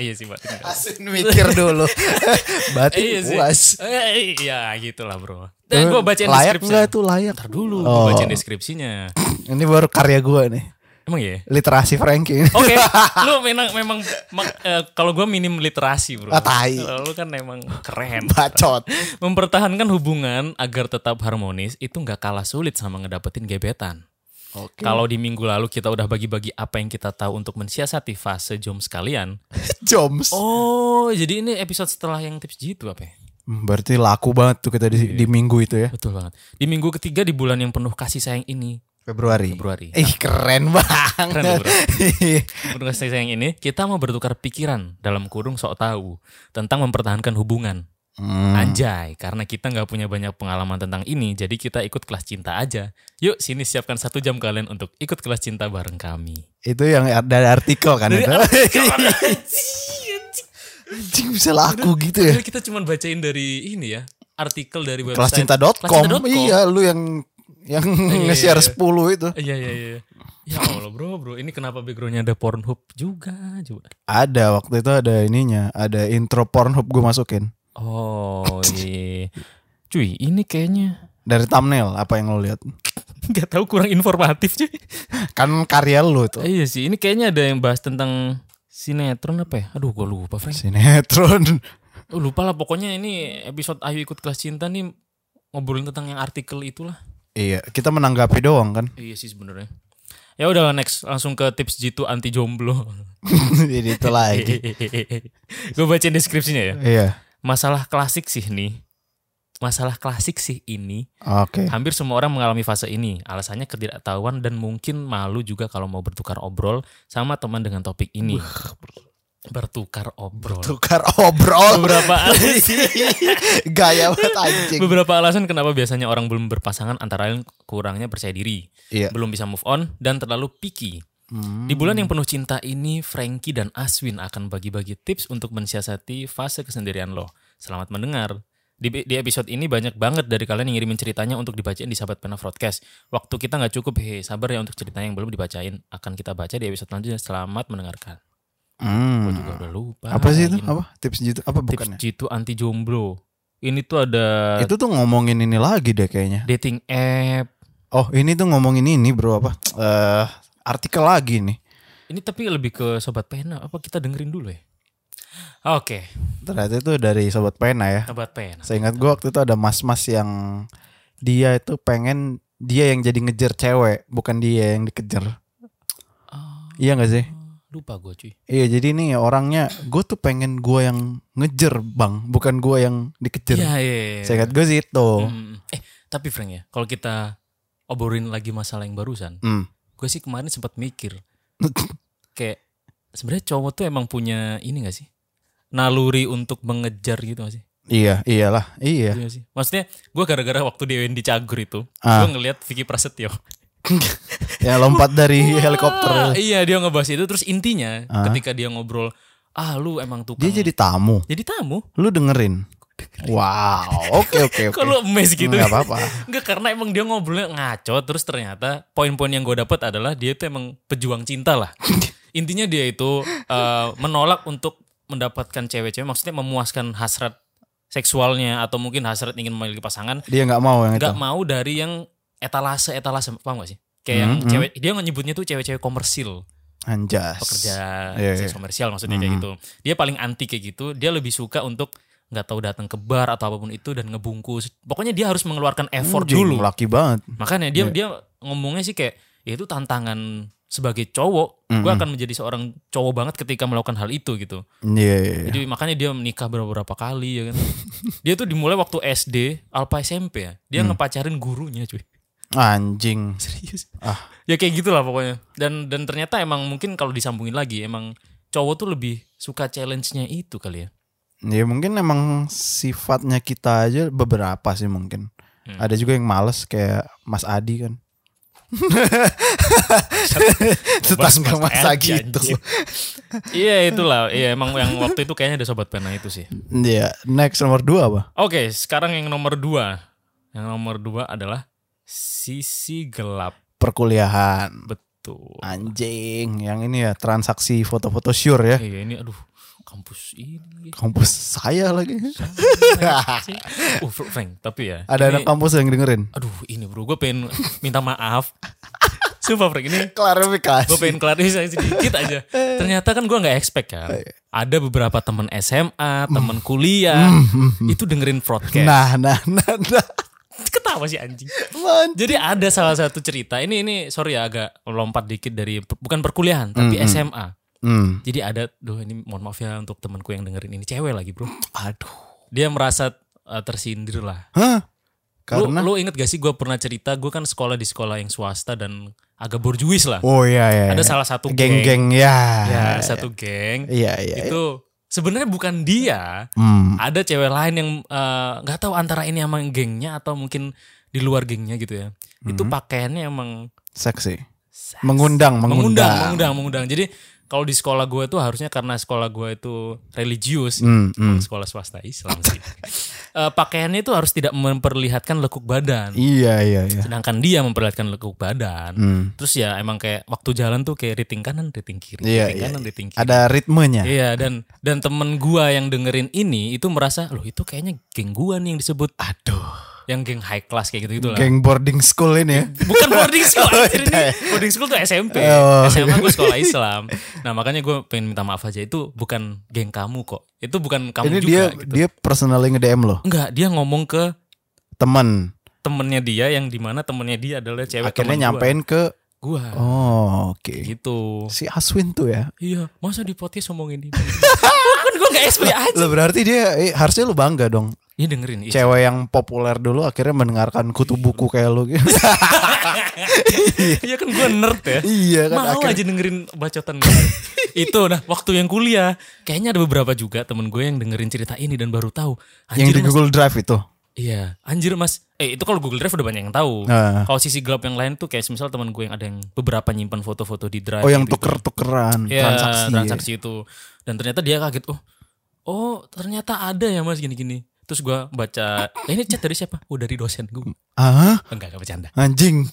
[SPEAKER 3] iya sih batin gak puas
[SPEAKER 2] Asin mikir dulu. Batin
[SPEAKER 3] Iya sih.
[SPEAKER 2] puas.
[SPEAKER 3] Eh, iya gitu lah bro. Dan gue bacain
[SPEAKER 2] Eh, layak
[SPEAKER 3] deskripsi.
[SPEAKER 2] nggak tuh layak?
[SPEAKER 3] Ntar dulu gua
[SPEAKER 2] Oh.
[SPEAKER 3] bacain deskripsinya.
[SPEAKER 2] Ini baru karya gue nih.
[SPEAKER 3] Emang ya?
[SPEAKER 2] Literasi Frankie.
[SPEAKER 3] Oke, lu memang memang mak- eh, kalau gue minim literasi bro.
[SPEAKER 2] Ah, tai.
[SPEAKER 3] Kalau Lu kan emang keren.
[SPEAKER 2] Bacot.
[SPEAKER 3] Mempertahankan hubungan agar tetap harmonis itu nggak kalah sulit sama ngedapetin gebetan.
[SPEAKER 2] Oke.
[SPEAKER 3] Kalau di minggu lalu kita udah bagi-bagi apa yang kita tahu untuk mensiasati fase jom sekalian.
[SPEAKER 2] Joms.
[SPEAKER 3] Oh, jadi ini episode setelah yang tips jitu apa ya?
[SPEAKER 2] Hmm, Berarti laku banget tuh kita
[SPEAKER 3] Iya.
[SPEAKER 2] di, di minggu itu ya.
[SPEAKER 3] Betul banget. Di minggu ketiga di bulan yang penuh kasih sayang ini,
[SPEAKER 2] Februari.
[SPEAKER 3] Februari.
[SPEAKER 2] Ih keren banget.
[SPEAKER 3] Keren loh, bro. Menurut saya sayang ini, kita mau bertukar pikiran dalam kurung sok tahu tentang mempertahankan hubungan.
[SPEAKER 2] Hmm.
[SPEAKER 3] Anjay, karena kita nggak punya banyak pengalaman tentang ini, jadi kita ikut kelas cinta aja. Yuk, sini siapkan satu jam kalian untuk ikut kelas cinta bareng kami.
[SPEAKER 2] Itu yang dari artikel kan itu. Anjing bisa laku gitu ya.
[SPEAKER 3] Jadi kita cuma bacain dari ini ya, artikel dari
[SPEAKER 2] Kelas
[SPEAKER 3] website.
[SPEAKER 2] cinta.com.
[SPEAKER 3] kelascinta.com.
[SPEAKER 2] Iya, lu yang yang
[SPEAKER 3] iya,
[SPEAKER 2] nge-share
[SPEAKER 3] iya.
[SPEAKER 2] 10 itu.
[SPEAKER 3] Iya, iya, iya. Ya Allah bro, bro. Ini kenapa backgroundnya ada Pornhub juga, juga.
[SPEAKER 2] Ada waktu itu ada ininya, ada intro Pornhub gue masukin.
[SPEAKER 3] Oh, iya. Cuy, ini kayaknya
[SPEAKER 2] Dari thumbnail apa yang lo lihat?
[SPEAKER 3] nggak tahu kurang informatif cuy.
[SPEAKER 2] Kan karya lu tuh.
[SPEAKER 3] Eh, iya sih, ini kayaknya ada yang bahas tentang sinetron apa ya? Aduh, gue lupa, Frank.
[SPEAKER 2] Sinetron.
[SPEAKER 3] Oh, lupa lah, pokoknya ini episode Ayu Ikut Kelas Cinta nih ngobrolin tentang yang artikel itulah.
[SPEAKER 2] Iya, kita menanggapi doang kan.
[SPEAKER 3] Iya sih sebenarnya. Ya udah next, langsung ke tips jitu anti jomblo.
[SPEAKER 2] Jadi itu lagi.
[SPEAKER 3] gue bacain deskripsinya ya.
[SPEAKER 2] Iya.
[SPEAKER 3] Masalah klasik sih nih. Masalah klasik sih ini.
[SPEAKER 2] Oke.
[SPEAKER 3] Hampir semua orang mengalami fase ini. Alasannya ketidaktahuan dan mungkin malu juga kalau mau bertukar obrol sama teman dengan topik ini. Bertukar obrol.
[SPEAKER 2] Tukar obrol.
[SPEAKER 3] beberapa
[SPEAKER 2] Gaya banget anjing.
[SPEAKER 3] beberapa alasan kenapa biasanya orang belum berpasangan antara lain kurangnya percaya diri,
[SPEAKER 2] Iya.
[SPEAKER 3] belum bisa move on dan terlalu picky.
[SPEAKER 2] Hmm.
[SPEAKER 3] Di bulan yang penuh cinta ini, Frankie dan Aswin akan bagi-bagi tips untuk mensiasati fase kesendirian lo. Selamat mendengar. Di, di episode ini banyak banget dari kalian yang ngirimin ceritanya untuk dibacain di sahabat pena broadcast. Waktu kita nggak cukup, hei sabar ya untuk ceritanya yang belum dibacain. Akan kita baca di episode selanjutnya. Selamat mendengarkan. Gue
[SPEAKER 2] Hmm.
[SPEAKER 3] juga udah lupa.
[SPEAKER 2] Apa sih itu?
[SPEAKER 3] Ini
[SPEAKER 2] Apa tips gitu? Apa
[SPEAKER 3] Tips
[SPEAKER 2] bukannya?
[SPEAKER 3] jitu anti jomblo. ini tuh ada
[SPEAKER 2] Itu tuh ngomongin ini lagi deh kayaknya.
[SPEAKER 3] dating app.
[SPEAKER 2] Oh ini tuh ngomongin ini bro apa? Eh artikel lagi nih.
[SPEAKER 3] Ini tapi lebih ke sobat pena. Apa kita dengerin dulu ya? Oke,
[SPEAKER 2] Ternyata itu dari sobat pena ya.
[SPEAKER 3] sobat pena.
[SPEAKER 2] Saya ingat gue waktu itu ada mas-mas yang dia itu pengen dia yang jadi ngejar cewek, bukan dia yang dikejar.
[SPEAKER 3] Ah,
[SPEAKER 2] Iya gak sih?
[SPEAKER 3] lupa gue cuy.
[SPEAKER 2] Iya jadi nih orangnya gue tuh pengen gue yang ngejar bang, bukan gue yang dikejar.
[SPEAKER 3] Iya, iya. iya.
[SPEAKER 2] Saya ingat gue sih itu.
[SPEAKER 3] Mm, Eh, tapi Frank ya, kalau kita oborin lagi masalah yang barusan,
[SPEAKER 2] Hmm.
[SPEAKER 3] gue sih kemarin sempat mikir kayak sebenarnya cowok tuh emang punya ini gak sih? Naluri untuk mengejar gitu gak sih?
[SPEAKER 2] Iya, iyalah, iya.
[SPEAKER 3] Iya gak sih? Maksudnya gue gara-gara waktu di Wendy Cagur itu,
[SPEAKER 2] Ah.
[SPEAKER 3] gue ngeliat Vicky Prasetyo.
[SPEAKER 2] Ya lompat dari
[SPEAKER 3] Wah,
[SPEAKER 2] helikopter.
[SPEAKER 3] Iya, dia ngebahas itu terus intinya
[SPEAKER 2] Ah.
[SPEAKER 3] ketika dia ngobrol, "Ah, lu emang tukang."
[SPEAKER 2] Dia jadi tamu.
[SPEAKER 3] jadi tamu.
[SPEAKER 2] Lu dengerin. Wow, oke oke oke.
[SPEAKER 3] Kalau mes gitu.
[SPEAKER 2] Nggak apa-apa.
[SPEAKER 3] Enggak karena emang dia ngobrolnya ngaco terus ternyata poin-poin yang gue dapat adalah dia itu emang pejuang cinta lah. Intinya dia itu eh, menolak untuk mendapatkan cewek-cewek maksudnya memuaskan hasrat seksualnya atau mungkin hasrat ingin memiliki pasangan
[SPEAKER 2] Dia nggak mau yang itu.
[SPEAKER 3] nggak mau dari yang etalase etalase paham gak sih? Kayak yang
[SPEAKER 2] Hmm, hmm.
[SPEAKER 3] cewek dia nyebutnya tuh cewek-cewek komersil,
[SPEAKER 2] Anjas.
[SPEAKER 3] pekerja
[SPEAKER 2] Iya, iya.
[SPEAKER 3] seks komersial maksudnya kayak
[SPEAKER 2] Hmm.
[SPEAKER 3] gitu. Dia paling anti kayak gitu, dia lebih suka untuk nggak tahu datang ke bar atau apapun itu dan ngebungkus. Pokoknya dia harus mengeluarkan effort
[SPEAKER 2] Anjing, Iya.
[SPEAKER 3] dulu.
[SPEAKER 2] Laki banget.
[SPEAKER 3] Makanya dia dia ngomongnya sih kayak ya itu tantangan sebagai cowok,
[SPEAKER 2] Mm-mm.
[SPEAKER 3] gue akan menjadi seorang cowok banget ketika melakukan hal itu gitu.
[SPEAKER 2] Iya. iya, iya.
[SPEAKER 3] Jadi makanya dia menikah beberapa kali ya kan. dia tuh dimulai waktu SD, alpa SMP ya. Dia
[SPEAKER 2] Hmm.
[SPEAKER 3] ngepacarin gurunya cuy.
[SPEAKER 2] Anjing.
[SPEAKER 3] Serius.
[SPEAKER 2] Ah.
[SPEAKER 3] Ya kayak gitulah pokoknya. Dan dan ternyata emang mungkin kalau disambungin lagi emang cowok tuh lebih suka challenge-nya itu kali ya.
[SPEAKER 2] Ya mungkin emang sifatnya kita aja beberapa sih mungkin.
[SPEAKER 3] Hmm.
[SPEAKER 2] Ada juga yang males kayak Mas Adi kan. Tetangga
[SPEAKER 3] Mas
[SPEAKER 2] masa
[SPEAKER 3] Adi,
[SPEAKER 2] gitu.
[SPEAKER 3] anjing. Iya itulah. Iya emang yang waktu itu kayaknya ada sobat pena itu sih.
[SPEAKER 2] Iya, next nomor dua apa?
[SPEAKER 3] Oke, sekarang yang nomor dua. Yang nomor dua adalah sisi gelap.
[SPEAKER 2] Perkuliahan.
[SPEAKER 3] Betul.
[SPEAKER 2] Eh. Anjing, yang ini ya transaksi foto-foto sure ya.
[SPEAKER 3] Iya ini aduh kampus ini.
[SPEAKER 2] Kampus saya lagi.
[SPEAKER 3] uh, Fr- Frank, tapi ya.
[SPEAKER 2] Ada anak
[SPEAKER 3] ini,
[SPEAKER 2] kampus yang dengerin.
[SPEAKER 3] aduh ini bro, gue pengen minta maaf. Sumpah Frank, ini gue
[SPEAKER 2] Klarifikasi.
[SPEAKER 3] pengen klarifikasi sedikit aja. Ternyata kan gue nggak expect
[SPEAKER 2] Oh,
[SPEAKER 3] kan.
[SPEAKER 2] iya.
[SPEAKER 3] Ada beberapa temen SMA,
[SPEAKER 2] Hmm.
[SPEAKER 3] temen kuliah, itu dengerin broadcast.
[SPEAKER 2] Nah, nah, nah, nah.
[SPEAKER 3] Ketawa sih anjing.
[SPEAKER 2] Man.
[SPEAKER 3] Jadi ada salah satu cerita. Ini ini sorry ya agak lompat dikit dari per- bukan perkuliahan tapi SMA.
[SPEAKER 2] Hmm.
[SPEAKER 3] Jadi ada duh ini mohon maaf ya untuk temanku yang dengerin ini cewek lagi, Bro.
[SPEAKER 2] Aduh.
[SPEAKER 3] Dia merasa uh, tersindir lah.
[SPEAKER 2] Hah?
[SPEAKER 3] Lu,
[SPEAKER 2] Karena
[SPEAKER 3] lu inget gak sih gue pernah cerita gue kan sekolah di sekolah yang swasta dan agak borjuis lah.
[SPEAKER 2] Oh iya iya.
[SPEAKER 3] Ada
[SPEAKER 2] iya.
[SPEAKER 3] salah satu geng.
[SPEAKER 2] geng-geng ya.
[SPEAKER 3] Ya, satu geng.
[SPEAKER 2] Iya iya. iya.
[SPEAKER 3] Itu sebenarnya bukan dia.
[SPEAKER 2] Hmm.
[SPEAKER 3] Ada cewek lain yang uh, nggak tahu antara ini emang gengnya atau mungkin di luar gengnya gitu ya.
[SPEAKER 2] Hmm.
[SPEAKER 3] Itu pakaiannya emang
[SPEAKER 2] Seksi. Mengundang,
[SPEAKER 3] mengundang,
[SPEAKER 2] mengundang.
[SPEAKER 3] mengundang, mengundang. Jadi kalau di sekolah gue tuh harusnya karena sekolah gue itu religius,
[SPEAKER 2] Hmm, hmm.
[SPEAKER 3] sekolah swasta Islam sih. Eh, pakaiannya itu harus tidak memperlihatkan lekuk badan.
[SPEAKER 2] Iya iya iya.
[SPEAKER 3] Sedangkan dia memperlihatkan lekuk badan.
[SPEAKER 2] Hmm.
[SPEAKER 3] Terus ya emang kayak waktu jalan tuh kayak riting kanan, riting kiri,
[SPEAKER 2] Iya,
[SPEAKER 3] riting
[SPEAKER 2] iya,
[SPEAKER 3] kanan, riting kiri.
[SPEAKER 2] Ada ritmenya.
[SPEAKER 3] Iya dan dan temen gua yang dengerin ini itu merasa loh itu kayaknya geng gua nih yang disebut
[SPEAKER 2] Aduh.
[SPEAKER 3] yang geng high class kayak gitu gitu lah.
[SPEAKER 2] Geng boarding school ini ya.
[SPEAKER 3] Bukan boarding school anjir ini.
[SPEAKER 2] beda ya.
[SPEAKER 3] Boarding school tuh SMP.
[SPEAKER 2] Oh.
[SPEAKER 3] SMA gue sekolah Islam. Nah, makanya gue pengen minta maaf aja itu bukan geng kamu kok. Itu bukan kamu
[SPEAKER 2] Ini
[SPEAKER 3] juga
[SPEAKER 2] dia
[SPEAKER 3] gitu.
[SPEAKER 2] dia personally nge-DM loh.
[SPEAKER 3] Enggak, dia ngomong ke
[SPEAKER 2] Temen.
[SPEAKER 3] temennya dia yang dimana temennya dia adalah cewek
[SPEAKER 2] Akhirnya
[SPEAKER 3] temen
[SPEAKER 2] nyampein ke
[SPEAKER 3] gua. Gua.
[SPEAKER 2] Oh, oke.
[SPEAKER 3] Gitu.
[SPEAKER 2] Si Aswin tuh ya.
[SPEAKER 3] Iya, masa di podcast ngomongin ini? Kan Bukan gue gak SP aja.
[SPEAKER 2] Lo berarti dia eh, harusnya lu bangga dong.
[SPEAKER 3] Ini dengerin. Ih,
[SPEAKER 2] Cewek yang populer dulu akhirnya mendengarkan kutu buku kayak lu gitu.
[SPEAKER 3] Iya kan gue nerd ya.
[SPEAKER 2] iya kan
[SPEAKER 3] Mau
[SPEAKER 2] akhirnya.
[SPEAKER 3] aja dengerin bacotan gue. itu nah waktu yang kuliah kayaknya ada beberapa juga temen gue yang dengerin cerita ini dan baru tahu
[SPEAKER 2] Yang di
[SPEAKER 3] Mas,
[SPEAKER 2] Google Drive itu.
[SPEAKER 3] iya anjir mas eh itu kalau Google Drive udah banyak yang tahu
[SPEAKER 2] Ah.
[SPEAKER 3] kalau sisi gelap yang lain tuh kayak misal temen gue yang ada yang beberapa nyimpan foto-foto di drive
[SPEAKER 2] Oh yang
[SPEAKER 3] gitu-gitu.
[SPEAKER 2] tuker-tukeran
[SPEAKER 3] Iya,
[SPEAKER 2] transaksi.
[SPEAKER 3] transaksi itu dan ternyata dia kaget oh oh ternyata ada ya mas gini-gini terus gue baca "Eh, ini chat dari siapa oh dari dosen gue
[SPEAKER 2] Ah,
[SPEAKER 3] enggak enggak bercanda
[SPEAKER 2] anjing.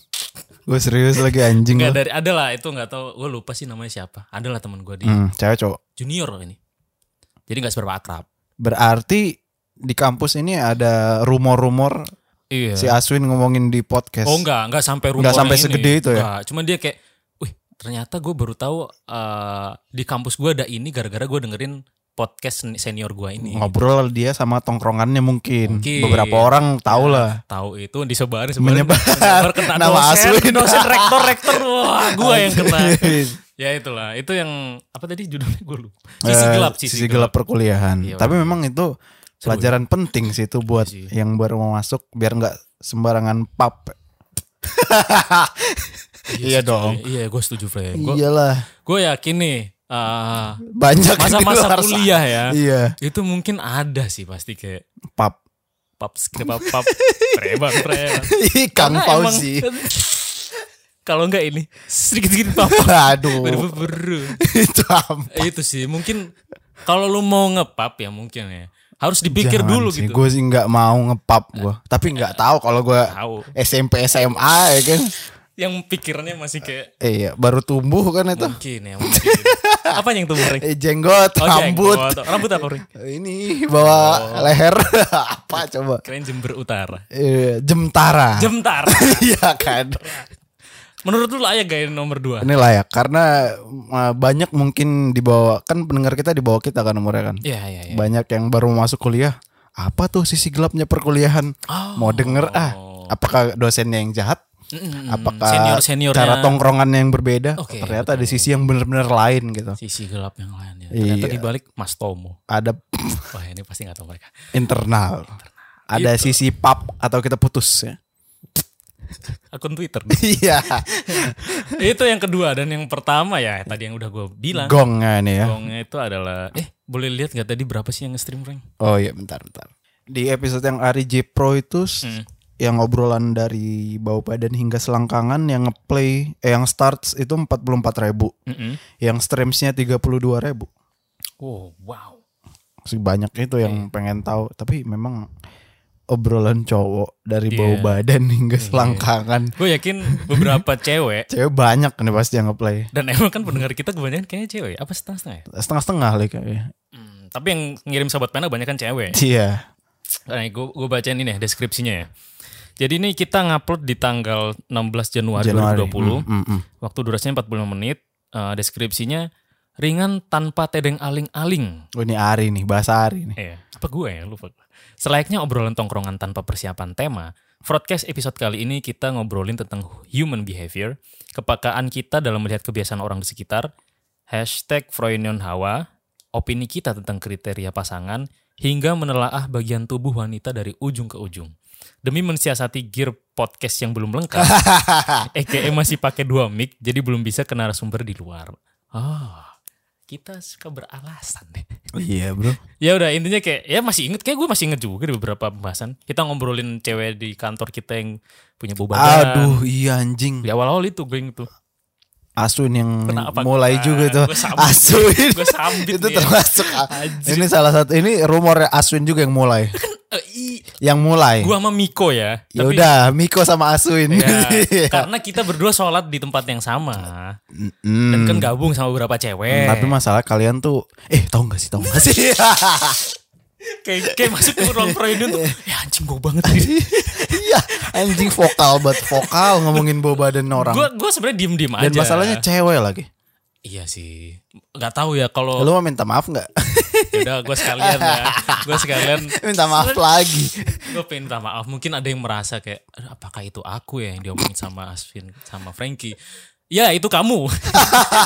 [SPEAKER 2] Gue serius lagi anjing
[SPEAKER 3] enggak
[SPEAKER 2] lu.
[SPEAKER 3] dari ada lah itu nggak tahu gue lupa sih namanya siapa ada lah temen gue di
[SPEAKER 2] Hmm, cewek cowok.
[SPEAKER 3] junior loh ini. Jadi nggak seberapa akrab.
[SPEAKER 2] Berarti di kampus ini ada rumor-rumor
[SPEAKER 3] Iya.
[SPEAKER 2] si Aswin ngomongin di podcast.
[SPEAKER 3] Oh enggak, enggak sampai rumor
[SPEAKER 2] Enggak sampai
[SPEAKER 3] ini.
[SPEAKER 2] segede itu ya?
[SPEAKER 3] Enggak, cuman dia kayak, wih ternyata gue baru tahu eh, di kampus gue ada ini gara-gara gue dengerin podcast sen- senior gue ini.
[SPEAKER 2] Ngobrol dia sama tongkrongannya mungkin.
[SPEAKER 3] Mungkin. Iya.
[SPEAKER 2] Beberapa orang tahu lah.
[SPEAKER 3] Tahu itu disebarin
[SPEAKER 2] Menyebar.
[SPEAKER 3] menyebar kena
[SPEAKER 2] Nama
[SPEAKER 3] dosen,
[SPEAKER 2] asli. Oh, iya.
[SPEAKER 3] dosen rektor rektor wah gue yang kena. ya itulah, itu yang apa tadi judulnya gue lupa. Sisi
[SPEAKER 2] Eh,
[SPEAKER 3] gelap,
[SPEAKER 2] sisi gelap perkuliahan.
[SPEAKER 3] Iya,
[SPEAKER 2] Tapi memang itu pelajaran penting sih itu buat
[SPEAKER 3] Iya sih.
[SPEAKER 2] yang baru mau masuk biar nggak sembarangan pap. Iya
[SPEAKER 3] setuju.
[SPEAKER 2] dong.
[SPEAKER 3] Iya, gue setuju, Fre.
[SPEAKER 2] Iyalah,
[SPEAKER 3] Gue yakin nih eh,
[SPEAKER 2] banyak yang di
[SPEAKER 3] masa-masa
[SPEAKER 2] luar sana.
[SPEAKER 3] kuliah ya.
[SPEAKER 2] Gitu. Iya,
[SPEAKER 3] Itu mungkin ada sih pasti kayak
[SPEAKER 2] pap.
[SPEAKER 3] pap pap pap preban preban.
[SPEAKER 2] Ih, Kang
[SPEAKER 3] Karena
[SPEAKER 2] Fauzi.
[SPEAKER 3] emang- Kalau enggak ini sedikit-sedikit papa.
[SPEAKER 2] Aduh,
[SPEAKER 3] Beru-beru.
[SPEAKER 2] itu am-
[SPEAKER 3] Eh, Itu sih mungkin kalau lu mau ngepap ya mungkin ya. Harus dipikir
[SPEAKER 2] Jangan
[SPEAKER 3] dulu
[SPEAKER 2] sih,
[SPEAKER 3] gitu. Eh.
[SPEAKER 2] Gue sih nggak mau ngepap gue, tapi nggak tahu kalau gue
[SPEAKER 3] Tahu.
[SPEAKER 2] SMP SMA ya kan.
[SPEAKER 3] Yang pikirannya masih kayak
[SPEAKER 2] Eh, Iya, baru tumbuh kan itu.
[SPEAKER 3] mungkin ya mungkin. apa yang tubuh Ring?
[SPEAKER 2] Eh, jenggot,
[SPEAKER 3] Oh,
[SPEAKER 2] rambut.
[SPEAKER 3] jenggot. Rambut apa Ring?
[SPEAKER 2] Gitu. Ini
[SPEAKER 3] Oh.
[SPEAKER 2] bawa leher apa coba?
[SPEAKER 3] Keren Jember Utara.
[SPEAKER 2] Eh, jemtara.
[SPEAKER 3] Jemtara.
[SPEAKER 2] Iya kan.
[SPEAKER 3] Menurut lu layak gak ini nomor 2?
[SPEAKER 2] Ini layak karena uh, banyak mungkin dibawa kan pendengar kita dibawa kita kan umurnya kan.
[SPEAKER 3] Iya, iya, iya.
[SPEAKER 2] Banyak yang baru masuk kuliah. Apa tuh sisi gelapnya perkuliahan?
[SPEAKER 3] Oh.
[SPEAKER 2] Mau denger ah? Apakah dosennya yang jahat? Apakah
[SPEAKER 3] Hmm, senior-seniornya-
[SPEAKER 2] cara tongkrongannya yang berbeda?
[SPEAKER 3] Oke,
[SPEAKER 2] Ternyata ada sisi yang benar-benar lain gitu.
[SPEAKER 3] Sisi gelap yang lain ya. Ternyata
[SPEAKER 2] Iya.
[SPEAKER 3] dibalik Mas Tomo.
[SPEAKER 2] Ada
[SPEAKER 3] Wah, ini pasti gak tahu mereka.
[SPEAKER 2] internal. Ada
[SPEAKER 3] Gitu.
[SPEAKER 2] sisi pap atau kita putus ya.
[SPEAKER 3] Akun Twitter.
[SPEAKER 2] Iya.
[SPEAKER 3] itu yang kedua dan yang pertama ya tadi yang udah gue bilang
[SPEAKER 2] Gong ya ini ya.
[SPEAKER 3] gongnya itu adalah eh boleh lihat nggak tadi berapa sih yang nge-stream Frank?
[SPEAKER 2] Oh iya bentar bentar. Di episode yang Ari J Pro itu s- yang obrolan dari bau badan hingga selangkangan yang ngeplay eh, yang starts itu 44.000 ribu yang streamsnya 32.000 ribu
[SPEAKER 3] Oh wow.
[SPEAKER 2] banyak itu yang pengen tahu tapi memang obrolan cowok dari bau badan hingga selangkangan
[SPEAKER 3] Gue yakin beberapa cewek
[SPEAKER 2] cewek banyak nih pasti yang ngeplay
[SPEAKER 3] dan emang kan pendengar kita kebanyakan kayaknya cewek apa setengah-setengah ya?
[SPEAKER 2] setengah-setengah lah kayaknya
[SPEAKER 3] Hmm, tapi yang ngirim sobat pena kebanyakan cewek.
[SPEAKER 2] iya
[SPEAKER 3] Nah, gue gue bacain ini ya deskripsinya ya. Jadi ini kita ngupload di tanggal 16 Januari,
[SPEAKER 2] Januari Mm,
[SPEAKER 3] 2020.
[SPEAKER 2] mm, mm.
[SPEAKER 3] Waktu durasinya 45 menit. Eh, deskripsinya ringan tanpa tedeng aling-aling.
[SPEAKER 2] Oh, ini Ari nih bahasa Ari nih
[SPEAKER 3] Iya. Apa gue ya lupa. Selayaknya obrolan tongkrongan tanpa persiapan tema, broadcast episode kali ini kita ngobrolin tentang human behavior, kepakaan kita dalam melihat kebiasaan orang di sekitar, hashtag Freudian Hawa, opini kita tentang kriteria pasangan, hingga menelaah bagian tubuh wanita dari ujung ke ujung. Demi mensiasati gear podcast yang belum lengkap, EKE masih pakai dua mic, jadi belum bisa ke narasumber di luar. Oh, kita suka beralasan deh.
[SPEAKER 2] iya bro
[SPEAKER 3] Ya udah intinya kayak ya masih inget kayak gue masih inget juga di beberapa pembahasan kita ngobrolin cewek di kantor kita yang punya bau badan.
[SPEAKER 2] aduh iya anjing
[SPEAKER 3] Di awal-awal itu gue inget tuh.
[SPEAKER 2] Asun yang
[SPEAKER 3] Kenapa?
[SPEAKER 2] mulai
[SPEAKER 3] Nah,
[SPEAKER 2] juga tuh
[SPEAKER 3] gua sambit.
[SPEAKER 2] Asun
[SPEAKER 3] Gua
[SPEAKER 2] itu
[SPEAKER 3] sambit nih ya.
[SPEAKER 2] termasuk
[SPEAKER 3] Anjir.
[SPEAKER 2] ini salah satu ini rumornya Aswin juga yang mulai
[SPEAKER 3] Eh, i-
[SPEAKER 2] yang mulai
[SPEAKER 3] gue sama Miko ya.
[SPEAKER 2] ya
[SPEAKER 3] Tapi-
[SPEAKER 2] udah Miko sama Aswin
[SPEAKER 3] Ya, karena kita berdua sholat di tempat yang sama
[SPEAKER 2] Mm,
[SPEAKER 3] dan kan gabung sama beberapa cewek.
[SPEAKER 2] tapi masalah kalian tuh eh tau gak sih tau gak sih Iya.
[SPEAKER 3] kayak kayak masuk ke ruang proyek tuh ya anjing gue banget ini.
[SPEAKER 2] iya anjing vokal buat vokal ngomongin bau badan orang
[SPEAKER 3] Gue gue sebenarnya diem diem aja.
[SPEAKER 2] dan masalahnya cewek lagi
[SPEAKER 3] iya sih. Gak tahu ya kalau
[SPEAKER 2] lu mau minta maaf nggak
[SPEAKER 3] udah gue sekalian ya. Gue sekalian
[SPEAKER 2] minta maaf lagi
[SPEAKER 3] gue pengen minta maaf mungkin ada yang merasa kayak "Aduh, apakah itu aku ya yang diomongin sama Asvin sama Frankie ya itu kamu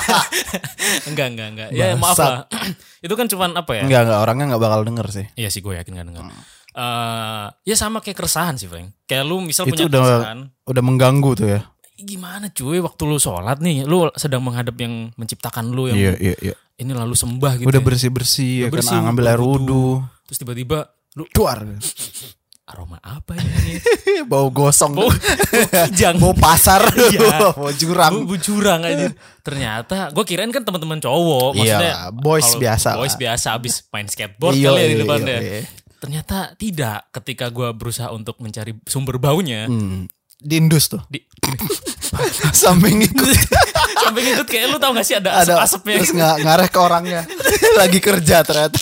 [SPEAKER 3] enggak enggak enggak ya maaf lah itu kan cuman apa ya
[SPEAKER 2] nggak nggak orangnya nggak bakal denger sih
[SPEAKER 3] Iya sih gue yakin kan enggak
[SPEAKER 2] Hmm.
[SPEAKER 3] Eh, ya sama kayak keresahan sih Frank kayak lu misal
[SPEAKER 2] itu
[SPEAKER 3] punya keresahan
[SPEAKER 2] udah udah mengganggu tuh ya
[SPEAKER 3] gimana cuy waktu lu sholat nih lu sedang menghadap yang menciptakan lu yang
[SPEAKER 2] iya iya iya
[SPEAKER 3] ini lalu sembah gitu
[SPEAKER 2] udah
[SPEAKER 3] ya.
[SPEAKER 2] bersih bersih ya
[SPEAKER 3] Udah
[SPEAKER 2] kan
[SPEAKER 3] bersih,
[SPEAKER 2] ah, ngambil air wudhu
[SPEAKER 3] terus tiba-tiba lu
[SPEAKER 2] keluar
[SPEAKER 3] aroma apa ini
[SPEAKER 2] bau gosong
[SPEAKER 3] bau bau kijang
[SPEAKER 2] bau pasar
[SPEAKER 3] Iya.
[SPEAKER 2] bau jurang
[SPEAKER 3] Bu, bu curang aja. Ternyata gue kirain kan teman-teman cowok,
[SPEAKER 2] Iya,
[SPEAKER 3] maksudnya
[SPEAKER 2] boys
[SPEAKER 3] kalau
[SPEAKER 2] biasa lah.
[SPEAKER 3] Boys biasa abis main skateboard
[SPEAKER 2] Iya,
[SPEAKER 3] kali ya di
[SPEAKER 2] iya,
[SPEAKER 3] depan
[SPEAKER 2] iya,
[SPEAKER 3] deh.
[SPEAKER 2] iya.
[SPEAKER 3] Ternyata tidak. Ketika gue berusaha untuk mencari sumber baunya,
[SPEAKER 2] Hmm. diindus tuh
[SPEAKER 3] di-
[SPEAKER 2] samping ikut
[SPEAKER 3] sampai ngikut kayak lu tau gak sih ada
[SPEAKER 2] ada
[SPEAKER 3] asap-asapnya
[SPEAKER 2] terus nggak ngarah ke orangnya lagi kerja ternyata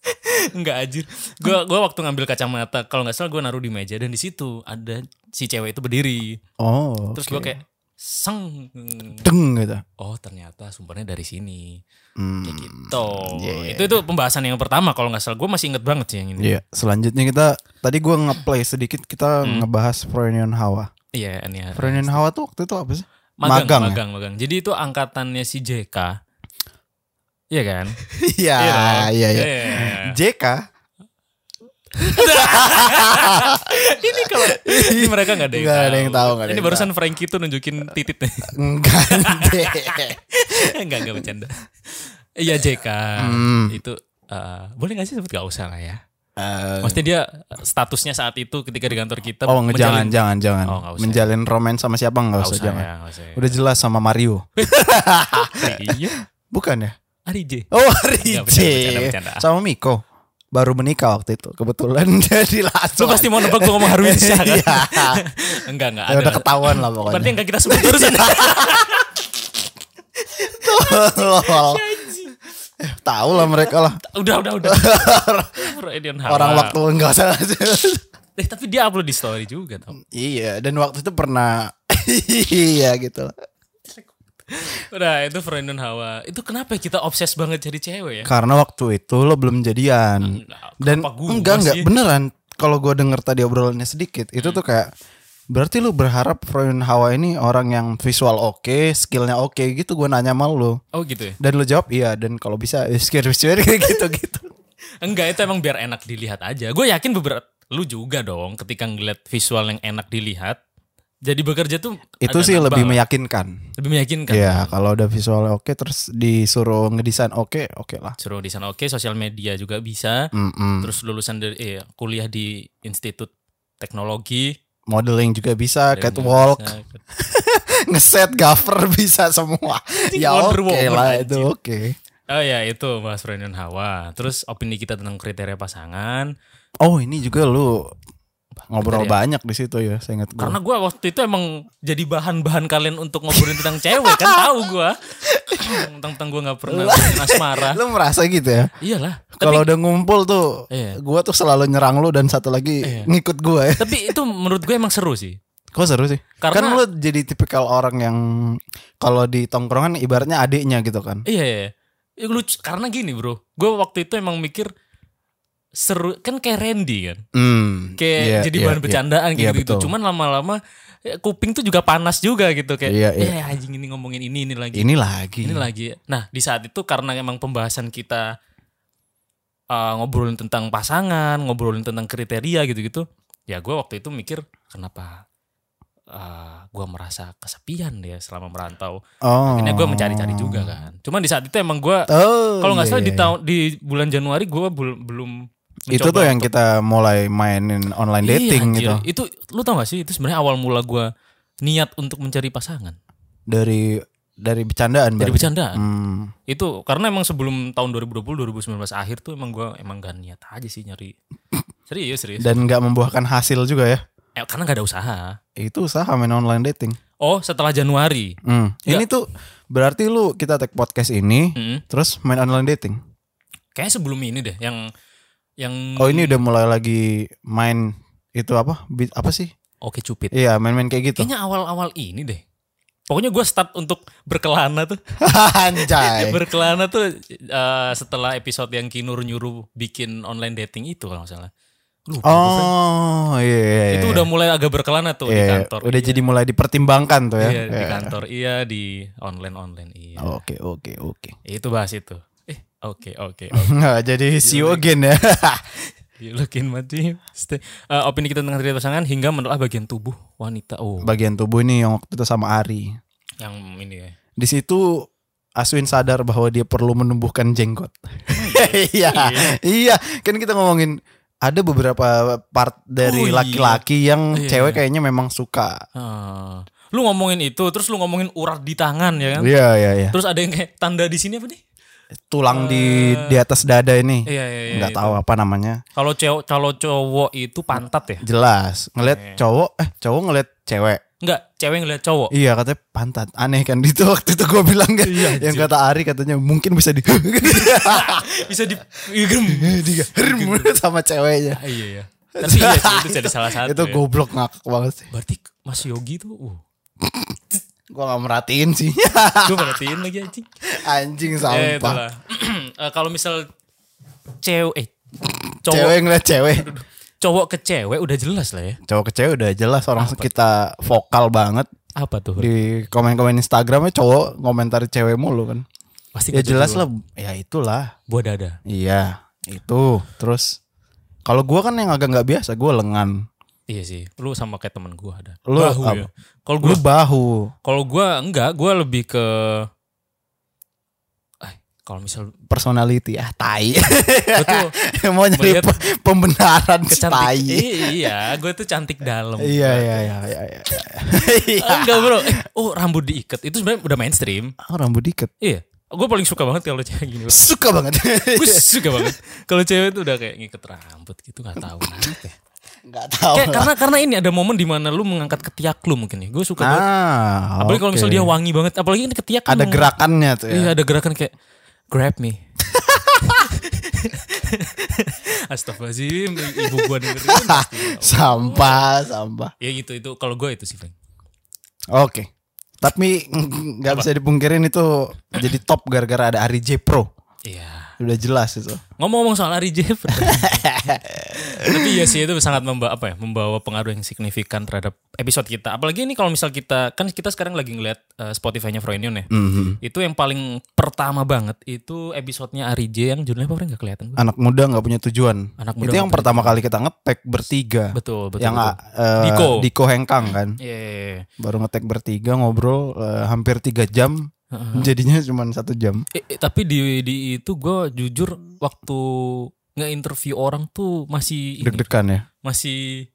[SPEAKER 3] Enggak Gitu. anjir. Gua gua waktu ngambil kacamata kalau nggak salah gua naruh di meja dan di situ ada si cewek itu berdiri.
[SPEAKER 2] Oh.
[SPEAKER 3] Terus
[SPEAKER 2] oke.
[SPEAKER 3] gua kayak seng.
[SPEAKER 2] deng gitu.
[SPEAKER 3] Oh, ternyata sumbernya dari sini.
[SPEAKER 2] Hmm.
[SPEAKER 3] Kayak gitu.
[SPEAKER 2] iya, iya,
[SPEAKER 3] itu itu pembahasan yang pertama kalau nggak salah gua masih inget banget sih yang ini.
[SPEAKER 2] Iya, selanjutnya kita tadi gua nge-play sedikit kita
[SPEAKER 3] Hmm.
[SPEAKER 2] ngebahas Freudian Hawa.
[SPEAKER 3] Iya, ini ya.
[SPEAKER 2] Freudian Hawa tuh waktu itu apa sih?
[SPEAKER 3] Magang, magang,
[SPEAKER 2] ya?
[SPEAKER 3] magang, Jadi itu angkatannya si JK. Iya kan?
[SPEAKER 2] Iya, iya, iya. JK.
[SPEAKER 3] ini kalau ini mereka nggak ada yang
[SPEAKER 2] Nggak
[SPEAKER 3] tahu.
[SPEAKER 2] ada yang tahu, nggak ada
[SPEAKER 3] ini
[SPEAKER 2] yang
[SPEAKER 3] barusan Frankie tuh nunjukin titiknya.
[SPEAKER 2] Enggak. deh.
[SPEAKER 3] Enggak enggak bercanda. Iya JK
[SPEAKER 2] Hmm.
[SPEAKER 3] itu eh, boleh nggak sih sebut gak usah lah ya.
[SPEAKER 2] Eh,
[SPEAKER 3] Maksudnya dia statusnya saat itu ketika di kantor kita
[SPEAKER 2] oh, nge- jangan,
[SPEAKER 3] menjalin-
[SPEAKER 2] jangan, jangan.
[SPEAKER 3] Oh, nggak usah.
[SPEAKER 2] Menjalin romance sama siapa enggak
[SPEAKER 3] Nggak
[SPEAKER 2] usah,
[SPEAKER 3] usah
[SPEAKER 2] jangan.
[SPEAKER 3] ya, nggak usah ya.
[SPEAKER 2] Udah jelas sama Mario.
[SPEAKER 3] iya.
[SPEAKER 2] Bukan ya?
[SPEAKER 3] Ari J.
[SPEAKER 2] Oh,
[SPEAKER 3] Nggak, bercanda, bercanda,
[SPEAKER 2] Rije.
[SPEAKER 3] bercanda.
[SPEAKER 2] Sama Miko. Baru menikah waktu itu. Kebetulan jadi
[SPEAKER 3] Lu
[SPEAKER 2] langsung.
[SPEAKER 3] pasti mau nebak gue ngomong Harwin Syah kan?
[SPEAKER 2] Iya.
[SPEAKER 3] enggak, enggak.
[SPEAKER 2] Ya
[SPEAKER 3] Ada,
[SPEAKER 2] udah ketahuan lah
[SPEAKER 3] Berarti
[SPEAKER 2] pokoknya.
[SPEAKER 3] enggak kita sebut terusan. Iya,
[SPEAKER 2] Tolol. Eh, Tahu lah mereka lah.
[SPEAKER 3] udah, udah, udah. Freudian Hawa.
[SPEAKER 2] Orang waktu enggak salah.
[SPEAKER 3] Eh, tapi dia upload di story juga tau.
[SPEAKER 2] Iya, dan waktu itu pernah iya gitu. lah.
[SPEAKER 3] Udah, itu Freudian Hawa. Itu kenapa ya kita obses banget jadi cewek ya?
[SPEAKER 2] Karena waktu itu lo belum jadian.
[SPEAKER 3] Enggak,
[SPEAKER 2] Dan
[SPEAKER 3] kenapa gua
[SPEAKER 2] enggak enggak
[SPEAKER 3] sih? Hmm.
[SPEAKER 2] beneran kalau gua denger tadi obrolannya sedikit, itu tuh kayak berarti lu berharap Freudian Hawa ini orang yang visual oke, skillnya oke gitu gua nanya sama lu.
[SPEAKER 3] Oh gitu ya?
[SPEAKER 2] Dan lu jawab iya dan kalau bisa skir-skir gitu gitu.
[SPEAKER 3] Enggak, itu emang biar enak dilihat aja. Gue yakin beberapa... Lu juga dong ketika ngeliat visual yang enak dilihat. Jadi bekerja tuh...
[SPEAKER 2] itu
[SPEAKER 3] ada
[SPEAKER 2] sih
[SPEAKER 3] nambah
[SPEAKER 2] lebih
[SPEAKER 3] lah.
[SPEAKER 2] meyakinkan.
[SPEAKER 3] lebih meyakinkan.
[SPEAKER 2] Iya, kalau udah visualnya oke terus disuruh ngedesain oke, oke lah.
[SPEAKER 3] Suruh di sana oke, sosial media juga bisa.
[SPEAKER 2] Mm-mm.
[SPEAKER 3] Terus lulusan dari eh, kuliah di Institut Teknologi.
[SPEAKER 2] Modeling juga bisa,
[SPEAKER 3] Dan
[SPEAKER 2] catwalk.
[SPEAKER 3] bisa-
[SPEAKER 2] ngeset cover bisa semua. ya oke
[SPEAKER 3] Wonder Woman,
[SPEAKER 2] lah
[SPEAKER 3] anjir.
[SPEAKER 2] itu oke.
[SPEAKER 3] Oh ya itu Mas Frenion Hawa. Terus opini kita tentang kriteria pasangan.
[SPEAKER 2] Oh ini juga lu ngobrol
[SPEAKER 3] Bentar
[SPEAKER 2] banyak di situ ya, saya ingat
[SPEAKER 3] Karena
[SPEAKER 2] gua.
[SPEAKER 3] gue waktu itu emang jadi bahan-bahan kalian untuk ngobrolin tentang cewek kan tahu gue. tentang gue nggak pernah ngomongin asmara.
[SPEAKER 2] Lu merasa gitu ya?
[SPEAKER 3] Iyalah. Tapi,
[SPEAKER 2] Kalau udah ngumpul tuh,
[SPEAKER 3] Iya.
[SPEAKER 2] gua tuh selalu nyerang lu dan satu lagi
[SPEAKER 3] Iya.
[SPEAKER 2] ngikut gua ya.
[SPEAKER 3] tapi itu menurut gue emang seru sih.
[SPEAKER 2] Kok seru sih?
[SPEAKER 3] Karena-
[SPEAKER 2] kan lu jadi tipikal orang yang kalau di tongkrongan ibaratnya adiknya gitu kan.
[SPEAKER 3] Iya, iya. Ya, lucu. Karena gini bro, gue waktu itu emang mikir seru kan kayak Randy kan,
[SPEAKER 2] Hmm.
[SPEAKER 3] kayak
[SPEAKER 2] iya,
[SPEAKER 3] jadi
[SPEAKER 2] iya,
[SPEAKER 3] bahan
[SPEAKER 2] iya.
[SPEAKER 3] bercandaan
[SPEAKER 2] Iya,
[SPEAKER 3] gitu-gitu.
[SPEAKER 2] betul.
[SPEAKER 3] Cuman lama-lama ya, kuping tuh juga panas juga gitu kayak,
[SPEAKER 2] Iya, iya.
[SPEAKER 3] "Eh, anjing ini ngomongin ini ini lagi.
[SPEAKER 2] Ini lagi.
[SPEAKER 3] Ini lagi. Nah, di saat itu karena emang pembahasan kita uh, ngobrolin tentang pasangan, ngobrolin tentang kriteria gitu-gitu, ya gue waktu itu mikir kenapa uh, gue merasa kesepian ya selama merantau.
[SPEAKER 2] Oh.
[SPEAKER 3] Akhirnya gue mencari-cari juga kan. Cuman di saat itu emang gue
[SPEAKER 2] Oh.
[SPEAKER 3] kalau
[SPEAKER 2] iya,
[SPEAKER 3] nggak salah di
[SPEAKER 2] Oh. iya.
[SPEAKER 3] tahun di bulan Januari gue belum belum
[SPEAKER 2] itu
[SPEAKER 3] mencoba
[SPEAKER 2] tuh yang
[SPEAKER 3] untuk-
[SPEAKER 2] kita mulai mainin online
[SPEAKER 3] Iya,
[SPEAKER 2] dating
[SPEAKER 3] anjir.
[SPEAKER 2] gitu.
[SPEAKER 3] Itu lu tau gak sih itu sebenarnya awal mula gue niat untuk mencari pasangan
[SPEAKER 2] dari dari bercandaan
[SPEAKER 3] dari
[SPEAKER 2] berarti?
[SPEAKER 3] bercandaan. Iya
[SPEAKER 2] Hmm.
[SPEAKER 3] itu karena emang sebelum tahun 2020 2019 akhir tuh emang gua emang gak niat aja sih nyari serius serius
[SPEAKER 2] dan nggak membuahkan hasil juga ya
[SPEAKER 3] Eh, karena gak ada usaha
[SPEAKER 2] itu usaha main online dating
[SPEAKER 3] oh setelah Januari
[SPEAKER 2] Hmm.
[SPEAKER 3] Ya. Hmm.
[SPEAKER 2] ini tuh berarti lu kita take podcast ini
[SPEAKER 3] Mm-mm.
[SPEAKER 2] terus main online dating
[SPEAKER 3] kayaknya sebelum ini deh yang yang
[SPEAKER 2] oh ini udah mulai lagi main itu apa Bi- apa sih
[SPEAKER 3] oke cupid
[SPEAKER 2] iya main-main kayak gitu
[SPEAKER 3] kayaknya awal awal ini deh pokoknya gua start untuk berkelana tuh
[SPEAKER 2] anjay
[SPEAKER 3] berkelana tuh eh, setelah episode yang Kinur nyuruh bikin online dating itu kalau nggak salah Lupa gua, Fran.
[SPEAKER 2] oh iya, iya, iya.
[SPEAKER 3] itu udah mulai agak berkelana tuh
[SPEAKER 2] Iya,
[SPEAKER 3] di
[SPEAKER 2] iya.
[SPEAKER 3] kantor
[SPEAKER 2] udah
[SPEAKER 3] Iya.
[SPEAKER 2] jadi mulai dipertimbangkan tuh ya
[SPEAKER 3] Iya, di
[SPEAKER 2] Iya.
[SPEAKER 3] kantor iya di online online iya
[SPEAKER 2] oke oke oke
[SPEAKER 3] Itu bahas itu. Eh, oke, oke, oke.
[SPEAKER 2] Nggak, jadi CEO again ya
[SPEAKER 3] You looking my dream. Stay. Eh, opini kita tentang kriteria pasangan hingga menelaah bagian tubuh wanita. Oh,
[SPEAKER 2] bagian tubuh ini yang waktu itu sama Ari
[SPEAKER 3] yang ini ya.
[SPEAKER 2] di situ Aswin sadar bahwa dia perlu menumbuhkan jenggot.
[SPEAKER 3] Oh,
[SPEAKER 2] Iya, iya. Kan kita ngomongin ada beberapa part
[SPEAKER 3] Oh,
[SPEAKER 2] dari
[SPEAKER 3] iya.
[SPEAKER 2] laki-laki yang
[SPEAKER 3] Iya.
[SPEAKER 2] cewek kayaknya memang suka.
[SPEAKER 3] Eh, lu ngomongin itu, terus lu ngomongin urat di tangan ya kan?
[SPEAKER 2] Ah. Iya, iya, iya.
[SPEAKER 3] Terus ada yang kayak tanda di sini apa nih?
[SPEAKER 2] Tulang di di atas dada ini.
[SPEAKER 3] Eh. Iya, iya, iya.
[SPEAKER 2] nggak tahu apa namanya.
[SPEAKER 3] Kalau cewek, kalau cowok itu pantat ya. Iya.
[SPEAKER 2] Jelas. Ngelihat cowok, eh cowok ngelihat cewek.
[SPEAKER 3] Enggak, cewek ngeliat cowok.
[SPEAKER 2] Iya katanya pantat aneh kan itu waktu itu gue bilang kan
[SPEAKER 3] Iya,
[SPEAKER 2] yang kata Ari katanya mungkin bisa di
[SPEAKER 3] Bisa di Iya,
[SPEAKER 2] Dia herm sama ceweknya
[SPEAKER 3] Iya ya. Tapi iya sih, itu jadi salah satu.
[SPEAKER 2] itu
[SPEAKER 3] ya.
[SPEAKER 2] goblok ngakak banget sih
[SPEAKER 3] Berarti Mas Yogi tuh uh,
[SPEAKER 2] gue gak merhatiin sih
[SPEAKER 3] gue perhatiin lagi anjing.
[SPEAKER 2] anjing
[SPEAKER 3] Ya,
[SPEAKER 2] sampah
[SPEAKER 3] itulah. Eh, kalau misal cewek eh, cowok
[SPEAKER 2] cewek ngeliat cewek
[SPEAKER 3] cowok ke cewek udah jelas lah ya.
[SPEAKER 2] cowok ke cewek udah jelas orang kita vokal banget
[SPEAKER 3] Apa tuh?
[SPEAKER 2] di komen-komen Instagramnya cowok komentar cewek mulu kan
[SPEAKER 3] Pasti
[SPEAKER 2] ya jelas lah ya itulah
[SPEAKER 3] Buat dada.
[SPEAKER 2] Iya, itu. Terus kalau gua kan yang agak nggak biasa, gua lengan.
[SPEAKER 3] Iya sih. Lu sama kayak temen gue ada.
[SPEAKER 2] Lu
[SPEAKER 3] Bahu
[SPEAKER 2] apa?
[SPEAKER 3] ya. Kalau gue
[SPEAKER 2] Lu bahu,
[SPEAKER 3] Kalau gua enggak, gua lebih ke Eh, kalau misal
[SPEAKER 2] personality ah tai.
[SPEAKER 3] gue tuh
[SPEAKER 2] Mau nyari
[SPEAKER 3] Melihat-
[SPEAKER 2] pe- pembenaran si
[SPEAKER 3] kecantik
[SPEAKER 2] tai.
[SPEAKER 3] iya gue tuh cantik dalam
[SPEAKER 2] Iya, iya, iya, iya, iya.
[SPEAKER 3] Eh, enggak bro eh, oh rambut diikat itu sebenarnya udah mainstream
[SPEAKER 2] Ah, rambut diket.
[SPEAKER 3] iya gue paling suka banget kalau cewek gini bro.
[SPEAKER 2] Suka banget.
[SPEAKER 3] gue suka banget kalau cewek tuh udah kayak ngikat rambut gitu nggak tahu kenapa ya.
[SPEAKER 2] Enggak tahu.
[SPEAKER 3] kayak
[SPEAKER 2] lah.
[SPEAKER 3] karena karena ini ada momen dimana lu mengangkat ketiak lu mungkin ya gue suka banget
[SPEAKER 2] Ah,
[SPEAKER 3] apalagi kalau
[SPEAKER 2] oke.
[SPEAKER 3] misal dia wangi banget apalagi ini ketiak kan
[SPEAKER 2] ada
[SPEAKER 3] meng-
[SPEAKER 2] gerakannya tuh ya.
[SPEAKER 3] Iya ada gerakan kayak grab me. Astagfirullahaladzim Ibu gua dengerin pasti.
[SPEAKER 2] Sampah, sampah.
[SPEAKER 3] Ya gitu itu Kalau gua itu sih Frank
[SPEAKER 2] Oke. Tapi nggak bisa dipungkirin itu jadi top gara-gara ada Ari J Pro.
[SPEAKER 3] Iya
[SPEAKER 2] Udah jelas itu.
[SPEAKER 3] Ngomong-ngomong soal Ari Jeff Tapi iya sih itu sangat membawa apa ya Membawa pengaruh yang signifikan terhadap episode kita Apalagi ini kalau misal kita Kan kita sekarang lagi ngeliat eh, Spotify-nya Froynion ya
[SPEAKER 2] Mhm.
[SPEAKER 3] Itu yang paling pertama banget Itu episodenya Ari J yang judulnya apa Frank Gak kelihatan gua.
[SPEAKER 2] anak muda nggak punya tujuan.
[SPEAKER 3] Anak muda
[SPEAKER 2] itu yang
[SPEAKER 3] nggak punya
[SPEAKER 2] pertama kali kita ngetek bertiga.
[SPEAKER 3] Betul betul,
[SPEAKER 2] yang
[SPEAKER 3] betul.
[SPEAKER 2] eh,
[SPEAKER 3] Diko.
[SPEAKER 2] Diko Hengkang kan.
[SPEAKER 3] Iya, iya, iya.
[SPEAKER 2] Baru ngetek bertiga ngobrol eh, hampir tiga jam. Jadinya cuma satu jam.
[SPEAKER 3] Eh, eh, tapi di di itu gue jujur waktu nge-interview orang tuh masih ini,
[SPEAKER 2] Deg-degan ya.
[SPEAKER 3] masih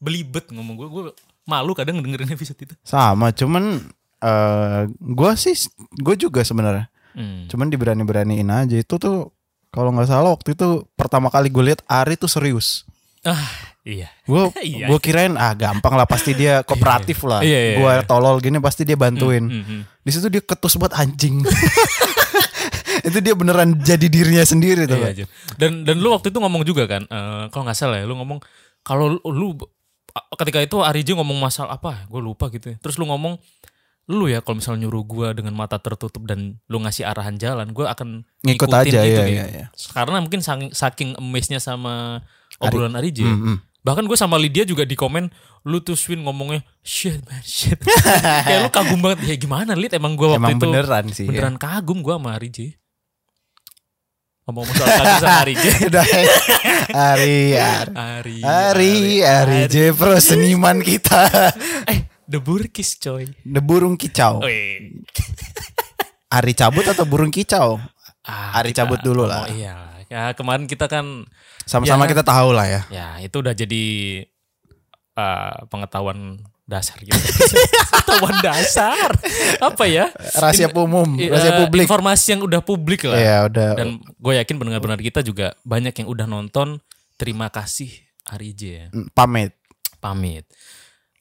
[SPEAKER 3] belibet ngomong gue gue malu kadang dengerin episode itu.
[SPEAKER 2] Sama, cuman eh gue sih gue juga sebenarnya.
[SPEAKER 3] Hmm.
[SPEAKER 2] Iya. Cuman diberani-beraniin aja itu tuh kalau nggak salah waktu itu pertama kali gue lihat Ari tuh serius.
[SPEAKER 3] Ah iya.
[SPEAKER 2] Gue
[SPEAKER 3] Iya.
[SPEAKER 2] gue kirain ah gampang lah pasti dia kooperatif lah.
[SPEAKER 3] Iya, iya,
[SPEAKER 2] Gue tolol gini pasti dia bantuin.
[SPEAKER 3] Mhm.
[SPEAKER 2] Di situ dia ketus buat anjing. itu dia beneran jadi dirinya sendiri tuh.
[SPEAKER 3] Iya, Jun. Dan dan lu waktu itu ngomong juga kan, eh, kalau nggak salah ya, lu ngomong kalau lu- lu a- ketika itu Ariji ngomong masalah apa, gue lupa gitu. ya. Terus lu ngomong lu ya kalau misalnya nyuruh gue dengan mata tertutup dan lu ngasih arahan jalan, gue akan
[SPEAKER 2] Ngikut
[SPEAKER 3] ngikutin
[SPEAKER 2] aja,
[SPEAKER 3] gitu
[SPEAKER 2] iya,
[SPEAKER 3] ya.
[SPEAKER 2] iya, iya.
[SPEAKER 3] Karena mungkin sang- saking amazed-nya sama obrolan Ariji.
[SPEAKER 2] Mm-mm.
[SPEAKER 3] Bahkan gue sama Lydia juga di komen lu tuh Swin ngomongnya shit man shit. Kayak lu kagum banget ya gimana Lid emang gue waktu
[SPEAKER 2] Emang
[SPEAKER 3] itu
[SPEAKER 2] beneran sih.
[SPEAKER 3] beneran kagum gue sama Ariji. Ngomong-ngomong soal kagum sama Ariji.
[SPEAKER 2] Ya. Udah, eh. Ari, Ari,
[SPEAKER 3] Iya, Ari.
[SPEAKER 2] Ari, Ari, J Pro seniman kita.
[SPEAKER 3] Eh, The Burkis coy.
[SPEAKER 2] The burung kicau.
[SPEAKER 3] Oh, iya. Wih.
[SPEAKER 2] Ari cabut atau burung kicau?
[SPEAKER 3] Ah,
[SPEAKER 2] Ari
[SPEAKER 3] kita
[SPEAKER 2] cabut dulu lah.
[SPEAKER 3] ngomong- Iya. Ya, kemarin kita kan
[SPEAKER 2] Sama-sama
[SPEAKER 3] Ya.
[SPEAKER 2] kita tahu lah ya.
[SPEAKER 3] ya itu udah jadi eh, pengetahuan dasar gitu. pengetahuan dasar. Apa ya?
[SPEAKER 2] Rahasia umum,
[SPEAKER 3] Eh,
[SPEAKER 2] rahasia publik.
[SPEAKER 3] Informasi yang udah publik lah.
[SPEAKER 2] Ya udah.
[SPEAKER 3] Dan gue yakin benar-benar kita juga banyak yang udah nonton. Terima kasih Ari J ya.
[SPEAKER 2] Mm, Pamit.
[SPEAKER 3] Pamit.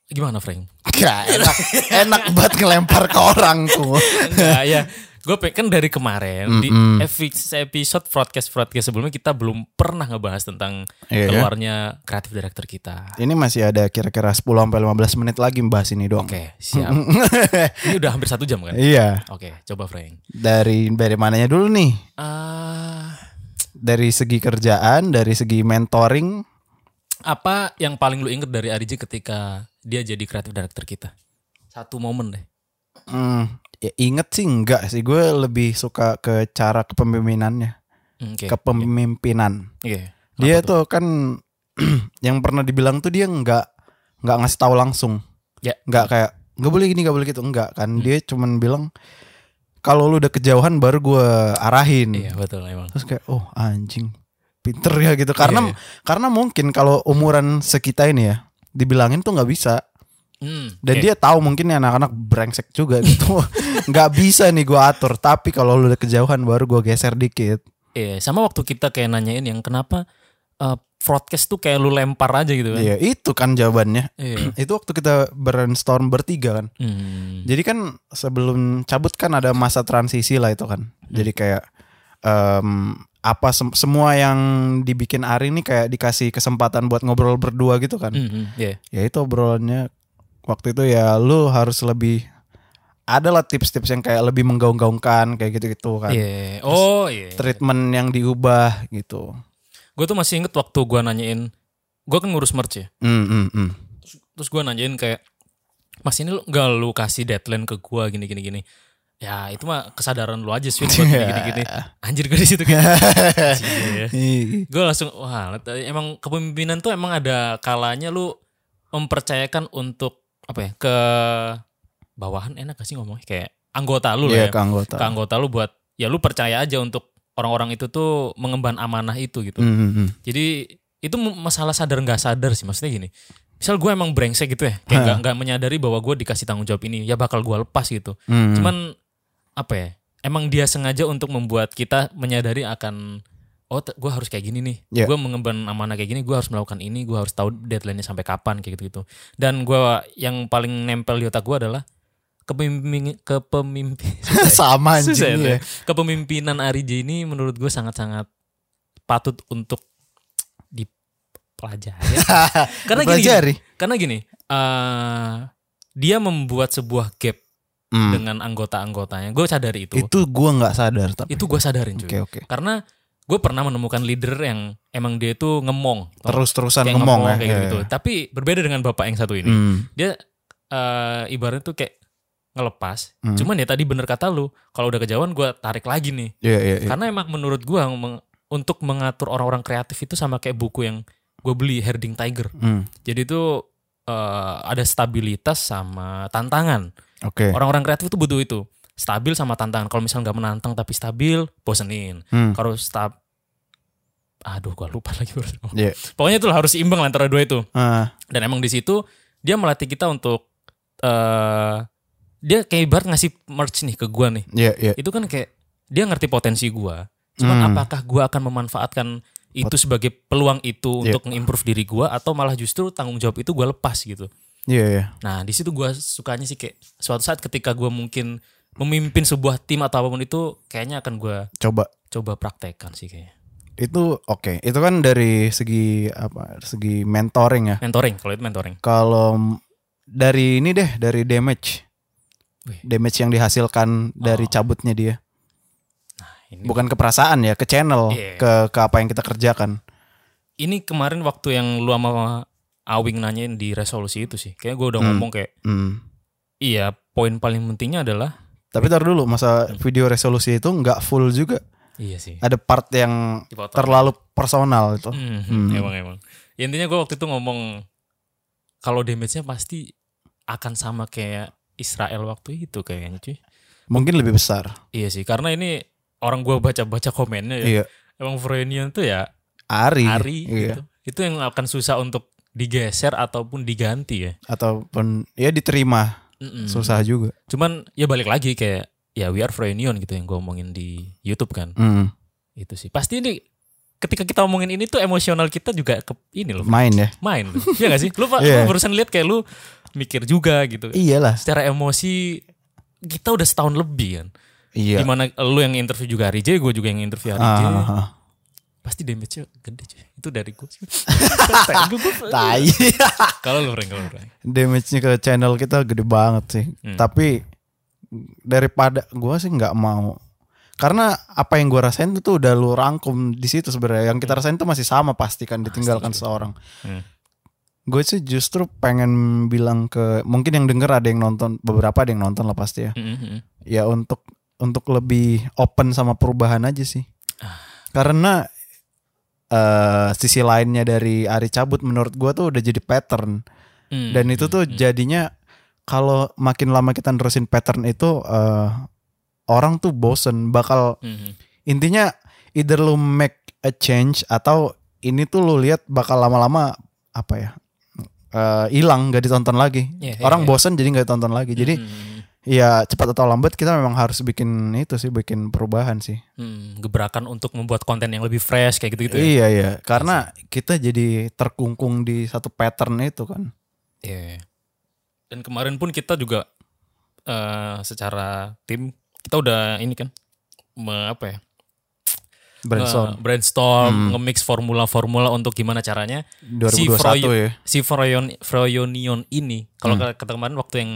[SPEAKER 3] Gimana Frank?
[SPEAKER 2] Gak enak, enak banget ngelempar ke orang tuh.
[SPEAKER 3] Enggak ya. Gue kan dari kemarin di epi- episode broadcast broadcast sebelumnya kita belum pernah ngebahas tentang
[SPEAKER 2] Iya,
[SPEAKER 3] keluarnya kreatif director kita.
[SPEAKER 2] Ini masih ada kira-kira 10 sampai 15 menit lagi membahas ini doang.
[SPEAKER 3] Oke, siap. Ini udah hampir satu jam kan?
[SPEAKER 2] Iya.
[SPEAKER 3] Oke, coba Frank.
[SPEAKER 2] dari dari mananya dulu nih
[SPEAKER 3] Ah,
[SPEAKER 2] dari segi kerjaan dari segi mentoring
[SPEAKER 3] apa yang paling lu inget dari Ariji ketika dia jadi kreatif director kita? Satu momen deh.
[SPEAKER 2] hmm, ya inget sih enggak sih gue lebih suka ke cara kepemimpinannya
[SPEAKER 3] Hmm, Oke. Iya.
[SPEAKER 2] kepemimpinan
[SPEAKER 3] Oke.
[SPEAKER 2] dia tuh kan yang pernah dibilang tuh dia enggak enggak ngasih tahu langsung
[SPEAKER 3] Ya. Hmm.
[SPEAKER 2] enggak kayak enggak boleh gini enggak boleh gitu enggak kan dia cuman bilang kalau lu udah kejauhan baru gue arahin
[SPEAKER 3] Iya betul emang.
[SPEAKER 2] terus kayak oh anjing pinter ya gitu karena
[SPEAKER 3] Iya,
[SPEAKER 2] karena mungkin kalau umuran sekita ini ya dibilangin tuh nggak bisa
[SPEAKER 3] Hmm,
[SPEAKER 2] dan dia tahu mungkin nih anak-anak brengsek juga gitu nggak bisa nih gua atur tapi kalau lu udah kejauhan baru gua geser dikit
[SPEAKER 3] Iya, sama waktu kita kayak nanyain yang kenapa eh, broadcast tuh kayak lu lempar aja gitu kan.
[SPEAKER 2] Iya, itu kan jawabannya.
[SPEAKER 3] Iya.
[SPEAKER 2] itu waktu kita brainstorm bertiga kan.
[SPEAKER 3] Hmm.
[SPEAKER 2] Jadi kan sebelum cabut kan ada masa transisi lah itu kan.
[SPEAKER 3] Hmm.
[SPEAKER 2] Jadi kayak em, apa sem- semua yang dibikin Ari nih kayak dikasih kesempatan buat ngobrol berdua gitu kan.
[SPEAKER 3] Hmm, hmm, Iya.
[SPEAKER 2] Ya itu obrolannya waktu itu ya lu harus lebih ada lah tips-tips yang kayak lebih menggaung-gaungkan kayak gitu-gitu kan.
[SPEAKER 3] Iya. Oh, iya.
[SPEAKER 2] Treatment yang diubah gitu.
[SPEAKER 3] Gue tuh masih inget waktu gua nanyain, gua kan ngurus merch ya.
[SPEAKER 2] Hmm, hmm, hmm.
[SPEAKER 3] terus gue nanyain kayak mas ini lu nggak lu kasih deadline ke gue gini gini gini ya itu mah kesadaran lu aja sih buat gini gini gini anjir gue di situ kayak gitu.
[SPEAKER 2] Ih,
[SPEAKER 3] gue langsung wah let- emang kepemimpinan tuh emang ada kalanya lu mempercayakan untuk apa ya ke bawahan enak gak sih ngomongnya kayak anggota lu
[SPEAKER 2] Iya,
[SPEAKER 3] lah ya
[SPEAKER 2] ke anggota.
[SPEAKER 3] ke anggota lu buat ya lu percaya aja untuk orang-orang itu tuh mengemban amanah itu gitu
[SPEAKER 2] Hmm, hmm, hmm.
[SPEAKER 3] jadi itu mu- masalah sadar nggak sadar sih maksudnya gini. Misal gue emang brengsek gitu ya, kayak nggak nggak menyadari bahwa gue dikasih tanggung jawab ini, ya bakal gue lepas gitu.
[SPEAKER 2] Hmm.
[SPEAKER 3] Cuman apa ya? Emang dia sengaja untuk membuat kita menyadari akan oh te- gue harus kayak gini
[SPEAKER 2] Ya.
[SPEAKER 3] nih, gue mengemban amanah kayak gini, gue harus melakukan ini, gue harus tahu deadline-nya sampai kapan kayak gitu gitu. Dan gue yang paling nempel di otak gue adalah kepemimpin kepemimpin
[SPEAKER 2] sama anjing
[SPEAKER 3] Susah itu
[SPEAKER 2] ya.
[SPEAKER 3] ya. Kepemimpinan Arij ini menurut gue sangat-sangat patut untuk dipelajari. karena gini,
[SPEAKER 2] Pelajari.
[SPEAKER 3] karena gini, eh, dia membuat sebuah gap
[SPEAKER 2] Hmm.
[SPEAKER 3] dengan anggota-anggotanya. Gue sadari itu.
[SPEAKER 2] Itu
[SPEAKER 3] Itu,
[SPEAKER 2] gua nggak sadar tapi.
[SPEAKER 3] gue sadarin
[SPEAKER 2] Oke
[SPEAKER 3] cuy.
[SPEAKER 2] oke.
[SPEAKER 3] Karena gue pernah menemukan leader yang emang dia itu ngemong, tau nggak?
[SPEAKER 2] Terus-terusan
[SPEAKER 3] Kayak
[SPEAKER 2] ngomong, ya.
[SPEAKER 3] kayak
[SPEAKER 2] Iya,
[SPEAKER 3] gitu.
[SPEAKER 2] iya.
[SPEAKER 3] Tapi berbeda dengan bapak yang satu ini
[SPEAKER 2] Hmm.
[SPEAKER 3] dia eh ibaratnya tuh kayak ngelepas.
[SPEAKER 2] Hmm.
[SPEAKER 3] Cuman ya tadi bener kata lu, kalau udah kejauhan gue tarik lagi nih.
[SPEAKER 2] Iya iya. iya.
[SPEAKER 3] Karena emang menurut gue meng- untuk mengatur orang-orang kreatif itu sama kayak buku yang gue beli Herding Tiger.
[SPEAKER 2] Hmm.
[SPEAKER 3] Jadi itu eh, ada stabilitas sama tantangan.
[SPEAKER 2] Oke.
[SPEAKER 3] Orang-orang kreatif itu butuh itu stabil sama tantangan. Kalau misalnya nggak menantang tapi stabil, bosenin.
[SPEAKER 2] Hmm.
[SPEAKER 3] Kalau stab Aduh, gua lupa lagi. baru ngomong.
[SPEAKER 2] Iya.
[SPEAKER 3] Pokoknya itu harus imbang antara dua itu
[SPEAKER 2] Ah,
[SPEAKER 3] dan emang di situ dia melatih kita untuk eh dia kayak ibarat ngasih merch nih ke gua nih
[SPEAKER 2] Iya iya.
[SPEAKER 3] itu kan kayak dia ngerti potensi gua cuman
[SPEAKER 2] Hmm.
[SPEAKER 3] apakah gua akan memanfaatkan itu sebagai peluang itu
[SPEAKER 2] Iya.
[SPEAKER 3] untuk nge-improve diri gua atau malah justru tanggung jawab itu gua lepas gitu
[SPEAKER 2] Iya iya.
[SPEAKER 3] nah di situ gua sukanya sih kayak suatu saat ketika gua mungkin memimpin sebuah tim atau apapun itu kayaknya akan gua
[SPEAKER 2] Coba
[SPEAKER 3] coba praktekkan sih kayaknya
[SPEAKER 2] itu oke. Itu kan dari segi apa? Segi mentoring ya.
[SPEAKER 3] mentoring kalau itu mentoring
[SPEAKER 2] Kalau m- dari ini deh, dari damage.
[SPEAKER 3] Wih. Oh.
[SPEAKER 2] Damage yang dihasilkan dari cabutnya dia.
[SPEAKER 3] nah ini
[SPEAKER 2] Bukan ke perasaan ya, ke channel,
[SPEAKER 3] Iya.
[SPEAKER 2] ke ke apa yang kita kerjakan.
[SPEAKER 3] ini kemarin waktu yang lu sama Awing nanyain di resolusi itu sih. Kayaknya gue udah ngomong kayak
[SPEAKER 2] Hmm.
[SPEAKER 3] iya poin paling pentingnya adalah
[SPEAKER 2] Tapi tar dulu, masa video resolusi itu nggak full juga.
[SPEAKER 3] iya sih.
[SPEAKER 2] Ada part yang
[SPEAKER 3] Dipotong.
[SPEAKER 2] Eh, terlalu personal itu.
[SPEAKER 3] Hmm,
[SPEAKER 2] Hmm.
[SPEAKER 3] Emang emang. Ya, intinya gue waktu itu ngomong kalau damage-nya pasti akan sama kayak Israel waktu itu kayaknya cuy.
[SPEAKER 2] Mungkin lebih besar.
[SPEAKER 3] Iya sih karena ini orang gue baca-baca komennya ya.
[SPEAKER 2] Iya.
[SPEAKER 3] Emang Frenian tuh ya
[SPEAKER 2] Ari,
[SPEAKER 3] Ari
[SPEAKER 2] iya.
[SPEAKER 3] gitu. Itu yang akan susah untuk digeser ataupun diganti ya.
[SPEAKER 2] ataupun ya diterima
[SPEAKER 3] Mm-mm.
[SPEAKER 2] susah juga.
[SPEAKER 3] Cuman ya balik lagi kayak ya we are Frenion gitu yang gue omongin di YouTube kan.
[SPEAKER 2] Hmm,
[SPEAKER 3] itu sih pasti ini ketika kita omongin ini tuh emosional kita juga ke ini loh
[SPEAKER 2] main ya.
[SPEAKER 3] main loh. Iya gak sih lu, Pak,
[SPEAKER 2] Iya.
[SPEAKER 3] lu barusan lihat kayak lu mikir juga gitu
[SPEAKER 2] Iyalah.
[SPEAKER 3] secara emosi kita udah setahun lebih kan
[SPEAKER 2] Iya.
[SPEAKER 3] dimana lu yang interview juga hari J gue juga yang interview hari J
[SPEAKER 2] Ah, ah.
[SPEAKER 3] pasti damage-nya gede cuy itu dari gue
[SPEAKER 2] Tai.
[SPEAKER 3] kalau lu Frank kalau lu
[SPEAKER 2] Nah.
[SPEAKER 3] Frank
[SPEAKER 2] Damage-nya ke channel kita gede banget sih.
[SPEAKER 3] Hmm.
[SPEAKER 2] Tapi daripada gua sih nggak mau. Karena apa yang gua rasain itu udah lu rangkum di situ sebenarnya. Yang kita rasain itu masih sama pasti kan ditinggalkan seorang.
[SPEAKER 3] Hmm.
[SPEAKER 2] Gue sih justru pengen bilang ke mungkin yang denger ada yang nonton, beberapa ada yang nonton lah pasti ya.
[SPEAKER 3] Mm, mm, mm.
[SPEAKER 2] ya untuk untuk lebih open sama perubahan aja sih. Karena eh sisi lainnya dari Ari cabut menurut gua tuh udah jadi pattern
[SPEAKER 3] Mm.
[SPEAKER 2] dan itu tuh jadinya kalau makin lama kita nerusin pattern itu eh orang tuh bosen bakal
[SPEAKER 3] Mm, mm.
[SPEAKER 2] intinya either lu make a change atau ini tuh lu lihat bakal lama-lama apa ya eh, hilang gak ditonton lagi
[SPEAKER 3] Iya, iya,
[SPEAKER 2] orang
[SPEAKER 3] iya.
[SPEAKER 2] bosen jadi nggak ditonton lagi jadi
[SPEAKER 3] Mm, mm, mm.
[SPEAKER 2] ya cepat atau lambat kita memang harus bikin itu sih bikin perubahan sih
[SPEAKER 3] Hmm, gebrakan untuk membuat konten yang lebih fresh kayak gitu-gitu. ya?
[SPEAKER 2] iya iya karena kita jadi terkungkung di satu pattern itu kan
[SPEAKER 3] Iya. Dan kemarin pun kita juga eh secara tim kita udah ini kan me- apa ya?
[SPEAKER 2] brainstorm Hmm.
[SPEAKER 3] Eh, brainstorm, nge-mix formula-formula untuk gimana caranya
[SPEAKER 2] 2021
[SPEAKER 3] Froyo-
[SPEAKER 2] ya Hmm.
[SPEAKER 3] si Froyon, Froyonion ini kalau kata kemarin waktu yang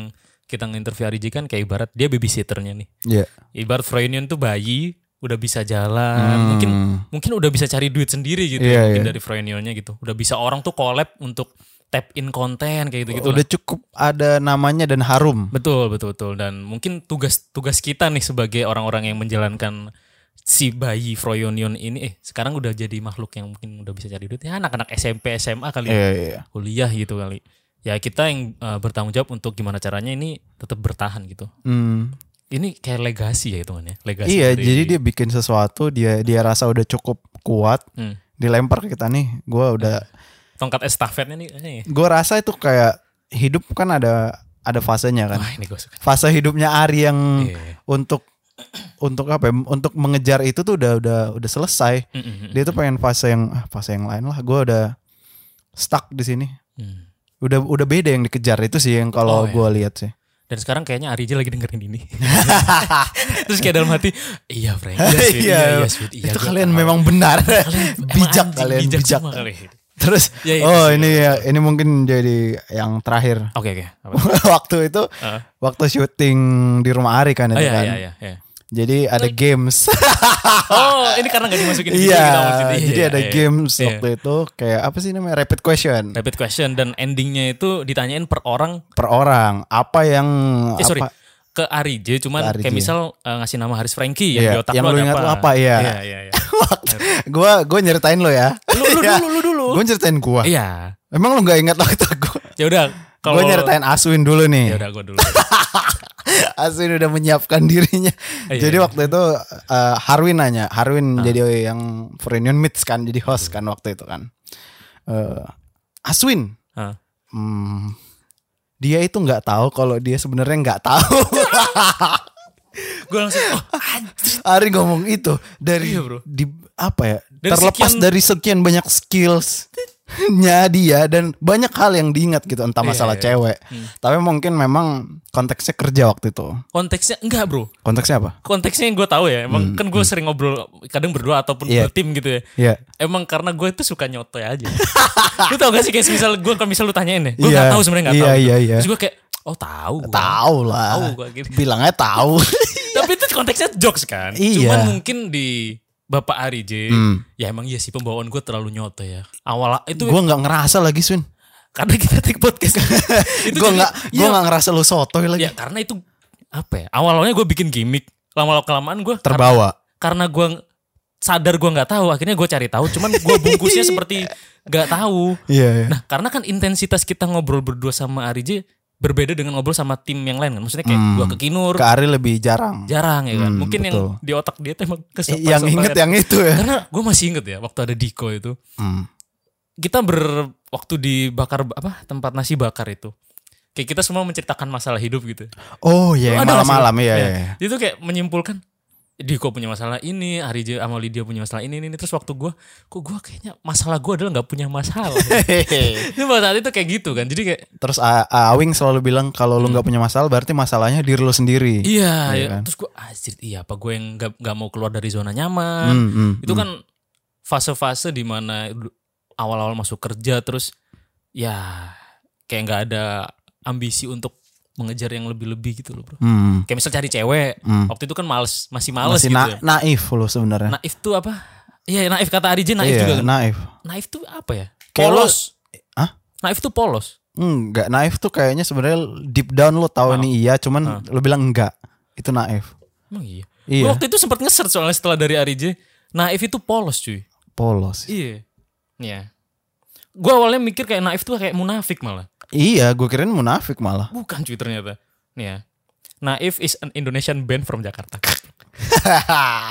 [SPEAKER 3] kita nginterview Ariji kan kayak ibarat dia babysitternya nih.
[SPEAKER 2] Iya.
[SPEAKER 3] Ibarat Froyonion tuh bayi udah bisa jalan, mungkin mungkin udah bisa cari duit sendiri gitu
[SPEAKER 2] Hmm. Iya,
[SPEAKER 3] ya, mungkin
[SPEAKER 2] iya.
[SPEAKER 3] dari Froyonionnya gitu. Udah bisa orang tuh collab untuk tap in konten kayak gitu-gitu. lah.
[SPEAKER 2] udah cukup ada namanya dan harum
[SPEAKER 3] Betul, betul, betul. Dan mungkin tugas-tugas kita nih sebagai orang-orang yang menjalankan si bayi Froyonion ini eh sekarang udah jadi makhluk yang mungkin udah bisa cari duit. Ya anak-anak SMP, SMA kali ya,
[SPEAKER 2] iya iya
[SPEAKER 3] kuliah gitu kali. Ya kita yang eh, bertanggung jawab untuk gimana caranya ini tetap bertahan gitu.
[SPEAKER 2] Hmm.
[SPEAKER 3] Ini kayak legasi ya hitungannya, legasi.
[SPEAKER 2] iya
[SPEAKER 3] dari-
[SPEAKER 2] jadi dia bikin sesuatu dia dia rasa udah cukup kuat
[SPEAKER 3] Hmm.
[SPEAKER 2] dilempar ke kita nih gua udah
[SPEAKER 3] tongkat estafetnya nih. eh.
[SPEAKER 2] gua rasa itu kayak hidup kan ada ada fasenya kan
[SPEAKER 3] Wah, ini gue suka.
[SPEAKER 2] fase hidupnya Ari yang
[SPEAKER 3] Iya.
[SPEAKER 2] untuk untuk apa ya, untuk mengejar itu tuh udah udah udah selesai
[SPEAKER 3] Mm-mm.
[SPEAKER 2] dia tuh pengen fase yang ah, fase yang lain lah gue udah stuck di sini
[SPEAKER 3] Hmm.
[SPEAKER 2] udah udah beda yang dikejar itu sih yang kalau
[SPEAKER 3] Oh, iya.
[SPEAKER 2] gue lihat sih
[SPEAKER 3] Dan sekarang kayaknya Arija lagi dengerin ini. Terus kayak dalam hati, iya Frank, iya sweet, iya, iya, sweet, iya.
[SPEAKER 2] itu
[SPEAKER 3] gua
[SPEAKER 2] kalian
[SPEAKER 3] tahu."
[SPEAKER 2] memang benar
[SPEAKER 3] Emang
[SPEAKER 2] bijak
[SPEAKER 3] anjing,
[SPEAKER 2] kalian bijak,
[SPEAKER 3] semua kali.
[SPEAKER 2] terus
[SPEAKER 3] Ya, ya,
[SPEAKER 2] oh ini ya ini mungkin jadi yang terakhir
[SPEAKER 3] Oke oke. apa?
[SPEAKER 2] Oh, waktu itu
[SPEAKER 3] Ah.
[SPEAKER 2] waktu syuting di rumah Ari kan
[SPEAKER 3] Oh
[SPEAKER 2] itu
[SPEAKER 3] iya
[SPEAKER 2] kan
[SPEAKER 3] iya iya. iya.
[SPEAKER 2] jadi ada games
[SPEAKER 3] Oh ini karena gak dimasukin. di video
[SPEAKER 2] Iya,
[SPEAKER 3] kita maksudnya. Iya,
[SPEAKER 2] jadi ada
[SPEAKER 3] iya, iya.
[SPEAKER 2] games
[SPEAKER 3] Iya.
[SPEAKER 2] waktu itu kayak apa sih namanya rapid question
[SPEAKER 3] Rapid question dan endingnya itu ditanyain per orang.
[SPEAKER 2] per orang. Apa yang
[SPEAKER 3] Eh sorry.
[SPEAKER 2] apa
[SPEAKER 3] Ke Arije
[SPEAKER 2] Ke
[SPEAKER 3] cuman
[SPEAKER 2] Arije.
[SPEAKER 3] kayak misal eh, ngasih nama Haris Franky yang
[SPEAKER 2] Iya,
[SPEAKER 3] di otak
[SPEAKER 2] yang
[SPEAKER 3] lu
[SPEAKER 2] lu
[SPEAKER 3] ada
[SPEAKER 2] ingat
[SPEAKER 3] apa?
[SPEAKER 2] lu apa, iya.
[SPEAKER 3] Iya iya iya.
[SPEAKER 2] gua gua nyeritain lo ya.
[SPEAKER 3] Lu lu dulu lu dulu.
[SPEAKER 2] gua nyeritain gua.
[SPEAKER 3] Iya.
[SPEAKER 2] Emang lu nggak ingat waktu gua?
[SPEAKER 3] Ya udah kalau
[SPEAKER 2] Gua nyeritain Aswin dulu
[SPEAKER 3] Ya
[SPEAKER 2] nih.
[SPEAKER 3] udah gua dulu.
[SPEAKER 2] Aswin udah menyiapkan dirinya.
[SPEAKER 3] Iya,
[SPEAKER 2] jadi
[SPEAKER 3] iya. Ah.
[SPEAKER 2] waktu itu eh, Harwin nanya, Harwin jadi yang Frenion Meets kan jadi host kan waktu itu kan. Eh, Aswin,
[SPEAKER 3] Ah.
[SPEAKER 2] hmm, dia itu nggak tahu kalau dia sebenarnya nggak tahu.
[SPEAKER 3] Gua langsung oh, anjing.
[SPEAKER 2] Ari ngomong itu dari
[SPEAKER 3] Iya, bro.
[SPEAKER 2] di apa ya?
[SPEAKER 3] Dari
[SPEAKER 2] terlepas
[SPEAKER 3] sekian-
[SPEAKER 2] dari sekian banyak skills nya dia dan banyak hal yang diingat gitu entah masalah
[SPEAKER 3] iya.
[SPEAKER 2] cewek. Tapi mungkin memang konteksnya kerja waktu itu.
[SPEAKER 3] konteksnya enggak, Bro.
[SPEAKER 2] Konteksnya apa?
[SPEAKER 3] konteksnya yang gue tahu ya emang kan gue sering ngobrol kadang berdua ataupun
[SPEAKER 2] Hmm, Iya.
[SPEAKER 3] bertim gitu ya
[SPEAKER 2] Iya.
[SPEAKER 3] emang karena gue itu suka nyotoy aja lu tau gak sih kayak misal gue kalau misal lu tanyain ya gue
[SPEAKER 2] Iya.
[SPEAKER 3] nggak tahu sebenarnya nggak
[SPEAKER 2] Iya,
[SPEAKER 3] tahu gitu.
[SPEAKER 2] iya, iya.
[SPEAKER 3] terus gue kayak oh tahu gua.
[SPEAKER 2] Tahu lah.
[SPEAKER 3] Tahu gua gitu.
[SPEAKER 2] Bilangnya tahu.
[SPEAKER 3] tapi itu konteksnya jokes
[SPEAKER 2] Iya.
[SPEAKER 3] kan
[SPEAKER 2] Hmm.
[SPEAKER 3] cuman mungkin di Bapak Ari J, ya emang iya sih pembawaan gue terlalu nyotoy ya. Awal itu
[SPEAKER 2] gua nggak ngerasa lagi, Swin.
[SPEAKER 3] karena kita take podcast. Itu
[SPEAKER 2] Gua
[SPEAKER 3] jadi-
[SPEAKER 2] nggak
[SPEAKER 3] iya,
[SPEAKER 2] gua nggak ngerasa lu sotoy lagi.
[SPEAKER 3] ya karena itu apa ya? Awalnya gue bikin gimmick, lama-lama kelamaan gue
[SPEAKER 2] Terbawa.
[SPEAKER 3] karena gua sadar gua nggak tahu akhirnya gua cari tahu cuman gua bungkusnya seperti nggak tahu
[SPEAKER 2] Iya, iya.
[SPEAKER 3] nah karena kan intensitas kita ngobrol berdua sama Arije berbeda dengan ngobrol sama tim yang lain kan maksudnya kayak
[SPEAKER 2] Hmm.
[SPEAKER 3] gua ke Kinur
[SPEAKER 2] Ke Ari lebih jarang.
[SPEAKER 3] jarang ya kan
[SPEAKER 2] Hmm,
[SPEAKER 3] mungkin yang
[SPEAKER 2] betul.
[SPEAKER 3] di otak dia tuh emang kesepak-
[SPEAKER 2] yang inget yang itu ya.
[SPEAKER 3] karena gua masih inget ya waktu ada Diko itu
[SPEAKER 2] Hmm.
[SPEAKER 3] kita ber waktu dibakar apa tempat nasi bakar itu kayak kita semua menceritakan masalah hidup gitu
[SPEAKER 2] Oh, iya, yang
[SPEAKER 3] Ada nggak sih,
[SPEAKER 2] malam-malam
[SPEAKER 3] Bang?
[SPEAKER 2] ya, ya. ya.
[SPEAKER 3] Dia tuh kayak menyimpulkan Diko punya masalah ini, Arija sama Lydia punya masalah ini, ini, ini. terus waktu gua kok gua kayaknya masalah gua adalah nggak punya masalah.
[SPEAKER 2] iya,
[SPEAKER 3] Itu pada saat itu kayak gitu kan, jadi kayak
[SPEAKER 2] Terus A- A- Awing selalu bilang kalau lu nggak punya masalah berarti masalahnya diri lu sendiri.
[SPEAKER 3] Hmm. iya,
[SPEAKER 2] Iya
[SPEAKER 3] ya.
[SPEAKER 2] kan?
[SPEAKER 3] terus gua anjir iya apa gue yang nggak nggak mau keluar dari zona nyaman.
[SPEAKER 2] Hmm, hmm,
[SPEAKER 3] itu
[SPEAKER 2] hmm.
[SPEAKER 3] kan fase-fase di mana du- awal-awal masuk kerja terus ya kayak nggak ada ambisi untuk mengejar yang lebih-lebih gitu loh, Bro.
[SPEAKER 2] Hmm,
[SPEAKER 3] Kayak misal cari cewek,
[SPEAKER 2] hmm.
[SPEAKER 3] waktu itu kan males, masih males
[SPEAKER 2] Masih
[SPEAKER 3] gitu.
[SPEAKER 2] na-
[SPEAKER 3] ya.
[SPEAKER 2] naif lu sebenarnya.
[SPEAKER 3] Naif tuh apa? Iya naif kata Arije naif
[SPEAKER 2] Iya,
[SPEAKER 3] juga kan.
[SPEAKER 2] naif.
[SPEAKER 3] Naif tuh apa ya?
[SPEAKER 2] Kayak lu-
[SPEAKER 3] Polos.
[SPEAKER 2] Hah?
[SPEAKER 3] Naif tuh polos.
[SPEAKER 2] Enggak, naif tuh kayaknya sebenarnya deep down lu tahu ini iya,
[SPEAKER 3] Nah.
[SPEAKER 2] cuman lu bilang enggak. Itu naif.
[SPEAKER 3] Emang iya.
[SPEAKER 2] Iya.
[SPEAKER 3] Gua waktu itu sempat nge-search soalnya setelah dari Arije. Naif itu polos cuy.
[SPEAKER 2] Polos.
[SPEAKER 3] Iya. Iya. Gue awalnya mikir kayak naif tuh kayak munafik malah.
[SPEAKER 2] Iya, gue kirain munafik malah.
[SPEAKER 3] Bukan cuy ternyata. Nih ya. Naif is an Indonesian band from Jakarta.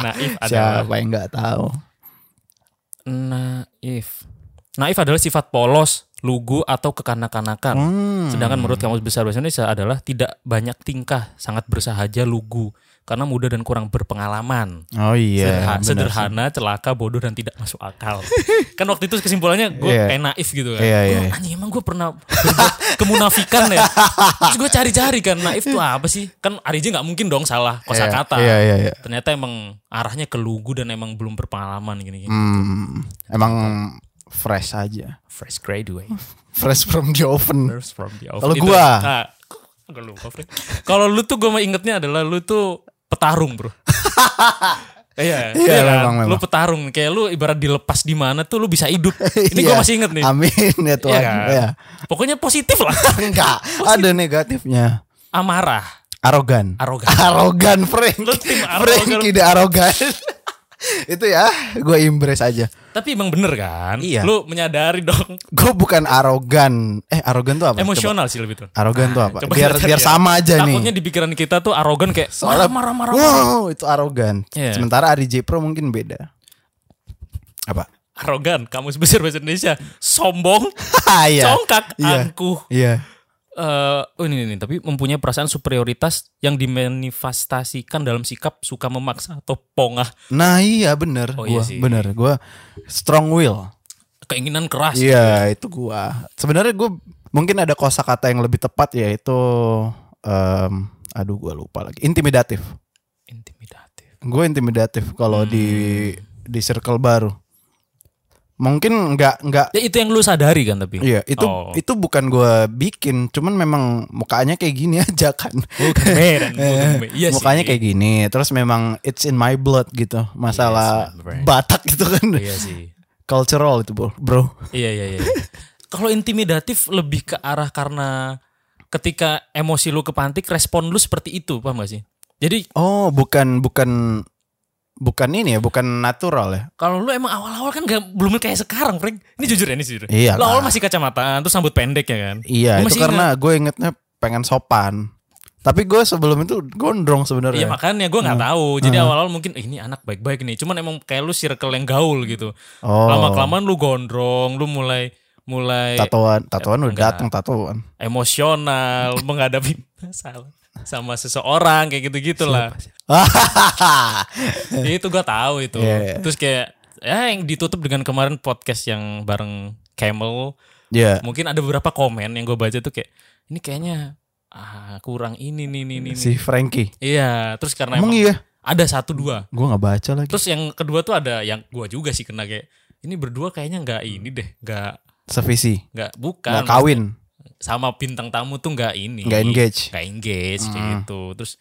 [SPEAKER 3] Naif adalah
[SPEAKER 2] Siapa yang nggak tahu?
[SPEAKER 3] Naif. Naif adalah sifat polos, lugu atau kekanak-kanakan. Sedangkan menurut Kamus Besar Bahasa Indonesia adalah tidak banyak tingkah, sangat bersahaja lugu karena muda dan kurang berpengalaman.
[SPEAKER 2] Oh iya. benar.
[SPEAKER 3] Sederha- sederhana, celaka, bodoh dan tidak masuk akal. kan waktu itu kesimpulannya gue
[SPEAKER 2] Iya.
[SPEAKER 3] kayak naif gitu kan.
[SPEAKER 2] Iya, iya,
[SPEAKER 3] Oh,
[SPEAKER 2] iya.
[SPEAKER 3] Anjing emang gue pernah berbuat kemunafikan ya. Terus gue cari-cari kan naif tuh apa sih? Kan Arija nggak mungkin dong salah kosakata.
[SPEAKER 2] Iya iya iya.
[SPEAKER 3] Ternyata emang arahnya ke lugu dan emang belum berpengalaman gini. gini.
[SPEAKER 2] Hmm, emang fresh aja.
[SPEAKER 3] Fresh graduate.
[SPEAKER 2] Fresh from the oven.
[SPEAKER 3] Letters from the Oven.
[SPEAKER 2] Kalau
[SPEAKER 3] Itu-
[SPEAKER 2] gua?
[SPEAKER 3] Ah, gua lupa, Fred. Kalau lu tuh gue ingetnya adalah lu tuh petarung bro. Iya,
[SPEAKER 2] Iya,
[SPEAKER 3] kan?
[SPEAKER 2] memang, memang.
[SPEAKER 3] Lu petarung, kayak lu ibarat dilepas di mana tuh lu bisa hidup. Ini gue
[SPEAKER 2] Iya.
[SPEAKER 3] masih inget nih.
[SPEAKER 2] Amin ya Tuhan.
[SPEAKER 3] Iya kan?
[SPEAKER 2] Iya.
[SPEAKER 3] Pokoknya positif lah.
[SPEAKER 2] Enggak, ada negatifnya.
[SPEAKER 3] Amarah,
[SPEAKER 2] Arogan.
[SPEAKER 3] arogan.
[SPEAKER 2] Arogan Frank.
[SPEAKER 3] Lu tim
[SPEAKER 2] Frank
[SPEAKER 3] arogan.
[SPEAKER 2] tidak arogan. Itu ya, gue impress aja.
[SPEAKER 3] Tapi emang bener kan?
[SPEAKER 2] Iya.
[SPEAKER 3] Lu menyadari dong.
[SPEAKER 2] Gue bukan arogan. Eh, arogan tuh apa? Coba.
[SPEAKER 3] Emosional sih lebih tuh.
[SPEAKER 2] Arogan tuh apa?
[SPEAKER 3] Coba
[SPEAKER 2] biar
[SPEAKER 3] kita cari
[SPEAKER 2] biar
[SPEAKER 3] ya.
[SPEAKER 2] sama aja
[SPEAKER 3] Takutnya
[SPEAKER 2] nih.
[SPEAKER 3] di pikiran kita tuh arogan kayak
[SPEAKER 2] Soalnya-
[SPEAKER 3] marah marah marah.
[SPEAKER 2] Wow, itu arogan.
[SPEAKER 3] Iya.
[SPEAKER 2] Sementara Ari J Pro mungkin beda. Apa?
[SPEAKER 3] Arogan, kamu sebesar bahasa Indonesia. Sombong,
[SPEAKER 2] Iya.
[SPEAKER 3] congkak,
[SPEAKER 2] Iya.
[SPEAKER 3] angkuh.
[SPEAKER 2] Iya.
[SPEAKER 3] eh oh ini, ini, tapi mempunyai perasaan superioritas yang dimanifestasikan dalam sikap suka memaksa atau pongah
[SPEAKER 2] Nah, iya bener
[SPEAKER 3] Oh, iya
[SPEAKER 2] gua.
[SPEAKER 3] sih.
[SPEAKER 2] bener gua strong will.
[SPEAKER 3] keinginan keras.
[SPEAKER 2] Iya, itu gua. Sebenarnya gua mungkin ada kosakata yang lebih tepat yaitu em aduh gua lupa lagi. Intimidatif.
[SPEAKER 3] Intimidatif.
[SPEAKER 2] Gue intimidatif kalau di
[SPEAKER 3] Hmm.
[SPEAKER 2] di circle baru. Mungkin nggak nggak
[SPEAKER 3] Ya itu yang lu sadari kan tapi.
[SPEAKER 2] Iya, itu
[SPEAKER 3] Oh.
[SPEAKER 2] itu bukan gua bikin, cuman memang mukanya kayak gini aja kan.
[SPEAKER 3] Bukan Medan, bukan Medan. Iya
[SPEAKER 2] mukanya
[SPEAKER 3] sih.
[SPEAKER 2] kayak gini, terus memang it's in my blood gitu. Masalah
[SPEAKER 3] Yes, my brain.
[SPEAKER 2] Batak gitu kan.
[SPEAKER 3] Iya sih.
[SPEAKER 2] Cultural itu, Bro. Bro.
[SPEAKER 3] Iya iya iya. Kalau intimidatif lebih ke arah karena ketika emosi lu kepantik respon lu seperti itu, paham gak sih? Jadi
[SPEAKER 2] Oh, bukan bukan bukan ini ya, bukan natural ya.
[SPEAKER 3] kalau lu emang awal-awal kan gak, belum kayak sekarang, Frank. Ini jujur ya, ini jujur.
[SPEAKER 2] Iya
[SPEAKER 3] Lu
[SPEAKER 2] lah.
[SPEAKER 3] awal masih kacamataan, terus sambut pendek ya kan?
[SPEAKER 2] Iya,
[SPEAKER 3] Lu
[SPEAKER 2] itu
[SPEAKER 3] masih
[SPEAKER 2] karena gue ingetnya pengen sopan. Tapi gue sebelum itu gondrong
[SPEAKER 3] Iya
[SPEAKER 2] sebenarnya.
[SPEAKER 3] makanya gue
[SPEAKER 2] Hmm.
[SPEAKER 3] nggak tahu. Jadi awal-awal mungkin "Eh, ini anak baik-baik nih. Cuman emang kayak lu circle yang gaul gitu.
[SPEAKER 2] oh,
[SPEAKER 3] Lama-kelamaan lu gondrong, lu mulai mulai
[SPEAKER 2] tatoan, tatoan udah
[SPEAKER 3] eh, Enggak.
[SPEAKER 2] datang tatoan.
[SPEAKER 3] emosional menghadapi masalah sama seseorang kayak gitu-gitulah. Jadi itu gue tahu itu.
[SPEAKER 2] Iya, iya.
[SPEAKER 3] Terus kayak ya yang ditutup dengan kemarin podcast yang bareng Camel,
[SPEAKER 2] Iya.
[SPEAKER 3] mungkin ada beberapa komen yang gue baca tuh kayak ini kayaknya ah, kurang ini nih nih nih. nih."
[SPEAKER 2] Si Frankie.
[SPEAKER 3] Iya, terus karena
[SPEAKER 2] Emang
[SPEAKER 3] emang
[SPEAKER 2] iya?
[SPEAKER 3] ada satu dua
[SPEAKER 2] Gue nggak baca lagi.
[SPEAKER 3] Terus yang kedua tuh ada yang gua juga sih kena kayak ini berdua kayaknya nggak ini deh, nggak
[SPEAKER 2] Sevisi.
[SPEAKER 3] nggak
[SPEAKER 2] Nggak
[SPEAKER 3] bukan
[SPEAKER 2] Hmm. kawin,
[SPEAKER 3] sama bintang tamu tuh nggak Kan, ini,
[SPEAKER 2] nggak engage. Hmm.
[SPEAKER 3] nggak engage kayak gitu. Terus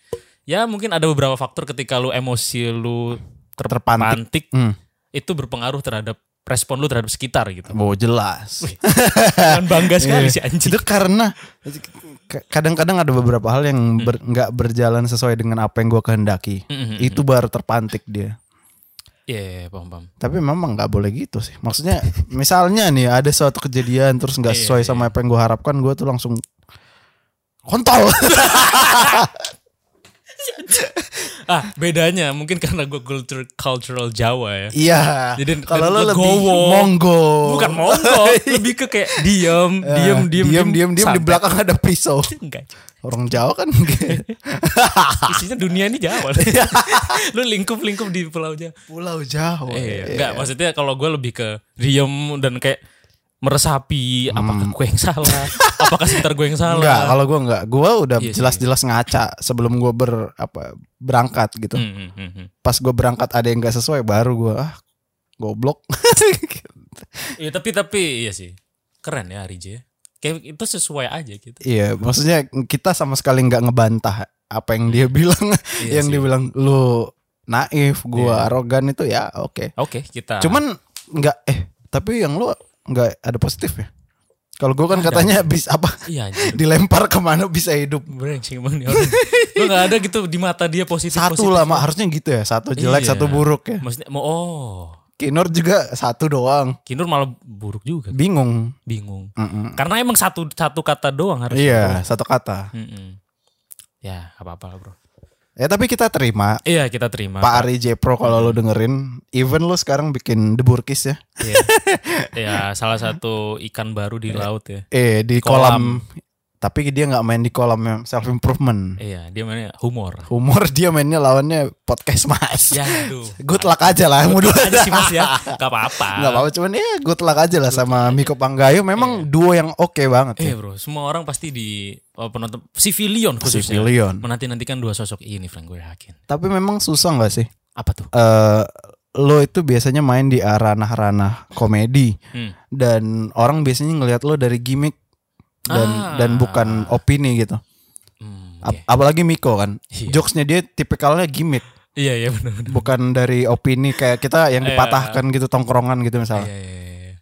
[SPEAKER 3] ya mungkin ada beberapa faktor ketika lu emosi lu
[SPEAKER 2] Terpantik.
[SPEAKER 3] terpantik
[SPEAKER 2] Hmm.
[SPEAKER 3] itu berpengaruh terhadap respon lu terhadap sekitar gitu.
[SPEAKER 2] Oh jelas. Iya.
[SPEAKER 3] Kan bangga sekali sih anjing.
[SPEAKER 2] Itu karena ka- kadang-kadang ada beberapa hal
[SPEAKER 3] Hmm.
[SPEAKER 2] yang ber- nggak berjalan sesuai dengan apa yang gue kehendaki.
[SPEAKER 3] Mm-mm.
[SPEAKER 2] Itu baru terpantik dia.
[SPEAKER 3] Iya, paham paham.
[SPEAKER 2] Tapi memang nggak boleh gitu sih. Maksudnya misalnya nih ada suatu kejadian terus nggak
[SPEAKER 3] Iya,
[SPEAKER 2] sesuai
[SPEAKER 3] iya.
[SPEAKER 2] sama apa yang gue harapkan, gue tuh langsung kontol.
[SPEAKER 3] Ah, bedanya mungkin karena gua culture cultural Jawa ya.
[SPEAKER 2] Iya.
[SPEAKER 3] Jadi-
[SPEAKER 2] Kalau lo
[SPEAKER 3] dan
[SPEAKER 2] lebih
[SPEAKER 3] legowo.
[SPEAKER 2] monggo.
[SPEAKER 3] Bukan monggo, lebih ke kayak diem,
[SPEAKER 2] Oh. Eh,
[SPEAKER 3] diem, diem,
[SPEAKER 2] diem, diem, diem, di
[SPEAKER 3] santai.
[SPEAKER 2] belakang ada pisau.
[SPEAKER 3] Enggak.
[SPEAKER 2] Orang Jawa kan gitu.
[SPEAKER 3] Isinya dunia ini Jawa.
[SPEAKER 2] Iya.
[SPEAKER 3] lu lingkup-lingkup di Pulau Jawa.
[SPEAKER 2] Pulau Jawa.
[SPEAKER 3] Eh, enggak, maksudnya kalau gue lebih ke diem dan kayak meresapi apakah gue yang salah, apakah sekitar gue yang salah.
[SPEAKER 2] Hmm. Enggak, kalau gue enggak. Gue udah
[SPEAKER 3] Iya sih.
[SPEAKER 2] jelas-jelas ngaca sebelum gue ber apa berangkat gitu.
[SPEAKER 3] Hmm, hmm, hmm, hmm.
[SPEAKER 2] Pas gue berangkat ada yang nggak sesuai, baru gue ah goblok.
[SPEAKER 3] Iya, tapi tapi iya sih. Keren ya Rij ya. Kayak itu sesuai aja gitu.
[SPEAKER 2] Iya, maksudnya kita sama sekali nggak ngebantah apa yang dia bilang,
[SPEAKER 3] Iya
[SPEAKER 2] yang
[SPEAKER 3] sih.
[SPEAKER 2] dia bilang lu naif, gue
[SPEAKER 3] Iya. Nah.
[SPEAKER 2] arogan itu ya oke.
[SPEAKER 3] Oke, kita
[SPEAKER 2] Cuman nggak eh tapi yang lu nggak ada positif ya. Kalau gue kan katanya bis apa
[SPEAKER 3] iya anjir.
[SPEAKER 2] dilempar kemana bisa hidup.
[SPEAKER 3] Brengsek emang nih orang. Lu gak ada gitu di mata dia positif
[SPEAKER 2] Satu lah mak harusnya gitu ya, satu jelek,
[SPEAKER 3] Iya.
[SPEAKER 2] satu buruk ya.
[SPEAKER 3] Maksudnya mau oh,
[SPEAKER 2] Kinor juga satu doang.
[SPEAKER 3] Kinur malah buruk juga,
[SPEAKER 2] Bingung.
[SPEAKER 3] bingung.
[SPEAKER 2] Mm-mm.
[SPEAKER 3] Karena emang satu satu kata doang harus.
[SPEAKER 2] Iya, satu kata.
[SPEAKER 3] Mm-mm. Ya, apa-apa lah, Bro.
[SPEAKER 2] Ya tapi kita terima
[SPEAKER 3] Iya kita terima.
[SPEAKER 2] Pak Ari Jepro kalau lo dengerin, even lo sekarang bikin deburkis ya.
[SPEAKER 3] Iya. Iya, salah satu ikan baru di laut ya.
[SPEAKER 2] Eh di kolam,
[SPEAKER 3] Kolam.
[SPEAKER 2] tapi dia nggak main di kolam yang self improvement.
[SPEAKER 3] Iya, dia mainnya humor.
[SPEAKER 2] Humor dia mainnya lawannya podcast Mas.
[SPEAKER 3] Ya, aduh.
[SPEAKER 2] Good luck aja lah mudah
[SPEAKER 3] Aja sih mas ya, gak apa-apa.
[SPEAKER 2] Nggak apa-apa cuman ya good luck aja Iya. lah sama Miko Panggayo memang duo yang oke banget ya.
[SPEAKER 3] Eh bro, semua orang pasti di oh, penonton sivilion khususnya
[SPEAKER 2] Civilion.
[SPEAKER 3] menanti nantikan dua sosok ini, Frank gue yakin.
[SPEAKER 2] Tapi memang susah nggak sih?
[SPEAKER 3] Apa tuh?
[SPEAKER 2] Eh lo itu biasanya main di ranah-ranah komedi
[SPEAKER 3] Hmm.
[SPEAKER 2] dan orang biasanya ngelihat lo dari gimmick dan
[SPEAKER 3] Ah.
[SPEAKER 2] dan bukan opini gitu.
[SPEAKER 3] Hmm,
[SPEAKER 2] Ap- Apalagi Miko kan,
[SPEAKER 3] Iya.
[SPEAKER 2] jokesnya dia tipikalnya gimmick,
[SPEAKER 3] Iya iya benar.
[SPEAKER 2] bukan dari opini kayak kita yang
[SPEAKER 3] Iya.
[SPEAKER 2] dipatahkan gitu tongkrongan gitu misalnya.
[SPEAKER 3] Iya iya. iya.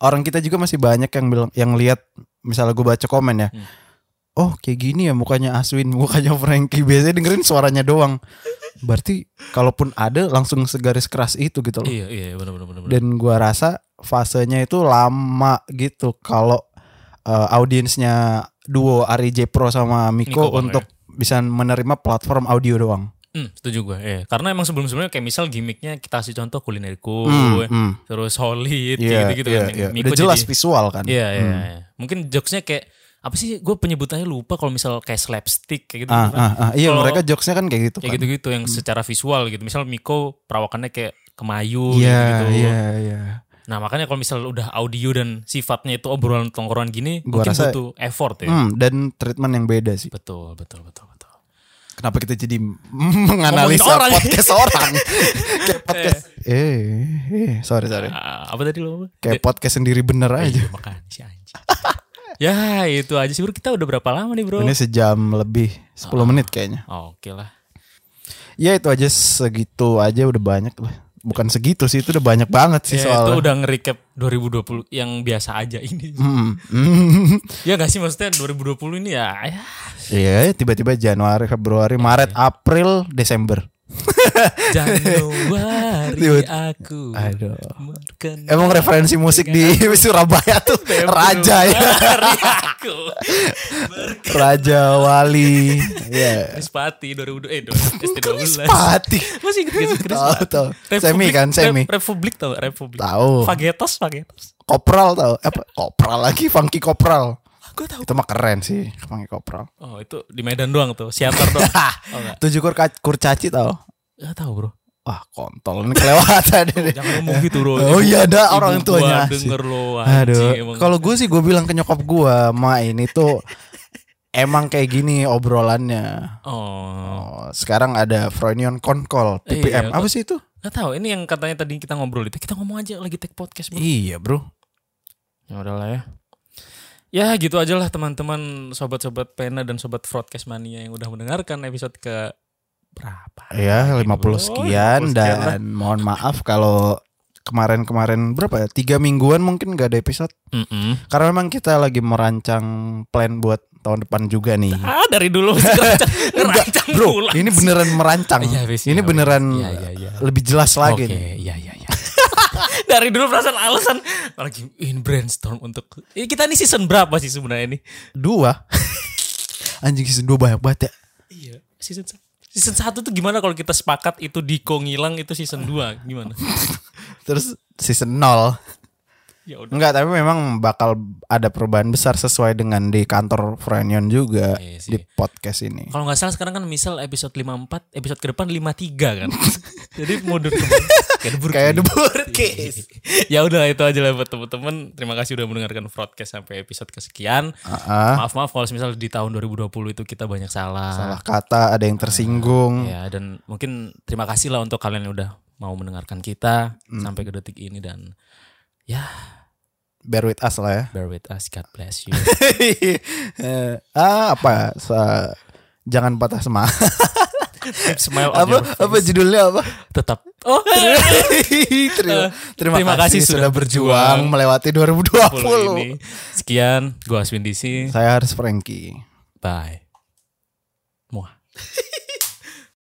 [SPEAKER 2] Orang kita juga masih banyak yang bilang yang lihat misalnya gue baca komen ya.
[SPEAKER 3] Hmm.
[SPEAKER 2] Oh kayak gini ya mukanya Aswin, mukanya Frankie. Biasanya dengerin suaranya doang. Berarti kalaupun ada langsung segaris keras itu gitu loh.
[SPEAKER 3] Iya iya benar benar benar.
[SPEAKER 2] Dan gua rasa fasenya itu lama gitu kalau eh, audiensnya duo Ari J Pro sama Miko,
[SPEAKER 3] Miko ya. Panggayo.
[SPEAKER 2] untuk bisa menerima platform audio doang.
[SPEAKER 3] Hmm, setuju gue. Eh, karena emang sebelum sebelumnya kayak misal gimmicknya kita kasih contoh ya. kulinerku,
[SPEAKER 2] Hmm, hmm.
[SPEAKER 3] terus solid
[SPEAKER 2] Iya,
[SPEAKER 3] gitu gitu
[SPEAKER 2] iya,
[SPEAKER 3] kan.
[SPEAKER 2] iya.
[SPEAKER 3] Miko
[SPEAKER 2] Udah jelas
[SPEAKER 3] jadi-
[SPEAKER 2] visual kan.
[SPEAKER 3] Iya iya. iya. Mungkin jokesnya kayak apa sih? Gue penyebutannya lupa kalau misal kayak slapstick kayak gitu.
[SPEAKER 2] Ah,
[SPEAKER 3] kan.
[SPEAKER 2] ah, ah. Iya,
[SPEAKER 3] Kalau-
[SPEAKER 2] mereka jokesnya kan kayak gitu
[SPEAKER 3] Kayak
[SPEAKER 2] kan.
[SPEAKER 3] gitu-gitu yang secara visual gitu. Misal Miko perawakannya kayak kemayu
[SPEAKER 2] Iya,
[SPEAKER 3] gitu.
[SPEAKER 2] iya, iya.
[SPEAKER 3] Nah makanya kalau misal udah audio dan sifatnya itu obrolan tongkrongan gini,
[SPEAKER 2] Gua
[SPEAKER 3] mungkin
[SPEAKER 2] rasa-
[SPEAKER 3] butuh effort ya.
[SPEAKER 2] Hmm, dan treatment yang beda sih.
[SPEAKER 3] Betul betul betul betul.
[SPEAKER 2] Kenapa kita jadi menganalisa
[SPEAKER 3] Ngomongin orang.
[SPEAKER 2] podcast orang? Kayak podcast. Eh, eh, sorry, sorry.
[SPEAKER 3] Ah, apa tadi lo?
[SPEAKER 2] Kayak podcast sendiri bener aja.
[SPEAKER 3] Iya, makan si anjing. ya itu aja sih bro. Kita udah berapa lama nih bro?
[SPEAKER 2] Ini sejam lebih 10 menit kayaknya.
[SPEAKER 3] Oh, Oke lah.
[SPEAKER 2] Ya itu aja segitu aja udah banyak lah. Bukan segitu sih, itu udah banyak banget sih
[SPEAKER 3] Ya, itu
[SPEAKER 2] soalnya.
[SPEAKER 3] udah nge-recap 2020 yang biasa aja ini.
[SPEAKER 2] Hmm, hmm.
[SPEAKER 3] ya gak sih maksudnya 2020 ini ya, ya
[SPEAKER 2] Iya, tiba-tiba Januari, Februari, Maret, April, Desember.
[SPEAKER 3] Januari
[SPEAKER 2] Tiba-
[SPEAKER 3] aku.
[SPEAKER 2] Aduh.
[SPEAKER 3] menemukan
[SPEAKER 2] Emang referensi musik di
[SPEAKER 3] Iya.
[SPEAKER 2] Surabaya tuh Raja ya.
[SPEAKER 3] Januari aku.
[SPEAKER 2] Raja Wali. Iya.
[SPEAKER 3] Krispati 2020 eh 2000 ST12.
[SPEAKER 2] Pati.
[SPEAKER 3] Masih inget gak sih
[SPEAKER 2] Tahu
[SPEAKER 3] Krispati?
[SPEAKER 2] tahu.
[SPEAKER 3] Republik-
[SPEAKER 2] Semi kan, semi.
[SPEAKER 3] Rep- Republik tau gak? Republik.
[SPEAKER 2] Tahu.
[SPEAKER 3] Fagetos, Fagetos.
[SPEAKER 2] Kopral tahu. Eh, Apa? Kopral lagi funky kopral.
[SPEAKER 3] Gue tahu.
[SPEAKER 2] Itu mah keren sih, funky kopral.
[SPEAKER 3] Oh, itu di Medan doang tuh, siator doang. oh enggak.
[SPEAKER 2] Tujuh kur kurcaci tahu.
[SPEAKER 3] Gak tahu, Bro.
[SPEAKER 2] Wah, kontol ini kelewatan ini.
[SPEAKER 3] Jangan ngomong gitu, Bro.
[SPEAKER 2] Oh iya ada
[SPEAKER 3] Ibu
[SPEAKER 2] orang
[SPEAKER 3] gua
[SPEAKER 2] tuanya.
[SPEAKER 3] denger lo. anjing,
[SPEAKER 2] Aduh,
[SPEAKER 3] emang.
[SPEAKER 2] kalau gue sih gue bilang ke nyokap gue, ma ini tuh emang kayak gini obrolannya.
[SPEAKER 3] Oh,
[SPEAKER 2] Oh, sekarang ada Froynion Konkol, TPM.
[SPEAKER 3] Iya,
[SPEAKER 2] Apa sih itu?
[SPEAKER 3] Gak tahu ini yang katanya tadi kita ngobrol itu kita ngomong aja lagi take podcast bro.
[SPEAKER 2] Iya bro.
[SPEAKER 3] Ya udahlah ya. Ya gitu aja lah teman-teman sobat-sobat pena dan sobat broadcast mania yang udah mendengarkan episode ke berapa?
[SPEAKER 2] Ya 50 sekian
[SPEAKER 3] 50 sekian
[SPEAKER 2] dan mohon maaf kalau kemarin-kemarin berapa ya? Tiga mingguan mungkin gak ada episode.
[SPEAKER 3] Mm-mm.
[SPEAKER 2] Karena memang kita lagi merancang plan buat tahun depan juga nih.
[SPEAKER 3] Ah dari dulu sih ngerancang, ngerancang
[SPEAKER 2] Bro,
[SPEAKER 3] ulang.
[SPEAKER 2] ini beneran merancang.
[SPEAKER 3] Iya, wis,
[SPEAKER 2] ini
[SPEAKER 3] iya, wis.
[SPEAKER 2] beneran
[SPEAKER 3] Iya, iya, iya.
[SPEAKER 2] lebih jelas lagi.
[SPEAKER 3] Oke,
[SPEAKER 2] nih.
[SPEAKER 3] iya iya iya. dari dulu perasaan alasan lagi in brainstorm untuk Eh, kita ini season berapa sih sebenarnya ini?
[SPEAKER 2] Dua. Anjing season dua banyak banget ya.
[SPEAKER 3] Iya, season sa- Season 1 tuh gimana kalau kita sepakat itu Diko ngilang itu season 2 gimana?
[SPEAKER 2] Terus season nol.
[SPEAKER 3] Ya udah.
[SPEAKER 2] Enggak, tapi memang bakal ada perubahan besar sesuai dengan di kantor Frenion juga
[SPEAKER 3] Iya sih.
[SPEAKER 2] di podcast ini.
[SPEAKER 3] Kalau nggak salah sekarang kan misal episode 54, episode ke depan 53 kan. Jadi mundur ke kayak debur.
[SPEAKER 2] Kayak The Burkis.
[SPEAKER 3] ya udah itu aja lah buat teman-teman. Terima kasih udah mendengarkan broadcast sampai episode kesekian.
[SPEAKER 2] Ah,
[SPEAKER 3] Maaf-maaf kalau misal di tahun 2020 itu kita banyak salah.
[SPEAKER 2] salah kata, ada yang tersinggung.
[SPEAKER 3] Ya dan mungkin terima kasih lah untuk kalian yang udah mau mendengarkan kita
[SPEAKER 2] Hmm.
[SPEAKER 3] sampai ke detik ini dan ya
[SPEAKER 2] Bear with us lah ya.
[SPEAKER 3] bear with us God bless you.
[SPEAKER 2] Eh, ah, apa? Sa- jangan patah semangat.
[SPEAKER 3] Keep smile on
[SPEAKER 2] apa
[SPEAKER 3] your face.
[SPEAKER 2] apa judulnya apa?
[SPEAKER 3] tetap oh
[SPEAKER 2] terima, terima,
[SPEAKER 3] Eh, terima
[SPEAKER 2] kasih, sudah berjuang melewati
[SPEAKER 3] puluh
[SPEAKER 2] 2020.
[SPEAKER 3] ini. Sekian, gua Aswin DC.
[SPEAKER 2] Saya harus Frankie.
[SPEAKER 3] Bye. Muah.